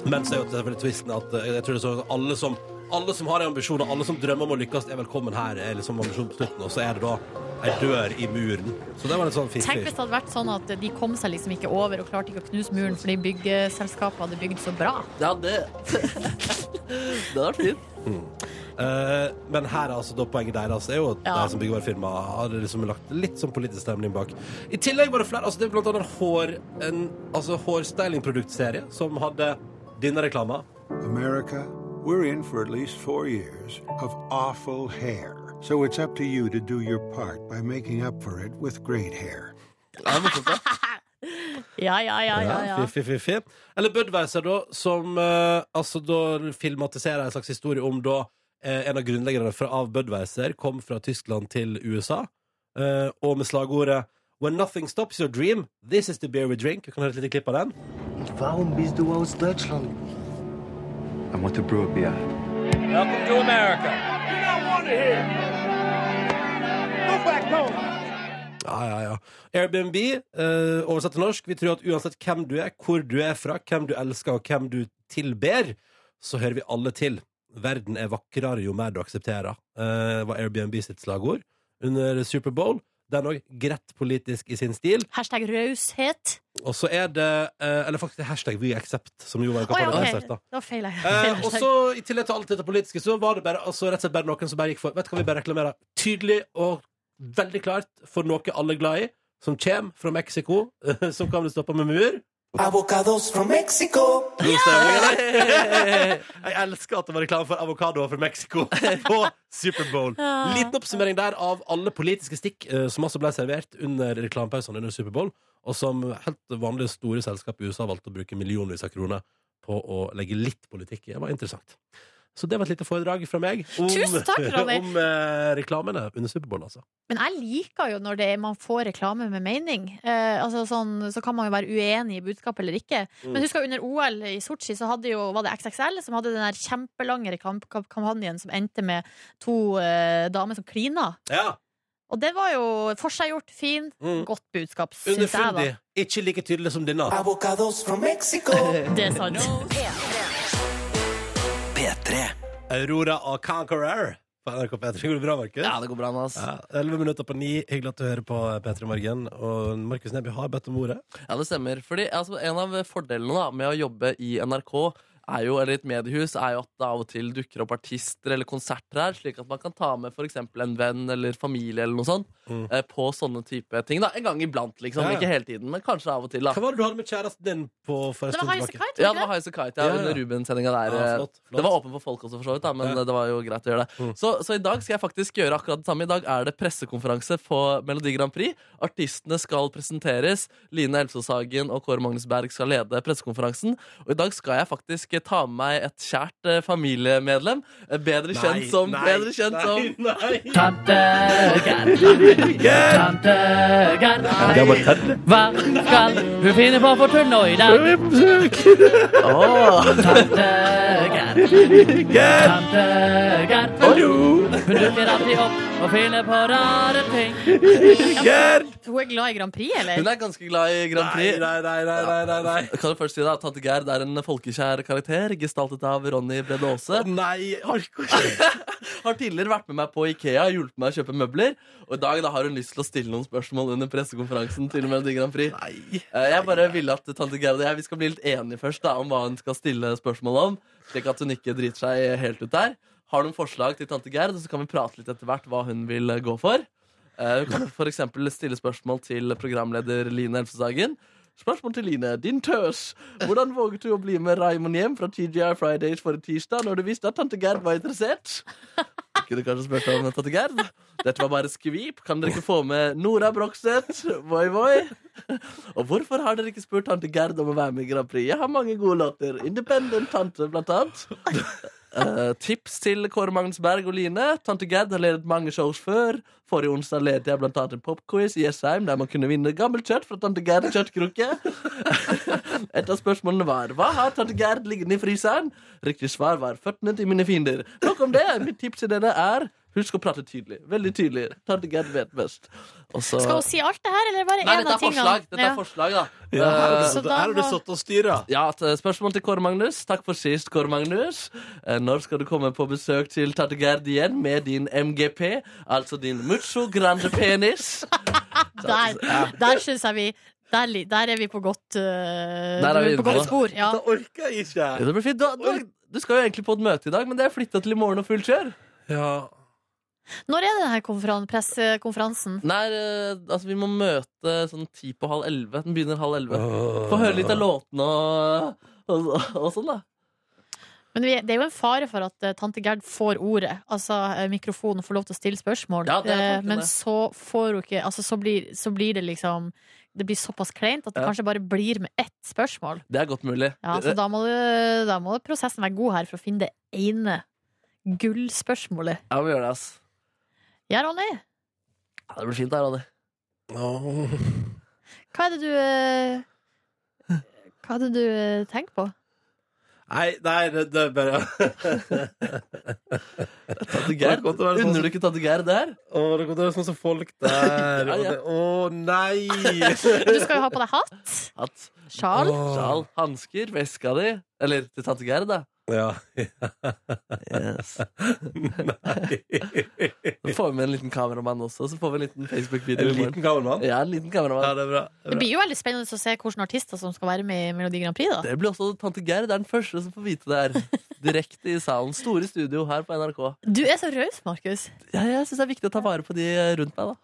[SPEAKER 2] Men så er jo selvfølgelig twisten at eh, jeg tror det er sånn at alle som, alle som har en ambisjon, og alle som drømmer om å lykkes, er velkommen her. Er liksom ambisjonen på slutten, og så er det da ei dør i muren. Så det var litt sånn
[SPEAKER 3] Tenk hvis
[SPEAKER 2] fiffig.
[SPEAKER 3] det hadde vært sånn at de kom seg liksom ikke over og klarte ikke å knuse muren fordi byggeselskapet hadde bygd så bra.
[SPEAKER 4] Ja, det Det hadde vært fint.
[SPEAKER 2] Eh, men her er altså da poenget deres er jo at
[SPEAKER 3] Ja.
[SPEAKER 2] de som byggevarefirma hadde liksom lagt litt sånn politisk stemning bak. I tillegg var det flere. altså Det er blant annet hår, en altså hårstylingproduktserie som hadde denne reklama.
[SPEAKER 8] America, we're in for at least four years of awful hair. So it's up to you to do your part by making up for it with great hair.
[SPEAKER 3] Ja, ja, ja, ja, ja.
[SPEAKER 2] Fy, fy, fy, fy. Eller Budweiser, da, som eh, altså, da filmatiserer en slags historie om da eh, en av grunnleggerne fra, av Budweiser kom fra Tyskland til USA, eh, og med slagordet When nothing stops your dream, this is the beer we drink. Vi kan høre et lite klipp av den.
[SPEAKER 9] Warum bist du aus Deutschland? I want to brew a beer.
[SPEAKER 2] Ja, ja, ja. Airbnb, eh, oversatt til norsk, vi tror at uansett hvem du er, hvor du er fra, hvem du elsker og hvem du tilber, så hører vi alle til. Verden er vakrere jo mer du aksepterer, eh, var Airbnb sitt slagord under Superbowl. Den òg greit politisk i sin stil.
[SPEAKER 3] Hashtag raushet.
[SPEAKER 2] Og så er det eh, Eller faktisk det er hashtag We Accept, som jo var en
[SPEAKER 3] Å ja,
[SPEAKER 2] kampanje.
[SPEAKER 3] ok.
[SPEAKER 2] lansert, da.
[SPEAKER 3] Da feila jeg.
[SPEAKER 2] Eh, og
[SPEAKER 3] Feil
[SPEAKER 2] så I tillegg til alt dette politiske Så var det bare, altså, rett og slett bare noen som bare gikk for Vet du hva vi bare reklamerer? Tydelig og veldig klart for noe alle er glad i, som kommer fra Mexico, som kan bli stoppa med mur.
[SPEAKER 9] Avocados from Mexico.
[SPEAKER 2] God stemning, eller? Jeg elsker at det var reklame for avokadoer fra Mexico på Superbowl. Liten oppsummering der av alle politiske stikk eh, som altså ble servert under reklamepausene under Superbowl, og som helt vanlige store selskap i USA valgte å bruke millionvis av kroner på å legge litt politikk i. Det var interessant. Så det var et lite foredrag fra meg om,
[SPEAKER 3] Tusen takk, Ronny.
[SPEAKER 2] om eh, reklamene under Superbowl, altså.
[SPEAKER 3] Men jeg liker jo når det er, man får reklame med mening. Eh, altså sånn, så kan man jo være uenig i budskapet eller ikke. Men husker jeg under OL i Sotsji så hadde jo, var det XXL som hadde den der kjempelange reklamekampanjen som endte med to eh, damer som klina.
[SPEAKER 2] Ja,
[SPEAKER 3] Og det var jo forseggjort, fin,
[SPEAKER 2] Mm.
[SPEAKER 3] godt budskap, syns jeg, da.
[SPEAKER 2] Underfundig. Ikke like tydelig som denne.
[SPEAKER 9] Avocados from Mexico.
[SPEAKER 3] Det er sant.
[SPEAKER 2] Aurora og Conqueror på NRK P3. Går det bra, Markus?
[SPEAKER 4] Ja, det går bra med oss.
[SPEAKER 2] Ja, 11 minutter på 9. Hyggelig at du hører på P3 Morgen. Og Markus Neby har bedt om ordet.
[SPEAKER 4] Ja, det stemmer. Fordi altså, En av fordelene da, med å jobbe i NRK er jo, eller i et mediehus er jo at det av og til dukker opp artister eller konserter her, slik at man kan ta med f.eks. en venn eller familie eller noe sånt
[SPEAKER 2] Mm.
[SPEAKER 4] eh, på sånne type ting. da, En gang iblant, liksom.
[SPEAKER 2] Ja, ja.
[SPEAKER 4] Ikke hele tiden, men kanskje av og til.
[SPEAKER 2] Hva
[SPEAKER 4] da.
[SPEAKER 2] var det du hadde med kjæresten din på for en
[SPEAKER 3] Det var
[SPEAKER 2] stund tilbake?
[SPEAKER 3] Highasakite, var
[SPEAKER 4] Ja,
[SPEAKER 3] ikke
[SPEAKER 4] det var Highasakite ja,
[SPEAKER 2] Ja, ja.
[SPEAKER 4] under Ruben-sendinga der.
[SPEAKER 2] Ja,
[SPEAKER 4] eh,
[SPEAKER 2] flott, flott.
[SPEAKER 4] Det var åpen for folk også, for så vidt, da, men
[SPEAKER 2] Ja.
[SPEAKER 4] det var jo greit å gjøre det.
[SPEAKER 2] Mm.
[SPEAKER 4] Så, så i dag skal jeg faktisk gjøre akkurat det samme. I dag er det pressekonferanse på Melodi Grand Prix. Artistene skal presenteres. Line Elvsås Hagen og Kåre Magnus Berg skal lede pressekonferansen. Og i dag skal jeg faktisk skal jeg ta med meg et kjært eh, familiemedlem. eh, Bedre kjent som Bedre kjent som
[SPEAKER 2] Det var tørt.
[SPEAKER 10] Hva skal hun finne på for tunna i dag?
[SPEAKER 4] Åh,
[SPEAKER 10] Tøger, tøger. Hun dukker alltid opp og finner på rare ting.
[SPEAKER 3] Hun er glad i Grand Prix,
[SPEAKER 4] Hun
[SPEAKER 3] eller?
[SPEAKER 4] er ganske glad i Grand Prix.
[SPEAKER 2] nei, nei, nei, nei, nei.
[SPEAKER 4] Jeg Kan jo først si da, at Tante Gerd er en folkekjær karakter, gestaltet av Ronny Brede Aase.
[SPEAKER 2] Nei, orker ikke.
[SPEAKER 4] Har tidligere vært med meg på Ikea og hjulpet meg å kjøpe møbler. Og i dag da har hun lyst til å stille noen spørsmål under pressekonferansen til Melodi Grand Prix.
[SPEAKER 2] Nei.
[SPEAKER 4] Eh, Jeg bare ville at tante Gerd og jeg vi skal bli litt enige først da, om hva hun skal stille spørsmål om. Slik at hun ikke driter seg helt ut der. Har du noen forslag til tante Gerd, så kan vi prate litt etter hvert hva hun vil eh, gå for. Eh, Hun kan f.eks. stille spørsmål til programleder Line Elfsdagen. Spørsmål til Line. Din tøs! Hvordan våget du å bli med Raymond hjem fra TGI Fridays forrige tirsdag når du visste at tante Gerd var interessert? Kunne kanskje spurt om tante Gerd. Dette var bare skvip. Kan dere ikke få med Nora Brokstedt? Voi, voi. Og hvorfor har dere ikke spurt tante Gerd om å være med i Grand Prix? Jeg har mange gode låter. Independent Tante, blant annet. Eh, tips til Kåre Magnus Berg og Line. Tante Gerd har ledet mange shows før. Forrige onsdag ledet jeg blant annet en popquiz i Jessheim der man kunne vinne gammelt kjøtt fra tante Gerd kjøttkrukke. Et av spørsmålene var hva har tante Gerd liggende i fryseren? Riktig svar var føttene til mine fiender. Nok om det. Mitt tips til dere er husk å prate tydelig. Veldig tydelig. Tante Gerd vet best. Og så-
[SPEAKER 3] Skal hun si alt det her, eller bare
[SPEAKER 4] Nei,
[SPEAKER 3] én
[SPEAKER 4] dette
[SPEAKER 3] av
[SPEAKER 4] er
[SPEAKER 3] tingene?
[SPEAKER 4] forslag. Dette er forslag da.
[SPEAKER 2] Ja, her har du
[SPEAKER 4] Eh,
[SPEAKER 3] Så
[SPEAKER 2] sittet-
[SPEAKER 3] da
[SPEAKER 2] her har du
[SPEAKER 3] var-
[SPEAKER 2] sittet og styret.
[SPEAKER 4] ja, et eh, spørsmål til Kåre Magnus. Takk for sist, Kåre Magnus. Eh, Når skal du komme på besøk til Tante Gerd igjen med din MGP? Altså din mucho grande penis.
[SPEAKER 3] Der, der syns jeg vi der, li- der er vi på godt, øh,
[SPEAKER 4] Der er
[SPEAKER 3] på
[SPEAKER 4] vi inne på
[SPEAKER 3] godt
[SPEAKER 4] det.
[SPEAKER 3] spor. Ja.
[SPEAKER 2] Det orker jeg
[SPEAKER 4] Ja,
[SPEAKER 2] ikke.
[SPEAKER 4] det blir fint. Du, du, du skal jo egentlig på et møte i dag, men det er flytta til i morgen og fullt kjør.
[SPEAKER 2] Ja.
[SPEAKER 3] Når er denne konferan pressekonferansen?
[SPEAKER 4] Nei, eh, altså vi må møte sånn ti på halv elleve. Den begynner halv elleve. Få høre litt av låtene og, og, og sånn, da.
[SPEAKER 3] Men vi, det er jo en fare for at eh, tante Gerd får ordet, altså eh, mikrofonen, får lov til å stille spørsmål.
[SPEAKER 4] Ja, det er
[SPEAKER 3] Eh,
[SPEAKER 4] tanken,
[SPEAKER 3] men
[SPEAKER 4] det.
[SPEAKER 3] så får hun ikke Altså, så blir, så blir det liksom Det blir såpass kleint at det
[SPEAKER 4] Ja.
[SPEAKER 3] kanskje bare blir med ett spørsmål.
[SPEAKER 4] Det er godt mulig. Eh,
[SPEAKER 3] Ja, så da må, du, da må prosessen være god her for å finne det ene gullspørsmålet.
[SPEAKER 4] Ja, vi gjør det, ass.
[SPEAKER 3] Ja, Ronny,
[SPEAKER 4] Ja, det blir fint, da, Ronny.
[SPEAKER 2] Åh.
[SPEAKER 3] hva er det du eh, Hva er det du eh, tenker på?
[SPEAKER 2] Nei, nei, det, det er bare
[SPEAKER 4] Tante
[SPEAKER 2] Det
[SPEAKER 4] Gerd,
[SPEAKER 2] kommer til å være sånn-
[SPEAKER 4] Unner du ikke tante Gerd det her?
[SPEAKER 2] Å, det kommer til å være sånn som folk der.
[SPEAKER 4] Ja, ja.
[SPEAKER 2] og det- Å, nei!
[SPEAKER 3] Du skal jo ha på deg hatt,
[SPEAKER 4] At
[SPEAKER 3] sjal.
[SPEAKER 4] Sjal, hansker, veska di. Eller til tante Gerd, da.
[SPEAKER 2] Ja. Nei.
[SPEAKER 4] Så får vi med en liten kameramann også, så får vi en liten
[SPEAKER 2] En
[SPEAKER 4] Facebook-video. i morgen.
[SPEAKER 2] liten gammel mann?
[SPEAKER 4] Ja, en liten
[SPEAKER 2] Ja,
[SPEAKER 4] kameramann.
[SPEAKER 2] det er bra. Det er
[SPEAKER 3] Det
[SPEAKER 2] bra.
[SPEAKER 3] blir jo veldig spennende å se hvilke artister som skal være med i Melodi Grand Prix, da.
[SPEAKER 4] Det blir også tante Gerd er den første som får vite det her. Direkte i salen. Store studio her på NRK.
[SPEAKER 3] Du er så raus, Markus.
[SPEAKER 4] Ja, jeg syns det er viktig å ta vare på de rundt meg, da.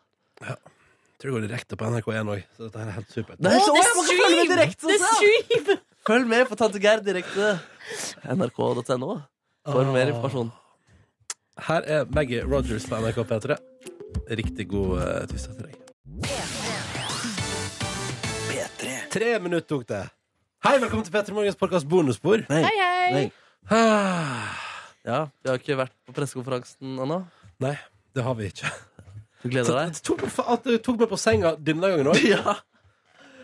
[SPEAKER 2] Jeg tror det går direkte på NRK1 òg, så dette her er helt supert.
[SPEAKER 4] Nei, så, jeg må ikke følge med direkte!
[SPEAKER 3] Det
[SPEAKER 4] også.
[SPEAKER 3] skyver!
[SPEAKER 4] Følg med på tante Gerd direkte. NRK.no for mer informasjon.
[SPEAKER 2] Her er Maggie Rogers på NRK P3. Riktig god eh, tirsdag til deg. Tre minutter tok det. Hei, velkommen til P3 Morgens podkast bonusbord.
[SPEAKER 3] Hei, hei!
[SPEAKER 2] Ah.
[SPEAKER 4] Ja, vi har ikke vært på pressekonferansen ennå.
[SPEAKER 2] Nei, det har vi ikke.
[SPEAKER 4] Du gleder deg?
[SPEAKER 2] Det tok, faen, at du tok meg på senga denne gangen òg.
[SPEAKER 4] Ja.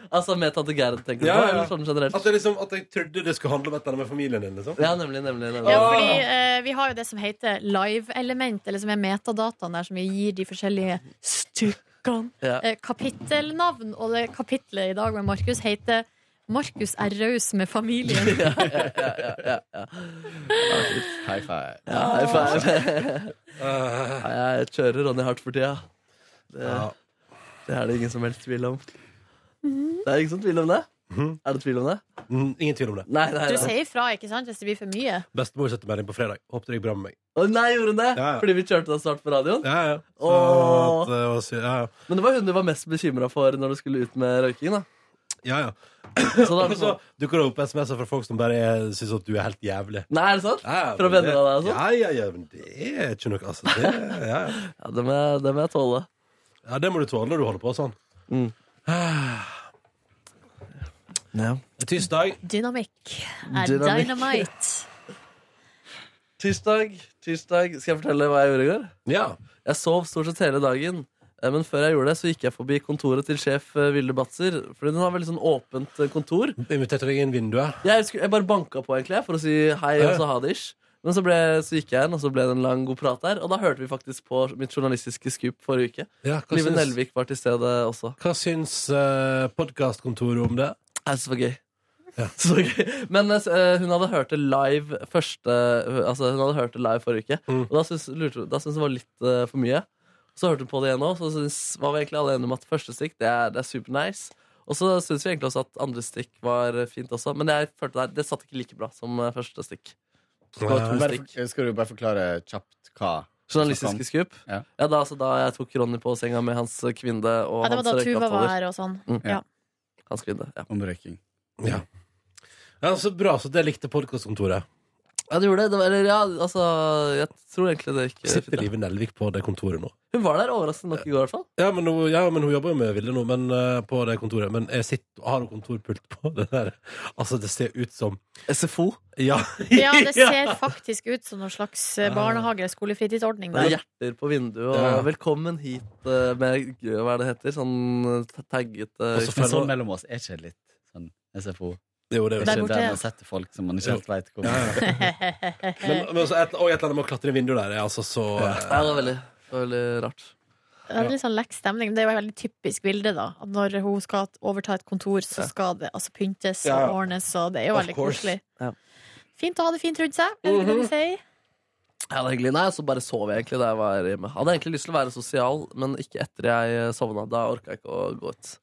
[SPEAKER 4] Altså med tante Gerd, tenker du
[SPEAKER 2] Ja,
[SPEAKER 4] på?
[SPEAKER 2] ja.
[SPEAKER 4] Eller sånn generelt?
[SPEAKER 2] At, jeg liksom, at jeg trodde det skulle handle om et eller annet med familien din. liksom
[SPEAKER 4] Ja, nemlig, nemlig. nemlig.
[SPEAKER 3] Ja, fordi eh, Vi har jo det som heter live-element, eller som er metadataen der som vi gir de forskjellige stykkene.
[SPEAKER 4] Ja.
[SPEAKER 3] Eh, kapittelnavn, og det kapitlet i dag med Markus heter 'Markus er raus med familien'.
[SPEAKER 2] High five.
[SPEAKER 4] Ja, high five. Nei, jeg kjører Ronny hardt for tida. Det,
[SPEAKER 2] Ah. Ja.
[SPEAKER 4] det er det ingen som helst tvil om.
[SPEAKER 3] Mhm.
[SPEAKER 4] Det er ingen som tvil om det?
[SPEAKER 2] Mhm.
[SPEAKER 4] Er det tvil om det?
[SPEAKER 2] Mm, ingen tvil om det.
[SPEAKER 4] Nei, nei,
[SPEAKER 3] Du
[SPEAKER 4] nei.
[SPEAKER 3] sier ifra ikke sant, hvis det blir for mye.
[SPEAKER 2] Bestemor setter melding på fredag. Håper det gikk bra med meg.
[SPEAKER 4] Å nei, gjorde hun det?
[SPEAKER 2] Ja, ja.
[SPEAKER 4] Fordi vi kjørte deg snart på radioen?
[SPEAKER 2] Ja, ja. Så,
[SPEAKER 4] Åh.
[SPEAKER 2] at, eh, og sy- ja, ja.
[SPEAKER 4] Men det var hun du var mest bekymra for når du skulle ut med røyking, da.
[SPEAKER 2] ja, ja.
[SPEAKER 4] Så da
[SPEAKER 2] Og
[SPEAKER 4] sånn-
[SPEAKER 2] så dukker det opp SMS-er fra folk som bare er- syns at du er helt jævlig.
[SPEAKER 4] Nei, er det sant?
[SPEAKER 2] Ja,
[SPEAKER 4] Fra
[SPEAKER 2] men
[SPEAKER 4] venner
[SPEAKER 2] det-
[SPEAKER 4] av deg og sånn?
[SPEAKER 2] Ja, ja, ja, men det er ikke noe altså, det, ja, ja.
[SPEAKER 4] Ja, det må jeg, det må jeg tåle.
[SPEAKER 2] ja, det må du tåle når du holder på sånn.
[SPEAKER 4] Mm.
[SPEAKER 2] Ah. Tirsdag.
[SPEAKER 3] Dynamikk er
[SPEAKER 4] Dynamikk.
[SPEAKER 3] dynamite.
[SPEAKER 4] Tirsdag, tirsdag Skal jeg fortelle hva jeg gjorde i går?
[SPEAKER 2] Ja
[SPEAKER 4] Jeg sov stort sett hele dagen eh, Men før jeg gjorde det så gikk jeg forbi kontoret til sjef eh, Vilde Batzer Fordi hun har veldig sånn åpent eh, kontor
[SPEAKER 2] Inviterte deg inn vinduet
[SPEAKER 4] jeg, skulle- jeg bare banka på egentlig For å si hei
[SPEAKER 2] Ja.
[SPEAKER 4] og så ha det ish Men så, ble, så gikk jeg inn og så ble det en lang god prat der Og da hørte vi faktisk på mitt journalistiske skup forrige uke
[SPEAKER 2] Ja, hva
[SPEAKER 4] Live
[SPEAKER 2] syns-
[SPEAKER 4] Nelvik var til stede også
[SPEAKER 2] Hva syns uh, podcastkontoret om det?
[SPEAKER 4] Jeg synes det var gøy Så gøy. Men eh, hun hadde hørt det live første Altså hun hadde hørt det live forrige uke. Og da syntes lurte hun- da syntes hun det var litt eh, for mye. Så hørte hun på det igjen nå, så syntes, var vi egentlig alle enige om at første stikk det er, det er super nice. Og så syns vi egentlig også at andre stikk var eh, fint også. Men jeg følte det, det satt ikke like bra som eh, første stikk. Det var
[SPEAKER 6] er
[SPEAKER 4] to
[SPEAKER 11] Bare,
[SPEAKER 4] stikk.
[SPEAKER 11] skal du bare forklare kjapt hva
[SPEAKER 4] Journalistiske skup.
[SPEAKER 11] Ja.
[SPEAKER 4] Ja, da, altså, da jeg tok Ronny på senga med hans eh, kvinne og
[SPEAKER 3] Ja, det var
[SPEAKER 4] hans
[SPEAKER 3] da Tuva var
[SPEAKER 4] røykeavtaler.
[SPEAKER 3] her og sånn.
[SPEAKER 4] Mm.
[SPEAKER 3] Ja.
[SPEAKER 4] Hans kvinne, ja.
[SPEAKER 11] Om røyking.
[SPEAKER 2] Ja. ja, så bra, så det likte podcastkontoret
[SPEAKER 4] Ja, det gjorde det. det var, eller, ja, altså, jeg tror egentlig det gikk eh, fint.
[SPEAKER 2] Sitter Live Nelvik på det kontoret nå
[SPEAKER 4] Hun var der overraskende nok i går, i hvert fall.
[SPEAKER 2] Ja, men hun, ja, men hun jobber jo med Vilde nå men, eh, på det kontoret. Men jeg sitter, har hun kontorpult på det der? Altså, det ser ut som
[SPEAKER 4] SFO?
[SPEAKER 2] Ja.
[SPEAKER 3] ja, det ser faktisk ut som noen slags eh, barnehage- eller skolefritidsordning.
[SPEAKER 4] Det er hjerter på vinduet, og
[SPEAKER 2] Ja.
[SPEAKER 4] velkommen hit eh, med g- hva er det heter, sånn eh, ta- tagget eh,
[SPEAKER 11] Men sånn mellom oss er ikke litt sånn SFO.
[SPEAKER 2] Jo, det er jo
[SPEAKER 11] ikke
[SPEAKER 3] Der borte,
[SPEAKER 11] der
[SPEAKER 3] ja.
[SPEAKER 11] man setter folk som man ikke helt veit hvor
[SPEAKER 2] Men, men også et, og et eller annet med å klatre i vinduet der er altså så eh,
[SPEAKER 4] Ja, det var veldig, det var veldig rart.
[SPEAKER 3] Det er litt sånn lekk stemning. men Det er jo et veldig typisk bilde, da. At når hun skal overta et kontor, så skal det altså pyntes
[SPEAKER 2] Ja, ja.
[SPEAKER 3] og ordnes, og det er jo
[SPEAKER 2] Of
[SPEAKER 3] veldig
[SPEAKER 2] course.
[SPEAKER 3] koselig.
[SPEAKER 4] Ja.
[SPEAKER 3] Fint å ha det fint rundt seg, er det ikke det vi sier?
[SPEAKER 4] Ja, det var hyggelig. Nei, så bare sov jeg egentlig da jeg var hjemme. Hadde egentlig lyst til å være sosial, men ikke etter jeg eh, sovna. Da orka jeg ikke å gå ut.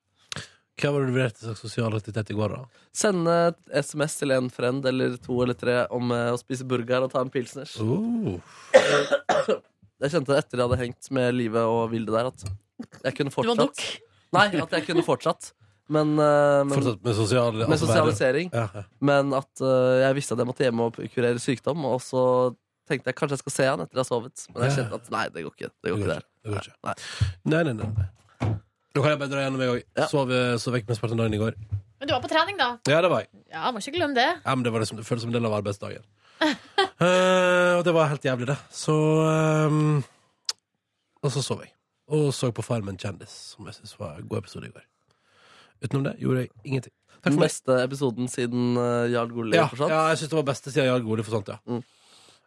[SPEAKER 2] Hva var det du vurderte som sosial aktivitet i går, da?
[SPEAKER 4] Sende et SMS til en friend eller to eller tre om eh, å spise burger og ta en pilsners.
[SPEAKER 2] Oh.
[SPEAKER 4] Jeg kjente etter jeg hadde hengt med Live og Vilde der, at jeg kunne
[SPEAKER 3] Det var nok.
[SPEAKER 4] fortsatt. Nei, at jeg kunne fortsatt. Men, eh, men
[SPEAKER 2] Fortsatt med sosial altså,
[SPEAKER 4] med sosialisering.
[SPEAKER 2] Ja, ja.
[SPEAKER 4] Men at øh, jeg visste at jeg måtte hjemme og kurere sykdom. Og så tenkte jeg kanskje jeg skal se han etter jeg har sovet. Men jeg
[SPEAKER 2] Ja.
[SPEAKER 4] kjente at nei, det går ikke. Det går ikke der.
[SPEAKER 2] Det går ikke.
[SPEAKER 4] Nei.
[SPEAKER 2] Nei, nei, nei. nei. Nå kan jeg bare dra gjennom, jeg òg.
[SPEAKER 4] Ja.
[SPEAKER 2] Sov, eh, sov vekk med spartan dagen i går.
[SPEAKER 3] Men du var på trening, da.
[SPEAKER 2] Ja, det var jeg.
[SPEAKER 3] Ja, må ikke glemme det.
[SPEAKER 2] Ja, men det, var liksom, det føltes som en del av arbeidsdagen. Eh, og det var helt jævlig, det. Så ehm, Og så sov jeg. Og så på Farmen kjendis, som jeg syns var en god episode i går. Utenom det gjorde jeg ingenting. Takk
[SPEAKER 4] Den
[SPEAKER 2] for meg.
[SPEAKER 4] beste episoden siden øh, Jarl Gulli
[SPEAKER 2] Ja,
[SPEAKER 4] forsvant.
[SPEAKER 2] ja, jeg syns det var beste siden Jarl Goli forsvant, ja.
[SPEAKER 4] Mm.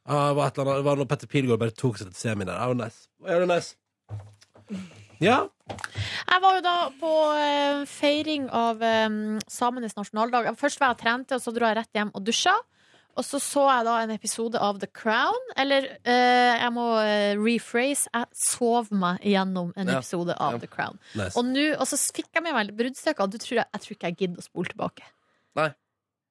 [SPEAKER 2] Ja, det, var et eller annet, det var når Petter Pilgaard bare tok seg til semien der. Det var nice. Det var jævlig nice. Ja.
[SPEAKER 3] Jeg var jo da på eh, feiring av eh, samenes nasjonaldag. Først var jeg og trente, og så dro jeg rett hjem og dusja. Og så så jeg da en episode av The Crown. Eller eh, jeg må eh, rephrase. Jeg sov meg gjennom en
[SPEAKER 4] Ja.
[SPEAKER 3] episode av
[SPEAKER 4] Ja.
[SPEAKER 3] The Crown.
[SPEAKER 2] Nice.
[SPEAKER 3] Og, nå, og så fikk jeg med meg litt bruddstykker. og Du tror jeg, jeg tror ikke jeg gidder å spole tilbake.
[SPEAKER 4] Nei.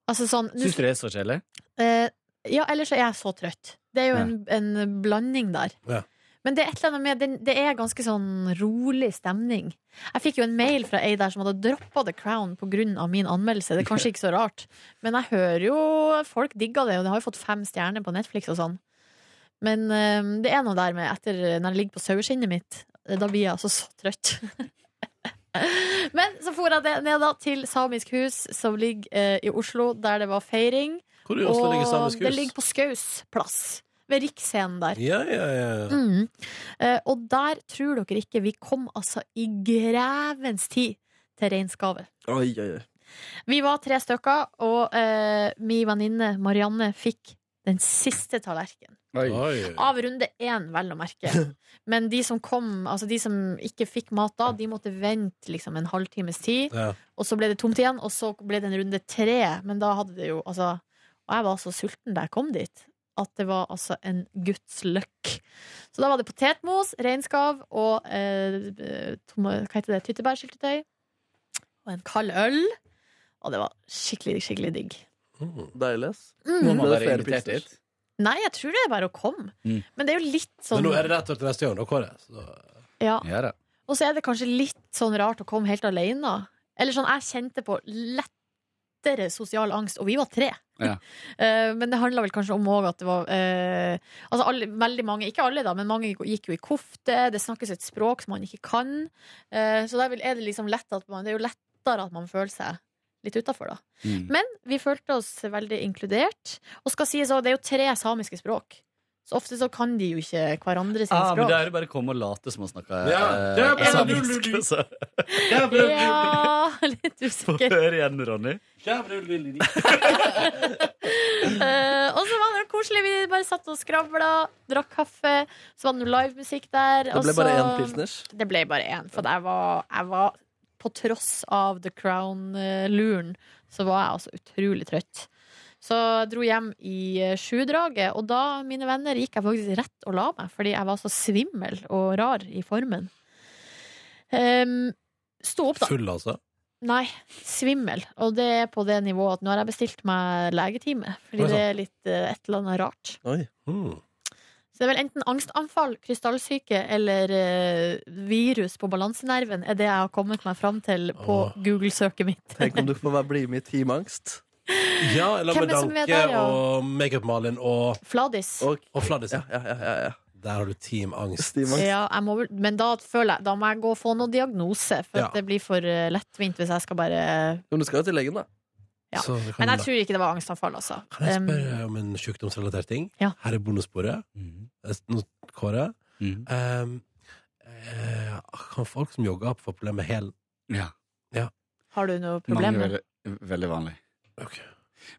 [SPEAKER 3] Altså sånn nå-
[SPEAKER 11] Syns du det er så kjedelig?
[SPEAKER 3] Eh, ja, ellers er jeg så trøtt. Det er jo en, en blanding der.
[SPEAKER 2] Ja.
[SPEAKER 3] Men det er et eller annet med, den- det er ganske sånn rolig stemning. Jeg fikk jo en mail fra ei der som hadde droppa The Crown pga. min anmeldelse. Det er kanskje ikke så rart, men jeg hører jo folk digga det, og det har jo fått fem stjerner på Netflix og sånn. Men eh, det er noe der med etter når jeg ligger på saueskinnet mitt, eh, da blir jeg altså så trøtt. Men så for jeg det- ned da til Samisk hus, som ligger eh, i Oslo, der det var feiring.
[SPEAKER 2] Hvor i Oslo ligger Samisk
[SPEAKER 3] Det ligger
[SPEAKER 2] hus?
[SPEAKER 3] på Skaus plass, ved Riksscenen der.
[SPEAKER 2] Ja, ja, ja.
[SPEAKER 3] Mm. Eh, og der tror dere ikke vi kom altså i grevens tid til reinskavet.
[SPEAKER 4] Oi, oi, oi.
[SPEAKER 3] Vi var tre stykker, og eh, min venninne Marianne fikk den siste tallerkenen.
[SPEAKER 11] Oi.
[SPEAKER 2] Oi.
[SPEAKER 3] Av runde én, vel å merke. Men de som kom, altså de som ikke fikk mat da, de måtte vente liksom en halvtimes tid.
[SPEAKER 2] Ja.
[SPEAKER 3] Og så ble det tomt igjen, og så ble det en runde tre. Men da hadde det jo altså Og jeg var så sulten da jeg kom dit, at det var altså en guds løkk. Så da var det potetmos, reinskav og eh, tomo, hva heter det, tyttebærsyltetøy. Og en kald øl. Og det var skikkelig, skikkelig digg.
[SPEAKER 2] Mm.
[SPEAKER 4] Deilig, ass.
[SPEAKER 11] Må
[SPEAKER 3] Mm.
[SPEAKER 4] Ble
[SPEAKER 11] man
[SPEAKER 4] det
[SPEAKER 11] være
[SPEAKER 4] flere
[SPEAKER 11] invitert
[SPEAKER 4] pilsner?
[SPEAKER 11] dit?
[SPEAKER 3] Nei, jeg tror det er bare å komme.
[SPEAKER 11] Mm.
[SPEAKER 3] Men det er jo litt sånn
[SPEAKER 2] Men nå er det rett etter neste gang, da, Kåre. Så
[SPEAKER 3] ja.
[SPEAKER 11] Ja da.
[SPEAKER 3] Og så er det kanskje litt sånn rart å komme helt alene. Eller sånn, jeg kjente på lettere sosial angst, og vi var tre.
[SPEAKER 11] Ja.
[SPEAKER 3] Eh, men det handla vel kanskje om òg at det var eh, Altså alle, veldig mange, ikke alle, da, men mange gikk jo i kofte. Det snakkes et språk som man ikke kan. Eh, så der vil- er det liksom lett at man Det er jo lettere at man føler seg litt utafor, da.
[SPEAKER 6] Mm.
[SPEAKER 3] Men vi følte oss veldig inkludert. Og skal sies også, det er jo tre samiske språk. Så ofte så kan de jo ikke hverandre sine
[SPEAKER 6] Ah, men
[SPEAKER 3] språk.
[SPEAKER 6] det er jo bare å komme og late som å snakke eh,
[SPEAKER 2] Ja, det er bare
[SPEAKER 6] samisk. altså.
[SPEAKER 3] Ja, litt
[SPEAKER 6] Få
[SPEAKER 3] usikker.
[SPEAKER 6] høre igjen, Ronny.
[SPEAKER 3] Eh, og så var det koselig. Vi bare satt og skravla, drakk kaffe. Så var det noe livemusikk der.
[SPEAKER 4] Det ble
[SPEAKER 3] og
[SPEAKER 4] bare
[SPEAKER 3] så-
[SPEAKER 4] én pilsners.
[SPEAKER 3] Det ble bare én. For jeg var, jeg var på tross av The Crown-luren, så var jeg altså utrolig trøtt. Så jeg dro hjem i eh, sjudraget, og da, mine venner, gikk jeg faktisk rett og la meg, fordi jeg var så svimmel og rar i formen. Um, sto opp, da.
[SPEAKER 2] Full, altså.
[SPEAKER 3] Nei, svimmel. Og det er på det nivået at nå har jeg bestilt meg legetime.
[SPEAKER 2] Oi,
[SPEAKER 3] Fordi
[SPEAKER 2] sant.
[SPEAKER 3] det er litt eh, et eller annet rart.
[SPEAKER 2] Oi. Mm.
[SPEAKER 3] Så det er vel enten angstanfall, krystallsyke eller eh, virus på balansenerven er det jeg har kommet meg fram til på Google-søket mitt.
[SPEAKER 4] Tenk om du får være bli med i Team Angst.
[SPEAKER 2] Ja, eller med
[SPEAKER 3] Hvem er det som
[SPEAKER 2] Danke
[SPEAKER 3] er der, ja?
[SPEAKER 2] og Makeup-Malin og,
[SPEAKER 3] Fladis.
[SPEAKER 4] Og,
[SPEAKER 2] og Fladdis.
[SPEAKER 4] ja, ja, ja, ja, ja.
[SPEAKER 2] Der har du Team Angst.
[SPEAKER 3] Ja, jeg må, vel- men da føler jeg Da må jeg gå og få noe diagnose, for
[SPEAKER 2] Ja.
[SPEAKER 3] at det blir for eh, lettvint hvis jeg skal bare
[SPEAKER 4] Men du skal jo til legen, da.
[SPEAKER 3] Ja.
[SPEAKER 2] Så det kan
[SPEAKER 3] Men jeg
[SPEAKER 2] da-
[SPEAKER 3] tror ikke det var angstanfall, altså.
[SPEAKER 2] Kan jeg
[SPEAKER 3] Um,
[SPEAKER 2] spørre om en sykdomsrelatert ting?
[SPEAKER 3] Ja.
[SPEAKER 2] Her er bonussporet.
[SPEAKER 6] mm.
[SPEAKER 2] Eh, nå- Kåre.
[SPEAKER 6] Mhm.
[SPEAKER 2] Ehm, eh, kan folk som jogger, få problemer med hælen?
[SPEAKER 6] Ja.
[SPEAKER 3] har du noe problem
[SPEAKER 6] Mange
[SPEAKER 3] med det?
[SPEAKER 6] veldig, veldig vanlig.
[SPEAKER 2] Ok.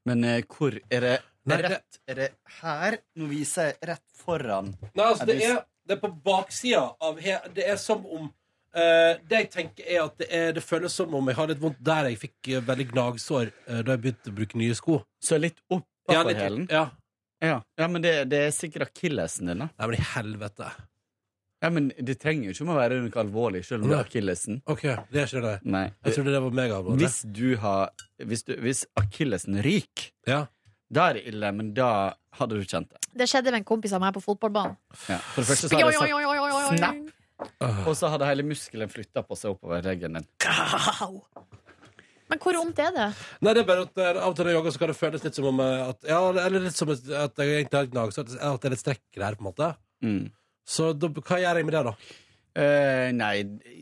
[SPEAKER 6] Men eh, hvor er det
[SPEAKER 2] Nei, det-
[SPEAKER 6] rett, Er det her? Nå viser jeg rett foran.
[SPEAKER 2] Nei, altså,
[SPEAKER 6] Er
[SPEAKER 2] det
[SPEAKER 6] du-
[SPEAKER 2] er, det er på baksida av he, Det er som om eh, Det jeg tenker, er at det, er, det føles som om jeg har litt vondt der jeg fikk eh, veldig gnagsår eh, da jeg begynte å bruke nye sko.
[SPEAKER 6] Så litt
[SPEAKER 2] Ja,
[SPEAKER 6] oppafor
[SPEAKER 2] litt-
[SPEAKER 6] hælen?
[SPEAKER 2] ja.
[SPEAKER 6] Ja. ja, men det, det er sikkert akillesen din, da.
[SPEAKER 2] Nei, men i helvete.
[SPEAKER 6] Ja, men Det trenger jo ikke om å være noe alvorlig, selv om det
[SPEAKER 2] Nei.
[SPEAKER 6] er akillesen.
[SPEAKER 2] OK, det er ikke det.
[SPEAKER 6] Nei.
[SPEAKER 2] Jeg trodde det var megaalvorlig.
[SPEAKER 6] Hvis du har Hvis, du, hvis akillesen ryker,
[SPEAKER 2] Ja.
[SPEAKER 6] da er det ille, men da hadde du kjent det.
[SPEAKER 3] Det skjedde med en kompis av meg på fotballbanen.
[SPEAKER 6] Ja. For det sånn- første så
[SPEAKER 3] Oi,
[SPEAKER 6] hadde
[SPEAKER 3] oi,
[SPEAKER 6] jeg
[SPEAKER 3] oi, oi,
[SPEAKER 6] sagt
[SPEAKER 3] oi, oi.
[SPEAKER 6] Snap.
[SPEAKER 2] Ah.
[SPEAKER 6] Og så hadde hele muskelen flytta på seg oppover ryggen din.
[SPEAKER 3] Au. Men hvor vondt er det?
[SPEAKER 2] Nei, det er bare at eh, av og til når jeg jogger, så kan det føles litt som om eh, at, ja, Eller litt som et- at jeg egentlig har et gnagsår. At det er litt strekker der, på en måte.
[SPEAKER 6] Mm.
[SPEAKER 2] Så da, hva gjør jeg med det, da?
[SPEAKER 6] Eh, nei,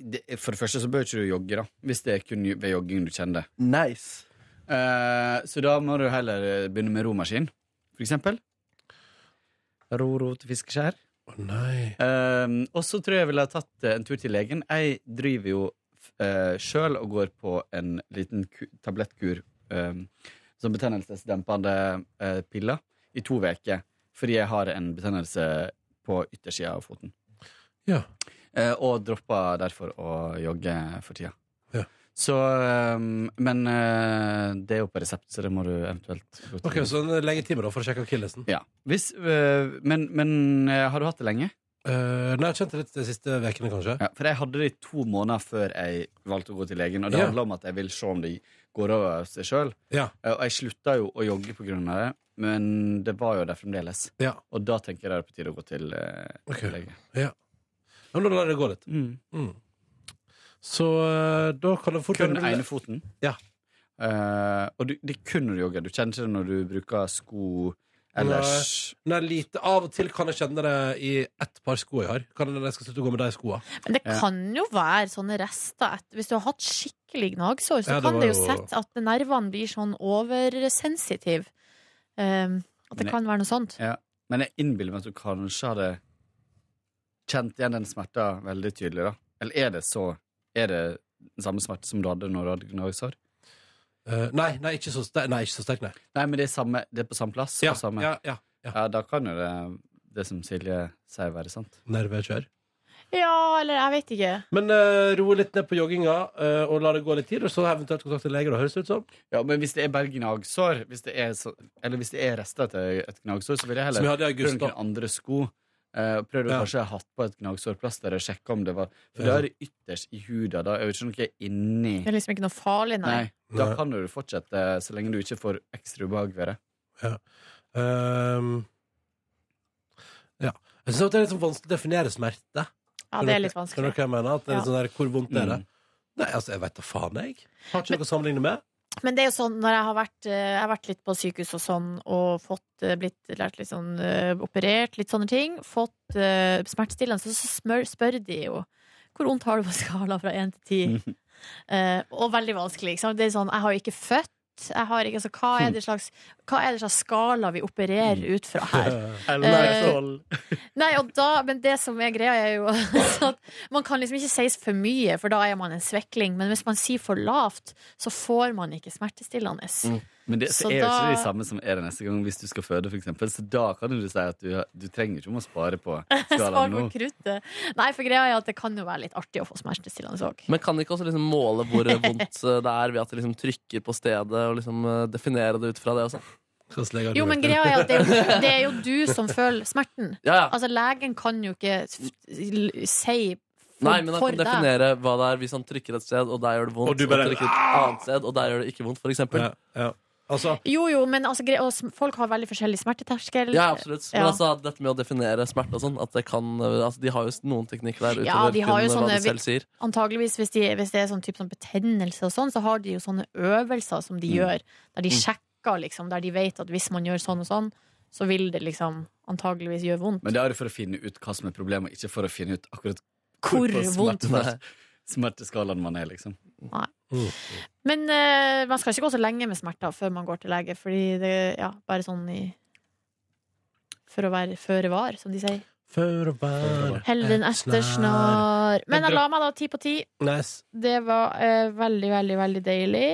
[SPEAKER 6] det, for det første så bør ikke du jogge, da. Hvis det er kun jo- ved jogging du kjenner det.
[SPEAKER 4] Nice.
[SPEAKER 6] Eh, så da må du heller begynne med romaskin, for eksempel. Ro-ro til fiskeskjær.
[SPEAKER 2] Å nei.
[SPEAKER 6] Eh, og så tror jeg jeg ville ha tatt eh, en tur til legen. Jeg driver jo uh, sjøl og går på en liten ku tablettkur eh, som betennelsesdempende eh, piller i to uker. Fordi jeg har en betennelse på yttersida av foten.
[SPEAKER 2] Ja.
[SPEAKER 6] Eh, og droppa derfor å jogge for tida.
[SPEAKER 2] Ja.
[SPEAKER 6] Så eh, Men eh, det er jo på resept, så det må du eventuelt gå til.
[SPEAKER 2] OK, så en legetime, da, for å sjekke akillesen.
[SPEAKER 6] ja. Hvis, eh, men men eh, har du hatt det lenge?
[SPEAKER 2] Eh, nei, jeg kjente det de siste ukene, kanskje.
[SPEAKER 6] Ja, for jeg hadde det i to måneder før jeg valgte å gå til legen. Og det
[SPEAKER 2] Ja.
[SPEAKER 6] handla om at jeg vil se om det går over av seg sjøl.
[SPEAKER 2] Ja.
[SPEAKER 6] Og jeg slutta jo å jogge på grunn av det, men det var jo der fremdeles.
[SPEAKER 2] Ja.
[SPEAKER 6] Og da tenker jeg det er på tide å gå til eh,
[SPEAKER 2] Ok.
[SPEAKER 6] til lege.
[SPEAKER 2] Ja, Men da lar jeg det gå litt.
[SPEAKER 6] Mm.
[SPEAKER 2] Mm. Så eh, da kan det fort
[SPEAKER 6] Kun
[SPEAKER 2] det blir-
[SPEAKER 6] ene foten?
[SPEAKER 2] Ja.
[SPEAKER 6] Eh, og du, det kun når du jogger. Du kjenner ikke det når du bruker sko ellers.
[SPEAKER 2] Nei, lite. Av og til kan jeg kjenne det i ett par sko jeg har. Kan jeg, jeg skal slutte å gå med de skoene.
[SPEAKER 3] Men det
[SPEAKER 6] Ja.
[SPEAKER 3] kan jo være sånne rester. etter- Hvis du har hatt skikkelig gnagsår, så
[SPEAKER 2] Ja, det
[SPEAKER 3] kan
[SPEAKER 2] var
[SPEAKER 3] det jo
[SPEAKER 2] jo-
[SPEAKER 3] sette at nervene blir sånn oversensitive. Um, at det
[SPEAKER 6] Nei.
[SPEAKER 3] kan være noe sånt.
[SPEAKER 6] Men jeg innbiller meg at du kanskje hadde kjent igjen den smerta veldig tydelig. da Eller er det så Er det den samme smerte som du hadde når du hadde gnagsår?
[SPEAKER 2] Eh, nei, nei, ikke så sterk, nei. Ikke så sterk, nei.
[SPEAKER 6] Nei, men det er, samme, det er på samme plass.
[SPEAKER 2] Ja,
[SPEAKER 6] og samme.
[SPEAKER 2] ja, ja.
[SPEAKER 6] Ja, da kan jo det, det som Silje sier, være sant.
[SPEAKER 2] Nervekjør.
[SPEAKER 3] Ja, eller jeg vet ikke.
[SPEAKER 2] Men eh, roe litt ned på jogginga eh, og la det gå litt tid, og så eventuelt kontakte lege. da, Høres det ut som?
[SPEAKER 6] Ja, Men hvis det er bare gnagsår, hvis det er så, eller hvis det er rester etter et gnagsår, så vil jeg heller
[SPEAKER 2] Som vi hadde i
[SPEAKER 6] Prøv
[SPEAKER 2] august.
[SPEAKER 6] noen
[SPEAKER 2] da.
[SPEAKER 6] andre sko. Eh, prøv å
[SPEAKER 2] Ja.
[SPEAKER 6] kanskje ha hatt på et gnagsårplaster og sjekke om det var For
[SPEAKER 2] Ja.
[SPEAKER 6] da er det ytterst i huda. Da er det ikke noe inni
[SPEAKER 3] Det er liksom ikke noe farlig, nei.
[SPEAKER 6] Nei. Da
[SPEAKER 2] Nei.
[SPEAKER 6] kan du fortsette eh, så lenge du ikke får ekstra ubehag ved det.
[SPEAKER 2] Ehm, ja. Jeg syns det er litt sånn vanskelig å definere smerte.
[SPEAKER 3] Ja, det er litt
[SPEAKER 2] Skjønner
[SPEAKER 3] vanskelig.
[SPEAKER 2] du hva jeg mener? At det er
[SPEAKER 3] Ja.
[SPEAKER 2] sånn der, hvor vondt er det?
[SPEAKER 6] Mm.
[SPEAKER 2] Nei, altså, jeg veit da faen, jeg. Har ikke noe å sammenligne med.
[SPEAKER 3] Men det er jo sånn når jeg har vært, eh, jeg har vært litt på sykehus og sånn, og fått eh, blitt lært litt sånn eh, operert, litt sånne ting, fått eh, smertestillende, så, så smør, spør de jo Hvor vondt har du på skala fra 1 til 10? Eh, og veldig vanskelig. Ikke sant? Det er sånn, jeg har jo ikke født. Jeg har ikke, altså, hva, er det slags, hva er det slags skala vi opererer ut fra her? Eh, Nei, og da, men det som er greia er jo altså at man kan liksom ikke sies for mye, for da er man en svekling. Men hvis man sier for lavt, så får man ikke smertestillende.
[SPEAKER 4] Mm,
[SPEAKER 6] Men det
[SPEAKER 3] Så
[SPEAKER 6] er jo ikke
[SPEAKER 3] da-
[SPEAKER 6] det samme som er det neste gang hvis du skal føde, for eksempel. Så da kan du si at du, du trenger ikke om å spare på
[SPEAKER 3] Spar
[SPEAKER 6] skalaen nå.
[SPEAKER 3] på kruttet. Nei, for greia er at det kan jo være litt artig å få smertestillende òg.
[SPEAKER 4] Men kan de ikke også liksom måle hvor vondt eh, det er ved at de liksom trykker på stedet og liksom eh, definere det ut fra det også?
[SPEAKER 3] Jo, men greia er at det er, jo, det er jo du som føler smerten.
[SPEAKER 4] Ja, ja.
[SPEAKER 3] Altså, legen kan jo ikke f- l- si for,
[SPEAKER 4] Nei, men han
[SPEAKER 3] for
[SPEAKER 4] kan
[SPEAKER 3] deg.
[SPEAKER 4] definere hva det er hvis han trykker et sted, og der gjør det vondt.
[SPEAKER 2] Og du bare-
[SPEAKER 4] trykker et annet sted, og der gjør det ikke vondt, for eksempel.
[SPEAKER 2] Ja, Altså,
[SPEAKER 3] Jo, jo, men altså, gre- og sm- folk har veldig forskjellig smerteterskel.
[SPEAKER 4] ja, absolutt. Men
[SPEAKER 3] Ja.
[SPEAKER 4] altså, dette med å definere smerte og sånn, at det kan eh, altså, De har jo s- noen teknikker der
[SPEAKER 3] Ja,
[SPEAKER 4] utover
[SPEAKER 3] de har jo
[SPEAKER 4] kun hva
[SPEAKER 3] sånne
[SPEAKER 4] de selv sier.
[SPEAKER 3] Antageligvis hvis, de, hvis det er sånn type sånn betennelse og sånn, så har de jo sånne øvelser som de
[SPEAKER 4] Mm.
[SPEAKER 3] gjør, der de
[SPEAKER 6] Mm.
[SPEAKER 3] sjekker, liksom, der de vet at hvis man gjør sånn og sånn, så vil det liksom antageligvis gjøre vondt.
[SPEAKER 6] Men det er jo for å finne ut hva som er problemet, ikke for å finne ut akkurat
[SPEAKER 3] Hvor
[SPEAKER 6] på
[SPEAKER 3] vondt
[SPEAKER 6] smerte-
[SPEAKER 3] det er.
[SPEAKER 6] smerteskalaen man er, liksom.
[SPEAKER 3] Nei. Men eh, man skal ikke gå så lenge med smerter før man går til lege, fordi det ja, bare sånn i For å være føre var, som de sier.
[SPEAKER 2] Før og bær
[SPEAKER 3] Hell den etter snar. Men jeg la meg da ti på ti.
[SPEAKER 2] Nice.
[SPEAKER 3] Det var eh, veldig, veldig, veldig deilig.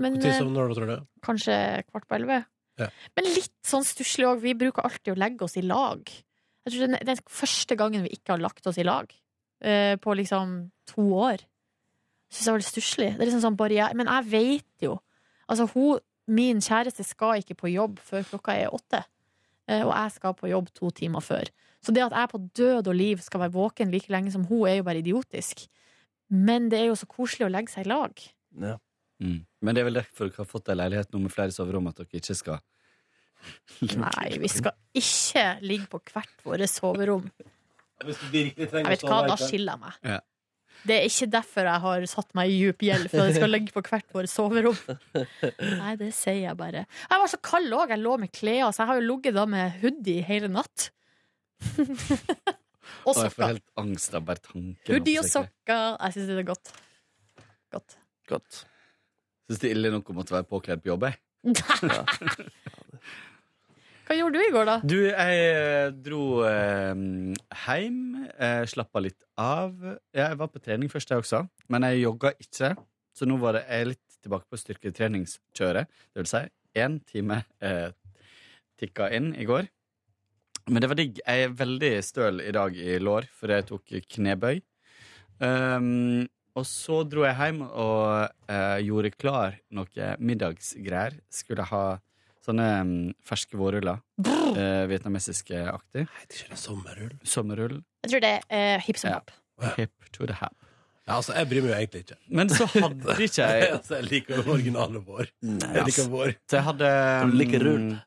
[SPEAKER 3] Men
[SPEAKER 2] Når
[SPEAKER 3] eh,
[SPEAKER 2] sovner du, tror du?
[SPEAKER 3] kanskje kvart på elleve.
[SPEAKER 2] Ja.
[SPEAKER 3] Men litt sånn stusslig òg. Vi bruker alltid å legge oss i lag. Jeg tror Det er den første gangen vi ikke har lagt oss i lag eh, på liksom to år. Syns jeg var litt stusslig. Det er liksom sånn barriere. Men jeg veit jo. Altså, hun, min kjæreste skal ikke på jobb før klokka er åtte. Eh, og jeg skal på jobb to timer før. Så det at jeg på død og liv skal være våken like lenge som hun, er jo bare idiotisk. Men det er jo så koselig å legge seg i lag.
[SPEAKER 6] Mm. Men det er vel derfor dere har fått ei leilighet nå med flere soverom, at dere ikke skal
[SPEAKER 3] Nei, vi skal ikke ligge på hvert våre soverom.
[SPEAKER 2] Hvis du virkelig
[SPEAKER 3] Jeg
[SPEAKER 2] trenger
[SPEAKER 3] vet hva, da skiller jeg meg.
[SPEAKER 6] Ja.
[SPEAKER 3] Det er ikke derfor jeg har satt meg i djup gjeld, for jeg skal ligge på hvert vårt soverom. Nei, det sier jeg bare. Jeg var så kald òg, jeg lå med klær, så jeg har jo ligget da med hoodie hele natt. og
[SPEAKER 6] Å, Jeg får
[SPEAKER 3] sokker.
[SPEAKER 6] helt angst av bare tanken.
[SPEAKER 3] Hoodie og sokker. Jeg syns det er godt. Godt.
[SPEAKER 4] Godt.
[SPEAKER 6] Syns det er ille nok å måtte være påkledd på jobb, jeg.
[SPEAKER 3] Hva gjorde du i går, da?
[SPEAKER 6] Du, jeg eh, dro eh, hjem, eh, slappa litt av. Ja, jeg var på trening først, jeg også, men jeg jogga ikke. Så nå var det, jeg er litt tilbake på styrketreningskjøret. Det vil si, én time eh, tikka inn i går. Men det var digg. Jeg er veldig støl i dag i lår, for jeg tok knebøy. Um, og så dro jeg hjem og eh, gjorde klar noe middagsgreier. Skulle ha sånne mm, ferske vårruller. Uh, Vietnamesiske aktig.
[SPEAKER 2] Heter ikke det sommerrull?
[SPEAKER 6] Sommerrull.
[SPEAKER 3] Jeg tror det er eh, hip som hap.
[SPEAKER 6] Hip to the hap.
[SPEAKER 2] Ja, altså, jeg bryr meg jo egentlig ikke.
[SPEAKER 6] Men så hadde ikke jeg
[SPEAKER 2] altså, jeg liker den originale vår. Jeg
[SPEAKER 6] ass.
[SPEAKER 2] liker vår.
[SPEAKER 6] Så jeg hadde
[SPEAKER 2] Du liker rull.
[SPEAKER 6] mm,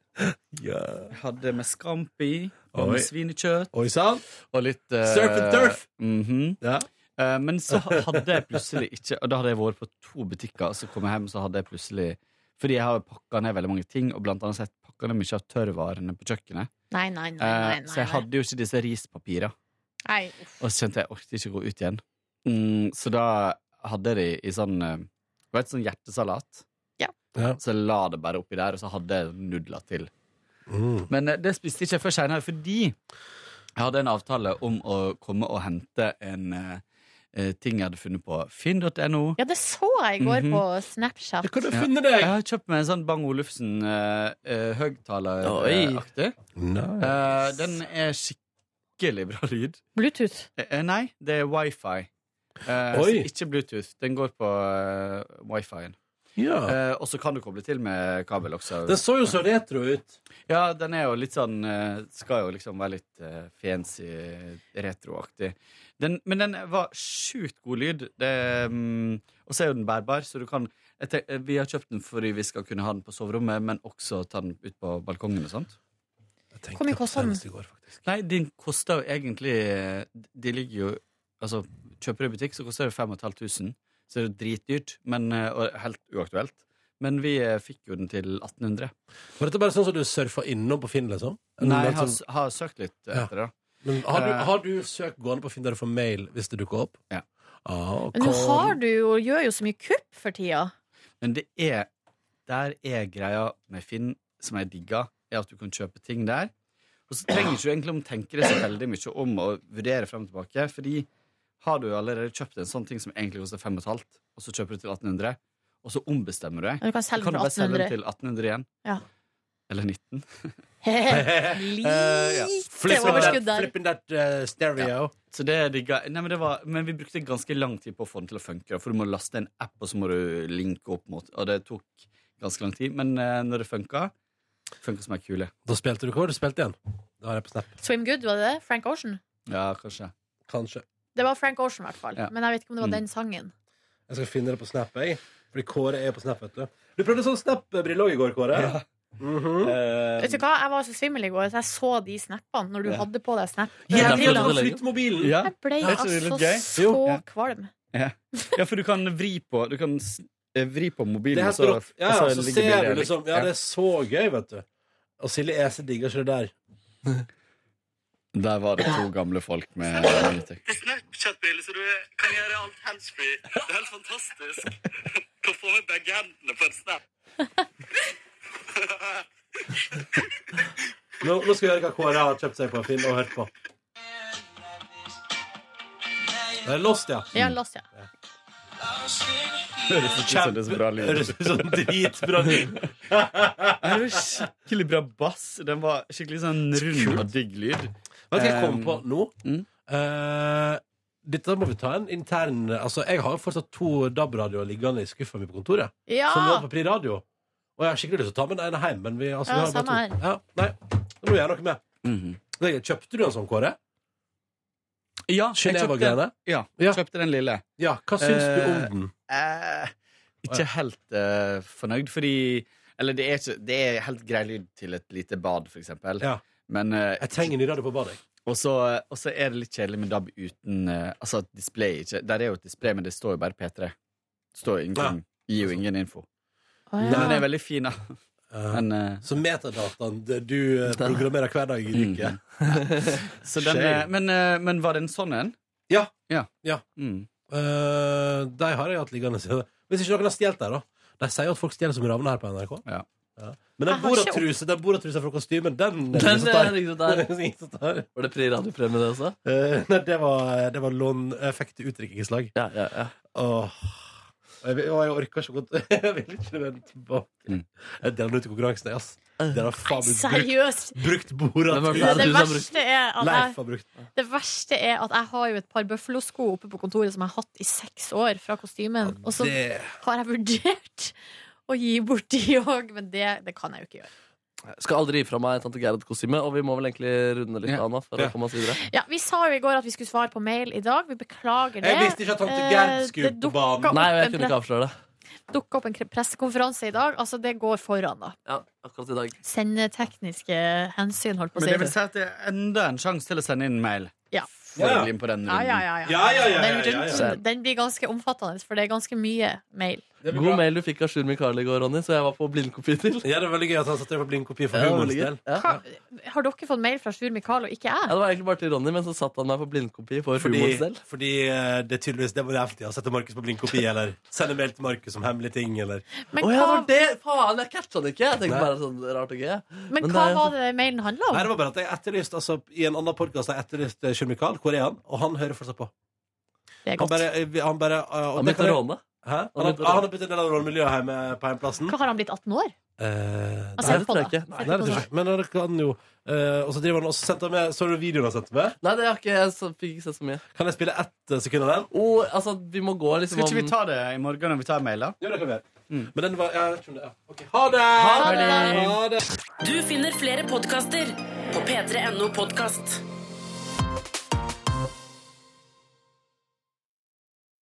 [SPEAKER 6] jeg Hadde med scampi og
[SPEAKER 2] Oi.
[SPEAKER 6] med svinekjøtt.
[SPEAKER 2] Oi sann!
[SPEAKER 6] Og litt eh,
[SPEAKER 2] Surf and turf.
[SPEAKER 6] mhm.
[SPEAKER 2] Ja.
[SPEAKER 6] Eh, men så hadde jeg plutselig ikke Og da hadde jeg vært på to butikker, og så kom jeg hjem, og så hadde jeg plutselig Fordi jeg har pakka ned veldig mange ting, og blant annet så har jeg pakka ned mye av tørrvarene på kjøkkenet.
[SPEAKER 3] Nei, nei, nei. nei,
[SPEAKER 6] Eh,
[SPEAKER 3] nei,
[SPEAKER 6] så jeg hadde jo ikke disse rispapirene.
[SPEAKER 3] nei. uff.
[SPEAKER 6] Og så kjente jeg jeg orket ikke å gå ut igjen. Mm, så da hadde jeg de i sånn eh, Du vet, sånn hjertesalat.
[SPEAKER 3] Ja.
[SPEAKER 2] Ja.
[SPEAKER 6] Så jeg la det bare oppi der, og så hadde jeg nudler til.
[SPEAKER 2] Mm.
[SPEAKER 6] Men eh, det spiste ikke jeg før seinere, fordi jeg hadde en avtale om å komme og hente en eh, eh, ting jeg hadde funnet på finn.no.
[SPEAKER 3] Ja, det så jeg i går
[SPEAKER 6] Mhm.
[SPEAKER 3] på Snapchat.
[SPEAKER 2] Hvor har du
[SPEAKER 6] Ja.
[SPEAKER 2] funnet
[SPEAKER 6] Jeg
[SPEAKER 2] deg?
[SPEAKER 6] har kjøpt meg en sånn Bang Olufsen uh, Eh,
[SPEAKER 4] Oi.
[SPEAKER 6] høyttaleraktig.
[SPEAKER 2] Nei.
[SPEAKER 6] Eh, den er skikkelig bra lyd.
[SPEAKER 3] Bluetooth.
[SPEAKER 6] Eh, nei, det er wifi. Eh,
[SPEAKER 2] Oi.
[SPEAKER 6] så ikke Bluetooth. Den går på uh, wifien.
[SPEAKER 2] Ja.
[SPEAKER 6] Eh, og så kan du koble til med kabel også.
[SPEAKER 2] Den så jo så retro ut.
[SPEAKER 6] Ja, den er jo litt sånn eh, Skal jo liksom være litt eh, fancy, retroaktig. Den, men den var sjukt god lyd. Det, mm, og så er jo den bærbar, så du kan jeg tenk- eh, Vi har kjøpt den fordi vi skal kunne ha den på soverommet, men også ta den ut på balkongen og sånt.
[SPEAKER 2] Jeg tenkte
[SPEAKER 3] Hvor mye
[SPEAKER 2] på
[SPEAKER 3] koster den?
[SPEAKER 2] senest i går, faktisk.
[SPEAKER 6] Nei, den koster jo egentlig eh, De ligger jo Altså, kjøper du i butikk, så koster det 5500. Så det er jo dritdyrt, men, eh, og helt uaktuelt. Men vi eh, fikk jo den til 1800.
[SPEAKER 2] Var dette bare sånn som du surfa innom på Finn, liksom?
[SPEAKER 6] Nei, jeg
[SPEAKER 2] Eller
[SPEAKER 6] har,
[SPEAKER 2] sånn-
[SPEAKER 6] har søkt litt
[SPEAKER 2] Ja.
[SPEAKER 6] etter det. da.
[SPEAKER 2] Men har, du,
[SPEAKER 6] Eh,
[SPEAKER 2] har du søkt gående på Finn der du får mail hvis det dukker opp?
[SPEAKER 6] Ja.
[SPEAKER 2] Ah,
[SPEAKER 3] Men nå
[SPEAKER 2] kom.
[SPEAKER 3] har du jo, gjør jo så mye kupp for tida.
[SPEAKER 6] Men det er Der er greia med Finn Som jeg digger Er at du kan kjøpe ting der Og så trenger ikke du egentlig omtenke det så veldig mye om Å vurdere frem og tilbake Fordi har du jo allerede kjøpt en sånn ting Som egentlig koster 5,5 Og så kjøper du til 1800 Og så ombestemmer du deg
[SPEAKER 3] Ja, du kan selge den
[SPEAKER 6] Så
[SPEAKER 3] for
[SPEAKER 6] bare
[SPEAKER 3] 1800.
[SPEAKER 6] selge den til 1800 igjen
[SPEAKER 3] Ja.
[SPEAKER 6] Eller 19 Eh, ja.
[SPEAKER 3] Lite overskudd der.
[SPEAKER 2] uh, stereo.
[SPEAKER 6] Så det digga Nei, men, det var, men vi brukte ganske lang tid på å få den til å funke. For du må laste en app, og så må du linke opp mot Og det tok ganske lang tid. Men eh, når det funka, funka som ei kule.
[SPEAKER 2] Da spilte du hva? Du spilte igjen? Da har jeg på Snap.
[SPEAKER 3] Swim Good, var det det? Frank Ocean?
[SPEAKER 6] Ja, kanskje.
[SPEAKER 2] Kanskje.
[SPEAKER 3] Det var Frank Ocean, i hvert fall.
[SPEAKER 2] Ja.
[SPEAKER 3] Men jeg vet ikke om det var
[SPEAKER 2] Mm.
[SPEAKER 3] den sangen.
[SPEAKER 6] Um,
[SPEAKER 2] Jeg skal finne det på Snap, jeg. Fordi Kåre er på Snap, vet du. Du prøvde sånn Snap-brille òg i går, Kåre. Eh,
[SPEAKER 3] Vet du hva, Jeg var så svimmel i går at jeg så de snappene når du
[SPEAKER 2] Ja.
[SPEAKER 3] hadde på deg snap.
[SPEAKER 6] Ja,
[SPEAKER 3] Jeg ble
[SPEAKER 6] det er derfor jeg
[SPEAKER 3] altså-
[SPEAKER 6] flytter mobilen. Ja.
[SPEAKER 3] Jeg ble
[SPEAKER 6] Det er ikke det litt
[SPEAKER 3] altså
[SPEAKER 6] gøy?
[SPEAKER 3] så
[SPEAKER 6] Jo. Ja.
[SPEAKER 3] kvalm.
[SPEAKER 6] Ja. ja, for du kan vri på Du kan s- eh, vri på mobilen,
[SPEAKER 2] Det her
[SPEAKER 6] og
[SPEAKER 2] står opp. Ja,
[SPEAKER 6] og
[SPEAKER 2] ja, så
[SPEAKER 6] ligger
[SPEAKER 2] ser
[SPEAKER 6] bildet
[SPEAKER 2] du liksom Ja,
[SPEAKER 6] der.
[SPEAKER 2] det er så gøy, vet du. Og Silje Ese digger ikke det der.
[SPEAKER 6] Der var det to gamle folk med Minutek.
[SPEAKER 12] Snapchat-brille, så du kan gjøre alt handsfree. Det er helt fantastisk. Kan få med begge hendene på en snap.
[SPEAKER 2] Nå, nå skal vi høre hva Kåre har kjøpt seg på Finn og hørt på. Det er Lost, ja.
[SPEAKER 3] Ja,
[SPEAKER 6] Mm.
[SPEAKER 3] Lost, ja.
[SPEAKER 6] Høres ut som det er så bra lyd.
[SPEAKER 2] Høres ut som dritbra lyd.
[SPEAKER 6] Det var skikkelig bra bass. Den var skikkelig sånn rund og digg lyd.
[SPEAKER 2] Vet du hva jeg kom
[SPEAKER 6] Um,
[SPEAKER 2] på nå? Eh, dette må vi ta en intern Altså, jeg har jo fortsatt to DAB-radioer liggende i skuffa mi på kontoret.
[SPEAKER 3] Ja!
[SPEAKER 2] Som lå på Pri Radio. Og jeg har skikkelig lyst til å ta med den ene hjem, men vi, altså, vi
[SPEAKER 3] Ja,
[SPEAKER 2] har bare
[SPEAKER 3] samme
[SPEAKER 2] to. Ja, nei, det må vi gjøre noe med.
[SPEAKER 6] Mhm.
[SPEAKER 2] Det- Kjøpte du en sånn, Kåre?
[SPEAKER 6] Ja, jeg
[SPEAKER 2] Geneva-greiene?
[SPEAKER 6] kjøpte, ja, kjøpte den lille.
[SPEAKER 2] Ja, hva syns du om
[SPEAKER 6] Eh,
[SPEAKER 2] den?
[SPEAKER 6] Eh, ikke helt eh, fornøyd, fordi Eller det er, ikke, det er helt grei lyd til et lite bad, for eksempel. Men, eh,
[SPEAKER 2] Eh, jeg trenger ny radio på badet.
[SPEAKER 6] Og så og så er det litt kjedelig med DAB uten eh, Altså at display ikke Der er jo et display, men det står jo bare P3. Det står jo ingenting. Gir jo ingen info.
[SPEAKER 2] Å, ja.
[SPEAKER 6] Men den er veldig fin, da. Men, eh,
[SPEAKER 2] så metadataen det du eh, programmerer hver dag, ryker.
[SPEAKER 6] Så den,
[SPEAKER 2] Shame.
[SPEAKER 6] eh, men, eh, men var det en sånn en?
[SPEAKER 2] Ja.
[SPEAKER 6] Ja.
[SPEAKER 2] ja.
[SPEAKER 6] Mm.
[SPEAKER 2] Eh, de har jeg hatt liggende siden. Hvis ikke noen har stjålet der, da. De sier jo at folk stjeler som ravner her på NRK. Ja. Men den
[SPEAKER 4] Jeg har ikke
[SPEAKER 2] boratruse den boratruse fra kostymen, den er det ingen
[SPEAKER 4] Den
[SPEAKER 2] som
[SPEAKER 4] er
[SPEAKER 2] tar.
[SPEAKER 4] det ingen som tar.
[SPEAKER 2] Det er ingen som tar.
[SPEAKER 4] Var det Pri Radio-premie, det også?
[SPEAKER 2] Eh, nei, det var, det var låneffekt til utdrikningslag.
[SPEAKER 4] Ja, ja, ja.
[SPEAKER 2] Åh. Og Jeg, vil- og jeg orker så godt Jeg vil ikke vende tilbake. Jeg deler den ut i konkurransen, jeg, ass. Det har faen meg
[SPEAKER 3] Seriøst!
[SPEAKER 2] brukt, brukt boratruse.
[SPEAKER 3] Ja, det, verste er
[SPEAKER 2] Leif
[SPEAKER 3] at
[SPEAKER 2] har
[SPEAKER 3] jeg,
[SPEAKER 2] brukt den.
[SPEAKER 3] det verste er at jeg har jo et par bøffelosko oppe på kontoret som jeg har hatt i seks år fra kostymen, og så
[SPEAKER 2] det-
[SPEAKER 3] har jeg vurdert å gi bort de òg, men det, det kan jeg jo ikke gjøre.
[SPEAKER 4] Skal aldri gi fra meg tante Gerhard-kostyme, og vi må vel egentlig runde litt av nå. For å komme oss videre
[SPEAKER 3] Ja, Vi sa jo i går at vi skulle svare på mail i dag. Vi beklager det. Eh,
[SPEAKER 4] Jeg visste ikke at tante Gerd skulle på banen. Nei, og jeg kunne ikke avsløre det.
[SPEAKER 3] dukka opp en kre- pressekonferanse i dag. Altså, det går foran, da.
[SPEAKER 4] Ja, akkurat i dag
[SPEAKER 3] Send tekniske hensyn, holdt på
[SPEAKER 6] Men
[SPEAKER 3] å
[SPEAKER 6] det vil si
[SPEAKER 3] si.
[SPEAKER 6] at det er enda en sjanse til å sende inn mail.
[SPEAKER 3] Ja.
[SPEAKER 6] Får vi bli med på den
[SPEAKER 3] Ja, ja, ja, ja.
[SPEAKER 6] runden?
[SPEAKER 3] Den runden, Den blir ganske omfattende, for det er ganske mye mail.
[SPEAKER 4] God mail du fikk av Sjur Mikael i går, Ronny, så jeg var på blindkopi til.
[SPEAKER 2] Ja, det var veldig gøy at han satte på blindkopi for humorens del.
[SPEAKER 4] Ja.
[SPEAKER 3] Har dere fått mail fra Sjur Mikael og ikke
[SPEAKER 4] Ja,
[SPEAKER 3] jeg?
[SPEAKER 4] det var egentlig bare til Ronny, men så satte han meg på blindkopi for humorens
[SPEAKER 2] Fordi,
[SPEAKER 4] del.
[SPEAKER 2] fordi eh, det er tydeligvis det må jeg alltid ha. Sette Markus på blindkopi, eller sende mail til Markus om hemmelige ting, eller
[SPEAKER 3] Men
[SPEAKER 4] Å ja, det
[SPEAKER 3] hva-
[SPEAKER 4] var det! Faen, jeg catcha det ikke! Jeg tenkte
[SPEAKER 2] Nei.
[SPEAKER 4] bare sånn rart og gøy.
[SPEAKER 3] Men hva var det mailen handla
[SPEAKER 2] Nei, det
[SPEAKER 3] om?
[SPEAKER 2] var bare at jeg etterlyste altså, I en annen podkast har jeg etterlyst eh, Sjur Mikael. Hvor er han? Og han hører fortsatt på.
[SPEAKER 3] Det er
[SPEAKER 2] Han
[SPEAKER 3] godt.
[SPEAKER 2] bare, han bare eh, og
[SPEAKER 4] Han
[SPEAKER 2] det kan
[SPEAKER 4] begynte å
[SPEAKER 2] jeg-
[SPEAKER 4] råne.
[SPEAKER 2] Hæ? Han,
[SPEAKER 4] Han
[SPEAKER 2] har-
[SPEAKER 4] begynte å råne.
[SPEAKER 2] han har blitt en del av rånemiljøet her med, på hjemplassen.
[SPEAKER 3] Hva har han blitt 18 år?
[SPEAKER 2] Eh,
[SPEAKER 3] Altså, jeg tror jeg ikke.
[SPEAKER 2] Nei, det tror jeg ikke. Men han kan jo eh, Og så driver han og sendte han med Så du videoen han sendte med?
[SPEAKER 4] Nei, det har ikke, jeg så- fikk ikke sett så mye.
[SPEAKER 2] Kan jeg spille ett eh, sekund av den?
[SPEAKER 4] Og, altså, vi må gå liksom
[SPEAKER 6] Skal ikke vi ta det i morgen når vi tar mail, da?
[SPEAKER 2] Jo, det kan vi gjøre. Men den var jeg vet ikke om det er. Ok, Ha det!
[SPEAKER 1] Ha
[SPEAKER 2] Ha det!
[SPEAKER 1] Du finner flere podkaster på p3.no podkast.